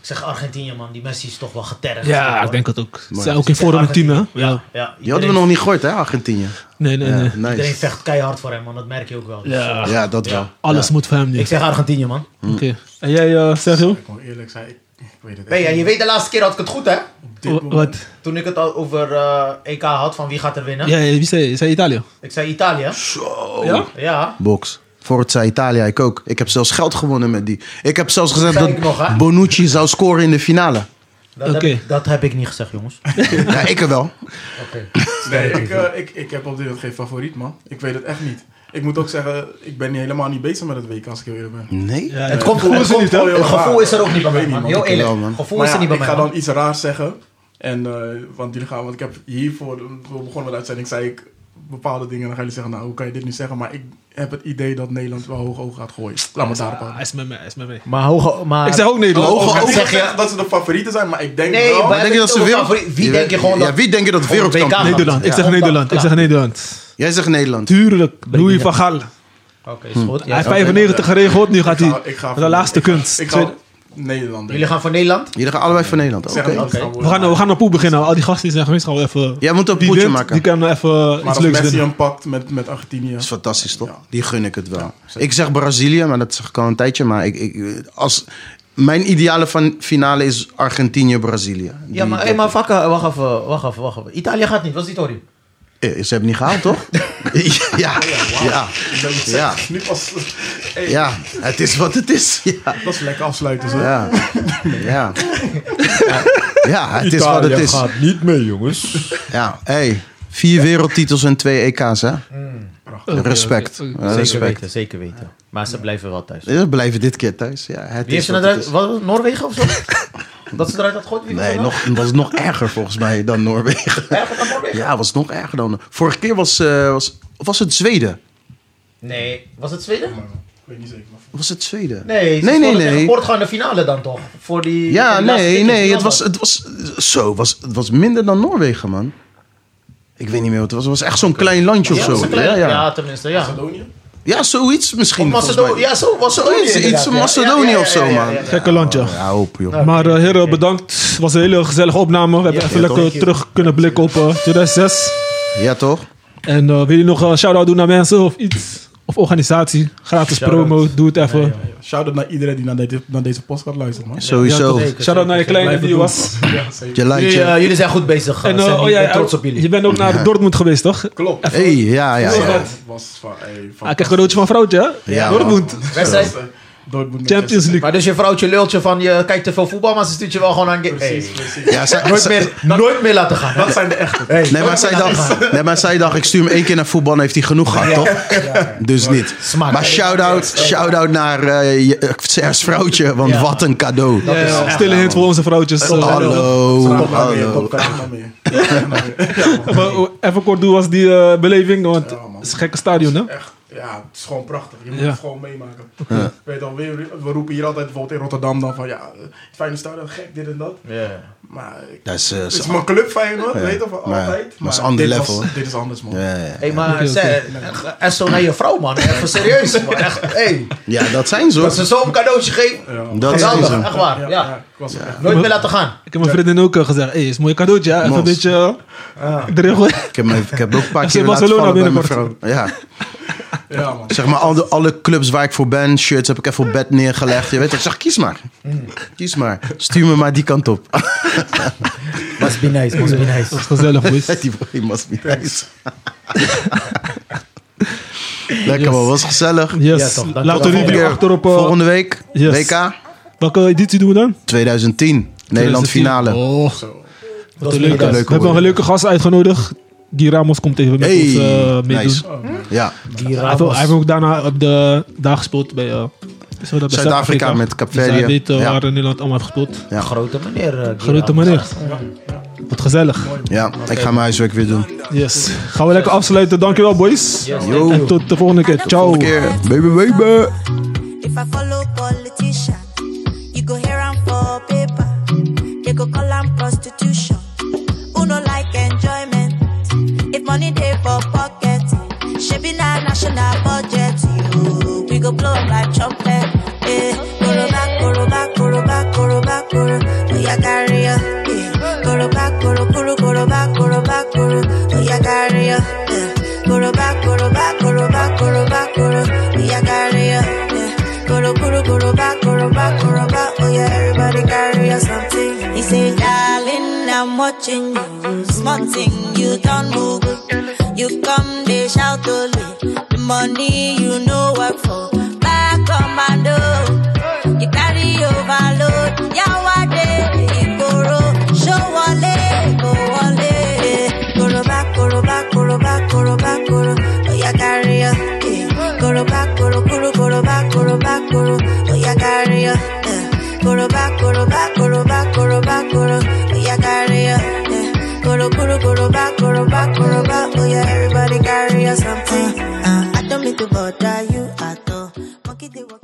[SPEAKER 4] ik zeg Argentinië man, die Messi is toch wel getergd.
[SPEAKER 2] ja,
[SPEAKER 4] hoor.
[SPEAKER 2] ik denk het ook. Ze
[SPEAKER 3] Mooi.
[SPEAKER 2] zijn ook in vorm een team, hè? Ja.
[SPEAKER 4] Ja,
[SPEAKER 3] Die hadden
[SPEAKER 4] iedereen,
[SPEAKER 3] we nog niet gehoord, hè, Argentinië.
[SPEAKER 2] Nee, nee, nee.
[SPEAKER 3] Ja,
[SPEAKER 4] Eh, iedereen
[SPEAKER 3] nice.
[SPEAKER 4] vecht keihard voor hem man, dat merk je ook wel. Dus, eh,
[SPEAKER 2] Ja.
[SPEAKER 3] Ja, dat wel.
[SPEAKER 2] Alles moet voor hem nu.
[SPEAKER 4] Ik zeg Argentinië man.
[SPEAKER 2] Oké. En jij, eh Sergio?
[SPEAKER 5] Ik moet eerlijk zijn. Ik, ik weet het
[SPEAKER 4] Ben
[SPEAKER 5] echt
[SPEAKER 4] je, je
[SPEAKER 5] niet.
[SPEAKER 4] weet de laatste keer had ik het goed hè?
[SPEAKER 5] Op dit
[SPEAKER 2] Wa-
[SPEAKER 5] moment-
[SPEAKER 2] Wat?
[SPEAKER 4] Toen ik het al over eh, EK had van wie gaat er winnen.
[SPEAKER 2] Ja, ja, wie zei, zei Italië?
[SPEAKER 4] Ik zei Italië.
[SPEAKER 3] Zo.
[SPEAKER 2] Ja?
[SPEAKER 4] Ja.
[SPEAKER 3] Box. Voor het zei Italië ik ook. Ik heb zelfs geld gewonnen met die. Ik heb zelfs gezegd
[SPEAKER 4] Zei ik
[SPEAKER 3] dat
[SPEAKER 4] nog, hè?
[SPEAKER 3] Bonucci zou scoren in de finale.
[SPEAKER 4] Dat,
[SPEAKER 2] Oké.
[SPEAKER 4] heb, ik- dat heb ik niet gezegd jongens.
[SPEAKER 3] Ja, ik er wel.
[SPEAKER 4] Oké.
[SPEAKER 5] Nee, ik, eh, ik, ik heb op dit moment geen favoriet, man. Ik weet het echt niet. Ik moet ook zeggen, ik ben niet- helemaal niet bezig met het WK als ik heel eerlijk ben.
[SPEAKER 3] Nee?
[SPEAKER 2] Ja,
[SPEAKER 4] Het
[SPEAKER 2] ja.
[SPEAKER 4] komt
[SPEAKER 5] Gevoel is er
[SPEAKER 4] het
[SPEAKER 5] niet,
[SPEAKER 4] komt-
[SPEAKER 5] hè?
[SPEAKER 4] het gevoel is er ook niet bij
[SPEAKER 5] Ik
[SPEAKER 4] mij,
[SPEAKER 5] weet
[SPEAKER 4] man.
[SPEAKER 5] niet,
[SPEAKER 4] Heel
[SPEAKER 5] man.
[SPEAKER 4] eerlijk.
[SPEAKER 3] Wel, man.
[SPEAKER 4] gevoel
[SPEAKER 5] Maar
[SPEAKER 4] is er
[SPEAKER 5] ja,
[SPEAKER 4] niet bij
[SPEAKER 5] ik
[SPEAKER 4] mij,
[SPEAKER 5] ga
[SPEAKER 4] man.
[SPEAKER 5] dan iets raars zeggen. En, eh, want jullie gaan, want ik heb hiervoor, we begonnen met de uitzending, zei ik bepaalde dingen. Dan gaan jullie zeggen, nou, hoe kan je dit nu zeggen? Maar ik heb het idee dat Nederland wel hoog oog gaat gooien. Laat me het daarop houden.
[SPEAKER 2] Hij is met mij, hij is met mij.
[SPEAKER 6] Maar hoog... Maar...
[SPEAKER 2] Ik zeg ook Nederland.
[SPEAKER 5] Hoog oog
[SPEAKER 4] zeg
[SPEAKER 5] zeg
[SPEAKER 4] je-
[SPEAKER 5] je dat ze de favorieten zijn, maar ik denk
[SPEAKER 4] Nee,
[SPEAKER 5] wel...
[SPEAKER 4] maar-
[SPEAKER 3] denk je dat ze
[SPEAKER 4] Over
[SPEAKER 3] wereld...
[SPEAKER 4] favoriet- wie denk je gewoon
[SPEAKER 3] Ja,
[SPEAKER 4] dat-
[SPEAKER 3] wie denk je dat
[SPEAKER 4] Gewoon
[SPEAKER 3] wereldkampioen
[SPEAKER 4] WK?
[SPEAKER 2] Nederland. Ik
[SPEAKER 4] Ja.
[SPEAKER 2] zeg Nederland. Ik zeg Nederland.
[SPEAKER 3] Jij zegt Nederland.
[SPEAKER 2] Tuurlijk. Louis van Gaal.
[SPEAKER 4] Oké, is goed.
[SPEAKER 2] Hij
[SPEAKER 4] Ja,
[SPEAKER 2] heeft
[SPEAKER 4] oké.
[SPEAKER 2] 95 geregeld. Nu gaat
[SPEAKER 5] Ik ga-
[SPEAKER 2] hij
[SPEAKER 5] ik ga
[SPEAKER 2] met
[SPEAKER 5] voor-
[SPEAKER 2] de laatste
[SPEAKER 5] ik ga-
[SPEAKER 2] kunst.
[SPEAKER 5] Ik
[SPEAKER 2] Tweede-
[SPEAKER 5] ga Nederland
[SPEAKER 4] Jullie
[SPEAKER 5] denken.
[SPEAKER 4] gaan voor Nederland?
[SPEAKER 3] Jullie gaan allebei van Nederland. Oké.
[SPEAKER 5] Zeggen dat het
[SPEAKER 4] Oké.
[SPEAKER 5] gaan
[SPEAKER 2] We gaan, we
[SPEAKER 5] worden.
[SPEAKER 2] gaan op poel beginnen. Al die gasten die zijn geweest, gaan we even...
[SPEAKER 3] Jij moet een
[SPEAKER 2] die
[SPEAKER 3] potje
[SPEAKER 2] wint,
[SPEAKER 3] maken.
[SPEAKER 2] Die kan nou even
[SPEAKER 5] Maar
[SPEAKER 2] iets
[SPEAKER 5] als
[SPEAKER 2] leuks
[SPEAKER 5] Messi
[SPEAKER 2] winnen.
[SPEAKER 5] een pakt met, met Argentinië...
[SPEAKER 3] Dat is fantastisch, toch?
[SPEAKER 5] Ja.
[SPEAKER 3] Die gun ik het wel. ik zeg Brazilië, maar dat zeg ik al een tijdje. Maar ik, ik, als, mijn ideale van finale is Argentinië-Brazilië.
[SPEAKER 4] Ja,
[SPEAKER 3] Die-
[SPEAKER 4] maar, hey, maar vakken, wacht even, wacht even, wacht even. Italië gaat niet, was die Tori?
[SPEAKER 3] Eh, Ze hebben het niet gehaald, toch?
[SPEAKER 4] Oh
[SPEAKER 3] ja, ja,
[SPEAKER 5] Ik ben het
[SPEAKER 3] Ja.
[SPEAKER 5] zeggen. Nu pas... Hey,
[SPEAKER 3] ja. Het is wat het is. Ja,
[SPEAKER 5] Dat is lekker afsluiten, zo.
[SPEAKER 3] ja, ja. Ja, het is wat het
[SPEAKER 6] Italië
[SPEAKER 3] is.
[SPEAKER 6] gaat niet mee, jongens.
[SPEAKER 3] Ja, hey, vier wereldtitels en twee EK's, hè? Respect.
[SPEAKER 4] Zeker
[SPEAKER 3] Respect.
[SPEAKER 4] weten, zeker weten. Maar ze blijven wel thuis.
[SPEAKER 3] Ze blijven dit keer thuis. Ja,
[SPEAKER 4] Wie
[SPEAKER 3] het is
[SPEAKER 4] heeft ze
[SPEAKER 3] wat
[SPEAKER 4] nou
[SPEAKER 3] het
[SPEAKER 4] eruit,
[SPEAKER 3] is.
[SPEAKER 4] wat, Noorwegen of zo? dat ze eruit had gegooid? Wie
[SPEAKER 3] Nee,
[SPEAKER 4] was dat?
[SPEAKER 3] nog, dat is nog erger volgens mij dan Noorwegen.
[SPEAKER 4] Erger dan Noorwegen?
[SPEAKER 3] Ja, was nog erger dan. Vorige keer was, eh, was, of was het Zweden.
[SPEAKER 4] Nee, was het Zweden?
[SPEAKER 5] Ik weet niet zeker, maar...
[SPEAKER 3] Was het Zweden?
[SPEAKER 4] Nee, ze
[SPEAKER 3] nee, nee.
[SPEAKER 4] speelden tegen
[SPEAKER 3] nee.
[SPEAKER 4] Portugal in de finale dan toch? Voor die,
[SPEAKER 3] Ja,
[SPEAKER 4] voor die laatste
[SPEAKER 3] nee,
[SPEAKER 4] ticket
[SPEAKER 3] nee.
[SPEAKER 4] die
[SPEAKER 3] Het was,
[SPEAKER 4] dan
[SPEAKER 3] het was zo. Was, het was minder dan Noorwegen, man. Ik weet niet meer wat het was. Het was echt zo'n klein landje of
[SPEAKER 4] Ja, was
[SPEAKER 3] zo.
[SPEAKER 4] een klein-
[SPEAKER 3] Ja, ja.
[SPEAKER 4] ja, tenminste, ja.
[SPEAKER 5] Macedonië?
[SPEAKER 3] ja, zoiets misschien.
[SPEAKER 4] Of
[SPEAKER 3] volgens
[SPEAKER 4] Macedonië,
[SPEAKER 3] mij.
[SPEAKER 4] ja, zo was het
[SPEAKER 3] Zoiets, iets van Macedonië of zo, man.
[SPEAKER 2] Gekke landje.
[SPEAKER 3] Oh, Ja, op, joh.
[SPEAKER 2] Maar eh, heren, bedankt. Het was een hele gezellige opname. We hebben even
[SPEAKER 3] ja,
[SPEAKER 2] lekker
[SPEAKER 3] toch?
[SPEAKER 2] terug kunnen blikken op eh, 2006.
[SPEAKER 3] Ja, toch?
[SPEAKER 2] En eh, wil je nog een shout-out doen naar mensen of iets? Of organisatie? Gratis
[SPEAKER 4] Shout-out.
[SPEAKER 2] promo, doe het even.
[SPEAKER 5] Shout-out naar iedereen die naar, dit, naar deze podcast luistert, man.
[SPEAKER 3] Sowieso.
[SPEAKER 4] Ja, zeker.
[SPEAKER 2] Shout-out naar je kleine
[SPEAKER 5] Blijf
[SPEAKER 2] die
[SPEAKER 5] het
[SPEAKER 2] was.
[SPEAKER 5] doen. Ja, zeker.
[SPEAKER 3] Je lijntje.
[SPEAKER 4] Jullie, eh, jullie zijn goed bezig,
[SPEAKER 2] En
[SPEAKER 4] en,
[SPEAKER 2] eh,
[SPEAKER 4] Sammy.
[SPEAKER 2] oh,
[SPEAKER 4] ik
[SPEAKER 2] ja,
[SPEAKER 4] ben trots op
[SPEAKER 2] Je
[SPEAKER 4] jullie.
[SPEAKER 2] bent ook naar Dortmund geweest, toch?
[SPEAKER 5] Klopt.
[SPEAKER 3] hey, ja, ja, ja.
[SPEAKER 5] Ja, was van, hey, van
[SPEAKER 2] Ah, ik krijg cadeautje van vrouwtje, hè?
[SPEAKER 3] Ja,
[SPEAKER 2] Dortmund.
[SPEAKER 4] Wedstrijd.
[SPEAKER 5] Dortmund
[SPEAKER 2] Champions League.
[SPEAKER 4] Maar dus je vrouwtje lultje van je kijkt te veel voetbal, maar ze stuurt je wel gewoon aan... ge-
[SPEAKER 5] Precies,
[SPEAKER 4] Hey,
[SPEAKER 5] precies.
[SPEAKER 3] Ja, zij-
[SPEAKER 4] nooit,
[SPEAKER 3] zij-
[SPEAKER 4] meer, nooit meer laten gaan.
[SPEAKER 5] Dat zijn de echte.
[SPEAKER 3] Nee, maar zij dacht, nee, maar zij dacht, ik stuur hem één keer naar voetbal en heeft hij genoeg gehad, toch? Dus niet.
[SPEAKER 4] Smaak.
[SPEAKER 3] Maar shout-out shout naar eh, je- eh, Ser's vrouwtje, want
[SPEAKER 4] Ja.
[SPEAKER 3] wat een cadeau.
[SPEAKER 2] Ja, ja, Stille hint voor onze vrouwtjes. Eh,
[SPEAKER 3] Hallo,
[SPEAKER 5] Kom maar meer,
[SPEAKER 3] hallo.
[SPEAKER 5] kom maar meer. Ja, maar-
[SPEAKER 2] maar, oh, even kort, hoe was die eh, beleving? Want
[SPEAKER 5] Ja, man.
[SPEAKER 2] het is een gekke stadion, hè?
[SPEAKER 5] Echt, ja, het is gewoon prachtig. Je moet
[SPEAKER 2] Ja.
[SPEAKER 5] het gewoon meemaken. Weet je wel, we, we roepen hier altijd bijvoorbeeld in Rotterdam dan van ja, eh, Feyenoord stadion, gek, dit en dat.
[SPEAKER 4] Ja.
[SPEAKER 5] Maar ik-
[SPEAKER 3] Dat is, eh,
[SPEAKER 5] het is mijn club Feyenoord, weet je van
[SPEAKER 3] maar-
[SPEAKER 5] altijd.
[SPEAKER 3] maar het is ander
[SPEAKER 5] dit
[SPEAKER 3] level,
[SPEAKER 5] Was,
[SPEAKER 3] hè?
[SPEAKER 5] dit is anders man.
[SPEAKER 3] ja, ja.
[SPEAKER 4] Hé, maar
[SPEAKER 2] Oké, oké.
[SPEAKER 4] zij- echt, echt zo naar je vrouw, man. Even serieus, man. Echt, hey,
[SPEAKER 3] ja, dat zijn ze.
[SPEAKER 4] dat ze zo'n cadeautje geeft.
[SPEAKER 5] Ja, man.
[SPEAKER 3] Dat zijn
[SPEAKER 4] Geweldig,
[SPEAKER 3] ze.
[SPEAKER 4] echt waar.
[SPEAKER 5] Ja, ja,
[SPEAKER 4] Ja.
[SPEAKER 5] ik was er echt.
[SPEAKER 4] Nooit meer laten gaan.
[SPEAKER 2] Ik heb mijn vriendin ook eh, gezegd, hé, is een mooi cadeautje, hè? Even een
[SPEAKER 3] Mos.
[SPEAKER 2] beetje eh, erin gooien.
[SPEAKER 3] Ik heb, me- ik heb ook een paar
[SPEAKER 2] FC
[SPEAKER 3] keer laten
[SPEAKER 2] Barcelona
[SPEAKER 3] vallen bij mijn vrouw.
[SPEAKER 2] binnenkort.
[SPEAKER 3] Ja,
[SPEAKER 5] Ja, man.
[SPEAKER 3] zeg maar, alle, alle clubs waar ik voor ben, shirts heb ik even op bed neergelegd. Je weet, ik zeg, kies maar. Kies maar. Stuur me maar die kant op.
[SPEAKER 4] Must be nice, must be nice.
[SPEAKER 2] Dat is gezellig, boys.
[SPEAKER 3] Die boy must be nice. Lekker man, was gezellig.
[SPEAKER 2] Yes,
[SPEAKER 4] toch, dankjewel.
[SPEAKER 2] laat een
[SPEAKER 3] Volgende
[SPEAKER 2] review
[SPEAKER 3] keer.
[SPEAKER 2] achter op... eh,
[SPEAKER 3] Volgende week,
[SPEAKER 2] yes.
[SPEAKER 3] WK
[SPEAKER 2] Welke editie doen we dan?
[SPEAKER 3] 2010, Nederland
[SPEAKER 2] 2010.
[SPEAKER 3] finale.
[SPEAKER 2] Oh,
[SPEAKER 5] Zo.
[SPEAKER 4] Dat is
[SPEAKER 2] leuk.
[SPEAKER 4] leuk.
[SPEAKER 2] We hebben nog een leuke gast uitgenodigd. Guy Ramos komt even met
[SPEAKER 3] Hey,
[SPEAKER 2] ons eh meedoen.
[SPEAKER 3] nice. Ja,
[SPEAKER 4] Die
[SPEAKER 2] Hij heeft ook- hij heeft ook daarna op de daar gespeeld bij eh, is dat bij
[SPEAKER 3] Zuid-Afrika met Cap
[SPEAKER 2] Dus hij
[SPEAKER 3] Verde.
[SPEAKER 2] weet eh,
[SPEAKER 3] Ja.
[SPEAKER 2] waar Nederland allemaal heeft gespeeld.
[SPEAKER 3] Ja.
[SPEAKER 4] Grote meneer. eh,
[SPEAKER 2] Grote
[SPEAKER 4] Guillaume.
[SPEAKER 2] meneer. Wat gezellig.
[SPEAKER 3] ja, ik ga mijn huiswerk weer doen.
[SPEAKER 2] Yes. Gaan we lekker afsluiten. Dankjewel boys.
[SPEAKER 4] Yes,
[SPEAKER 3] Yo.
[SPEAKER 2] En tot de volgende keer. Ciao.
[SPEAKER 3] Volgende keer, baby, baby.
[SPEAKER 7] If I follow politician, you go here and for paper. They go call am prostitution. Who no like enjoyment? If money dey for pocket, should be na national budget. You, we go blow up like trumpet. Eh, koroba, koroba, koroba, koroba, koro. Oh yeah, carry ya. Eh, koroba, koro, koro, koroba, koroba, koro. Oh yeah, carry ya. Eh, koroba, koroba, koroba, koroba, koro. Oh yeah, carry ya. Eh, Koro koro koro ba koro ba koro ba oh yeah everybody carry us something. He say, darling, I'm watching you. Small thing you don't move. You come they shout only. The money you know work for. Back commando, you carry overload. Yawade ikoro show wale go wale. Koro ba koro ba koro ba koro ba koro oh yeah carry us. eh. Koro ba koro koro koro ba koro ba koro oh yeah carry us. eh. Koro ba koro ba koro ba koro ba koro oh yeah carry us. eh. Koro, koro, koro, ba, koro, ba, koro, ba. Oh yeah, everybody carry your something. Uh, I don't mean to bother you at all. Monkey, they walk-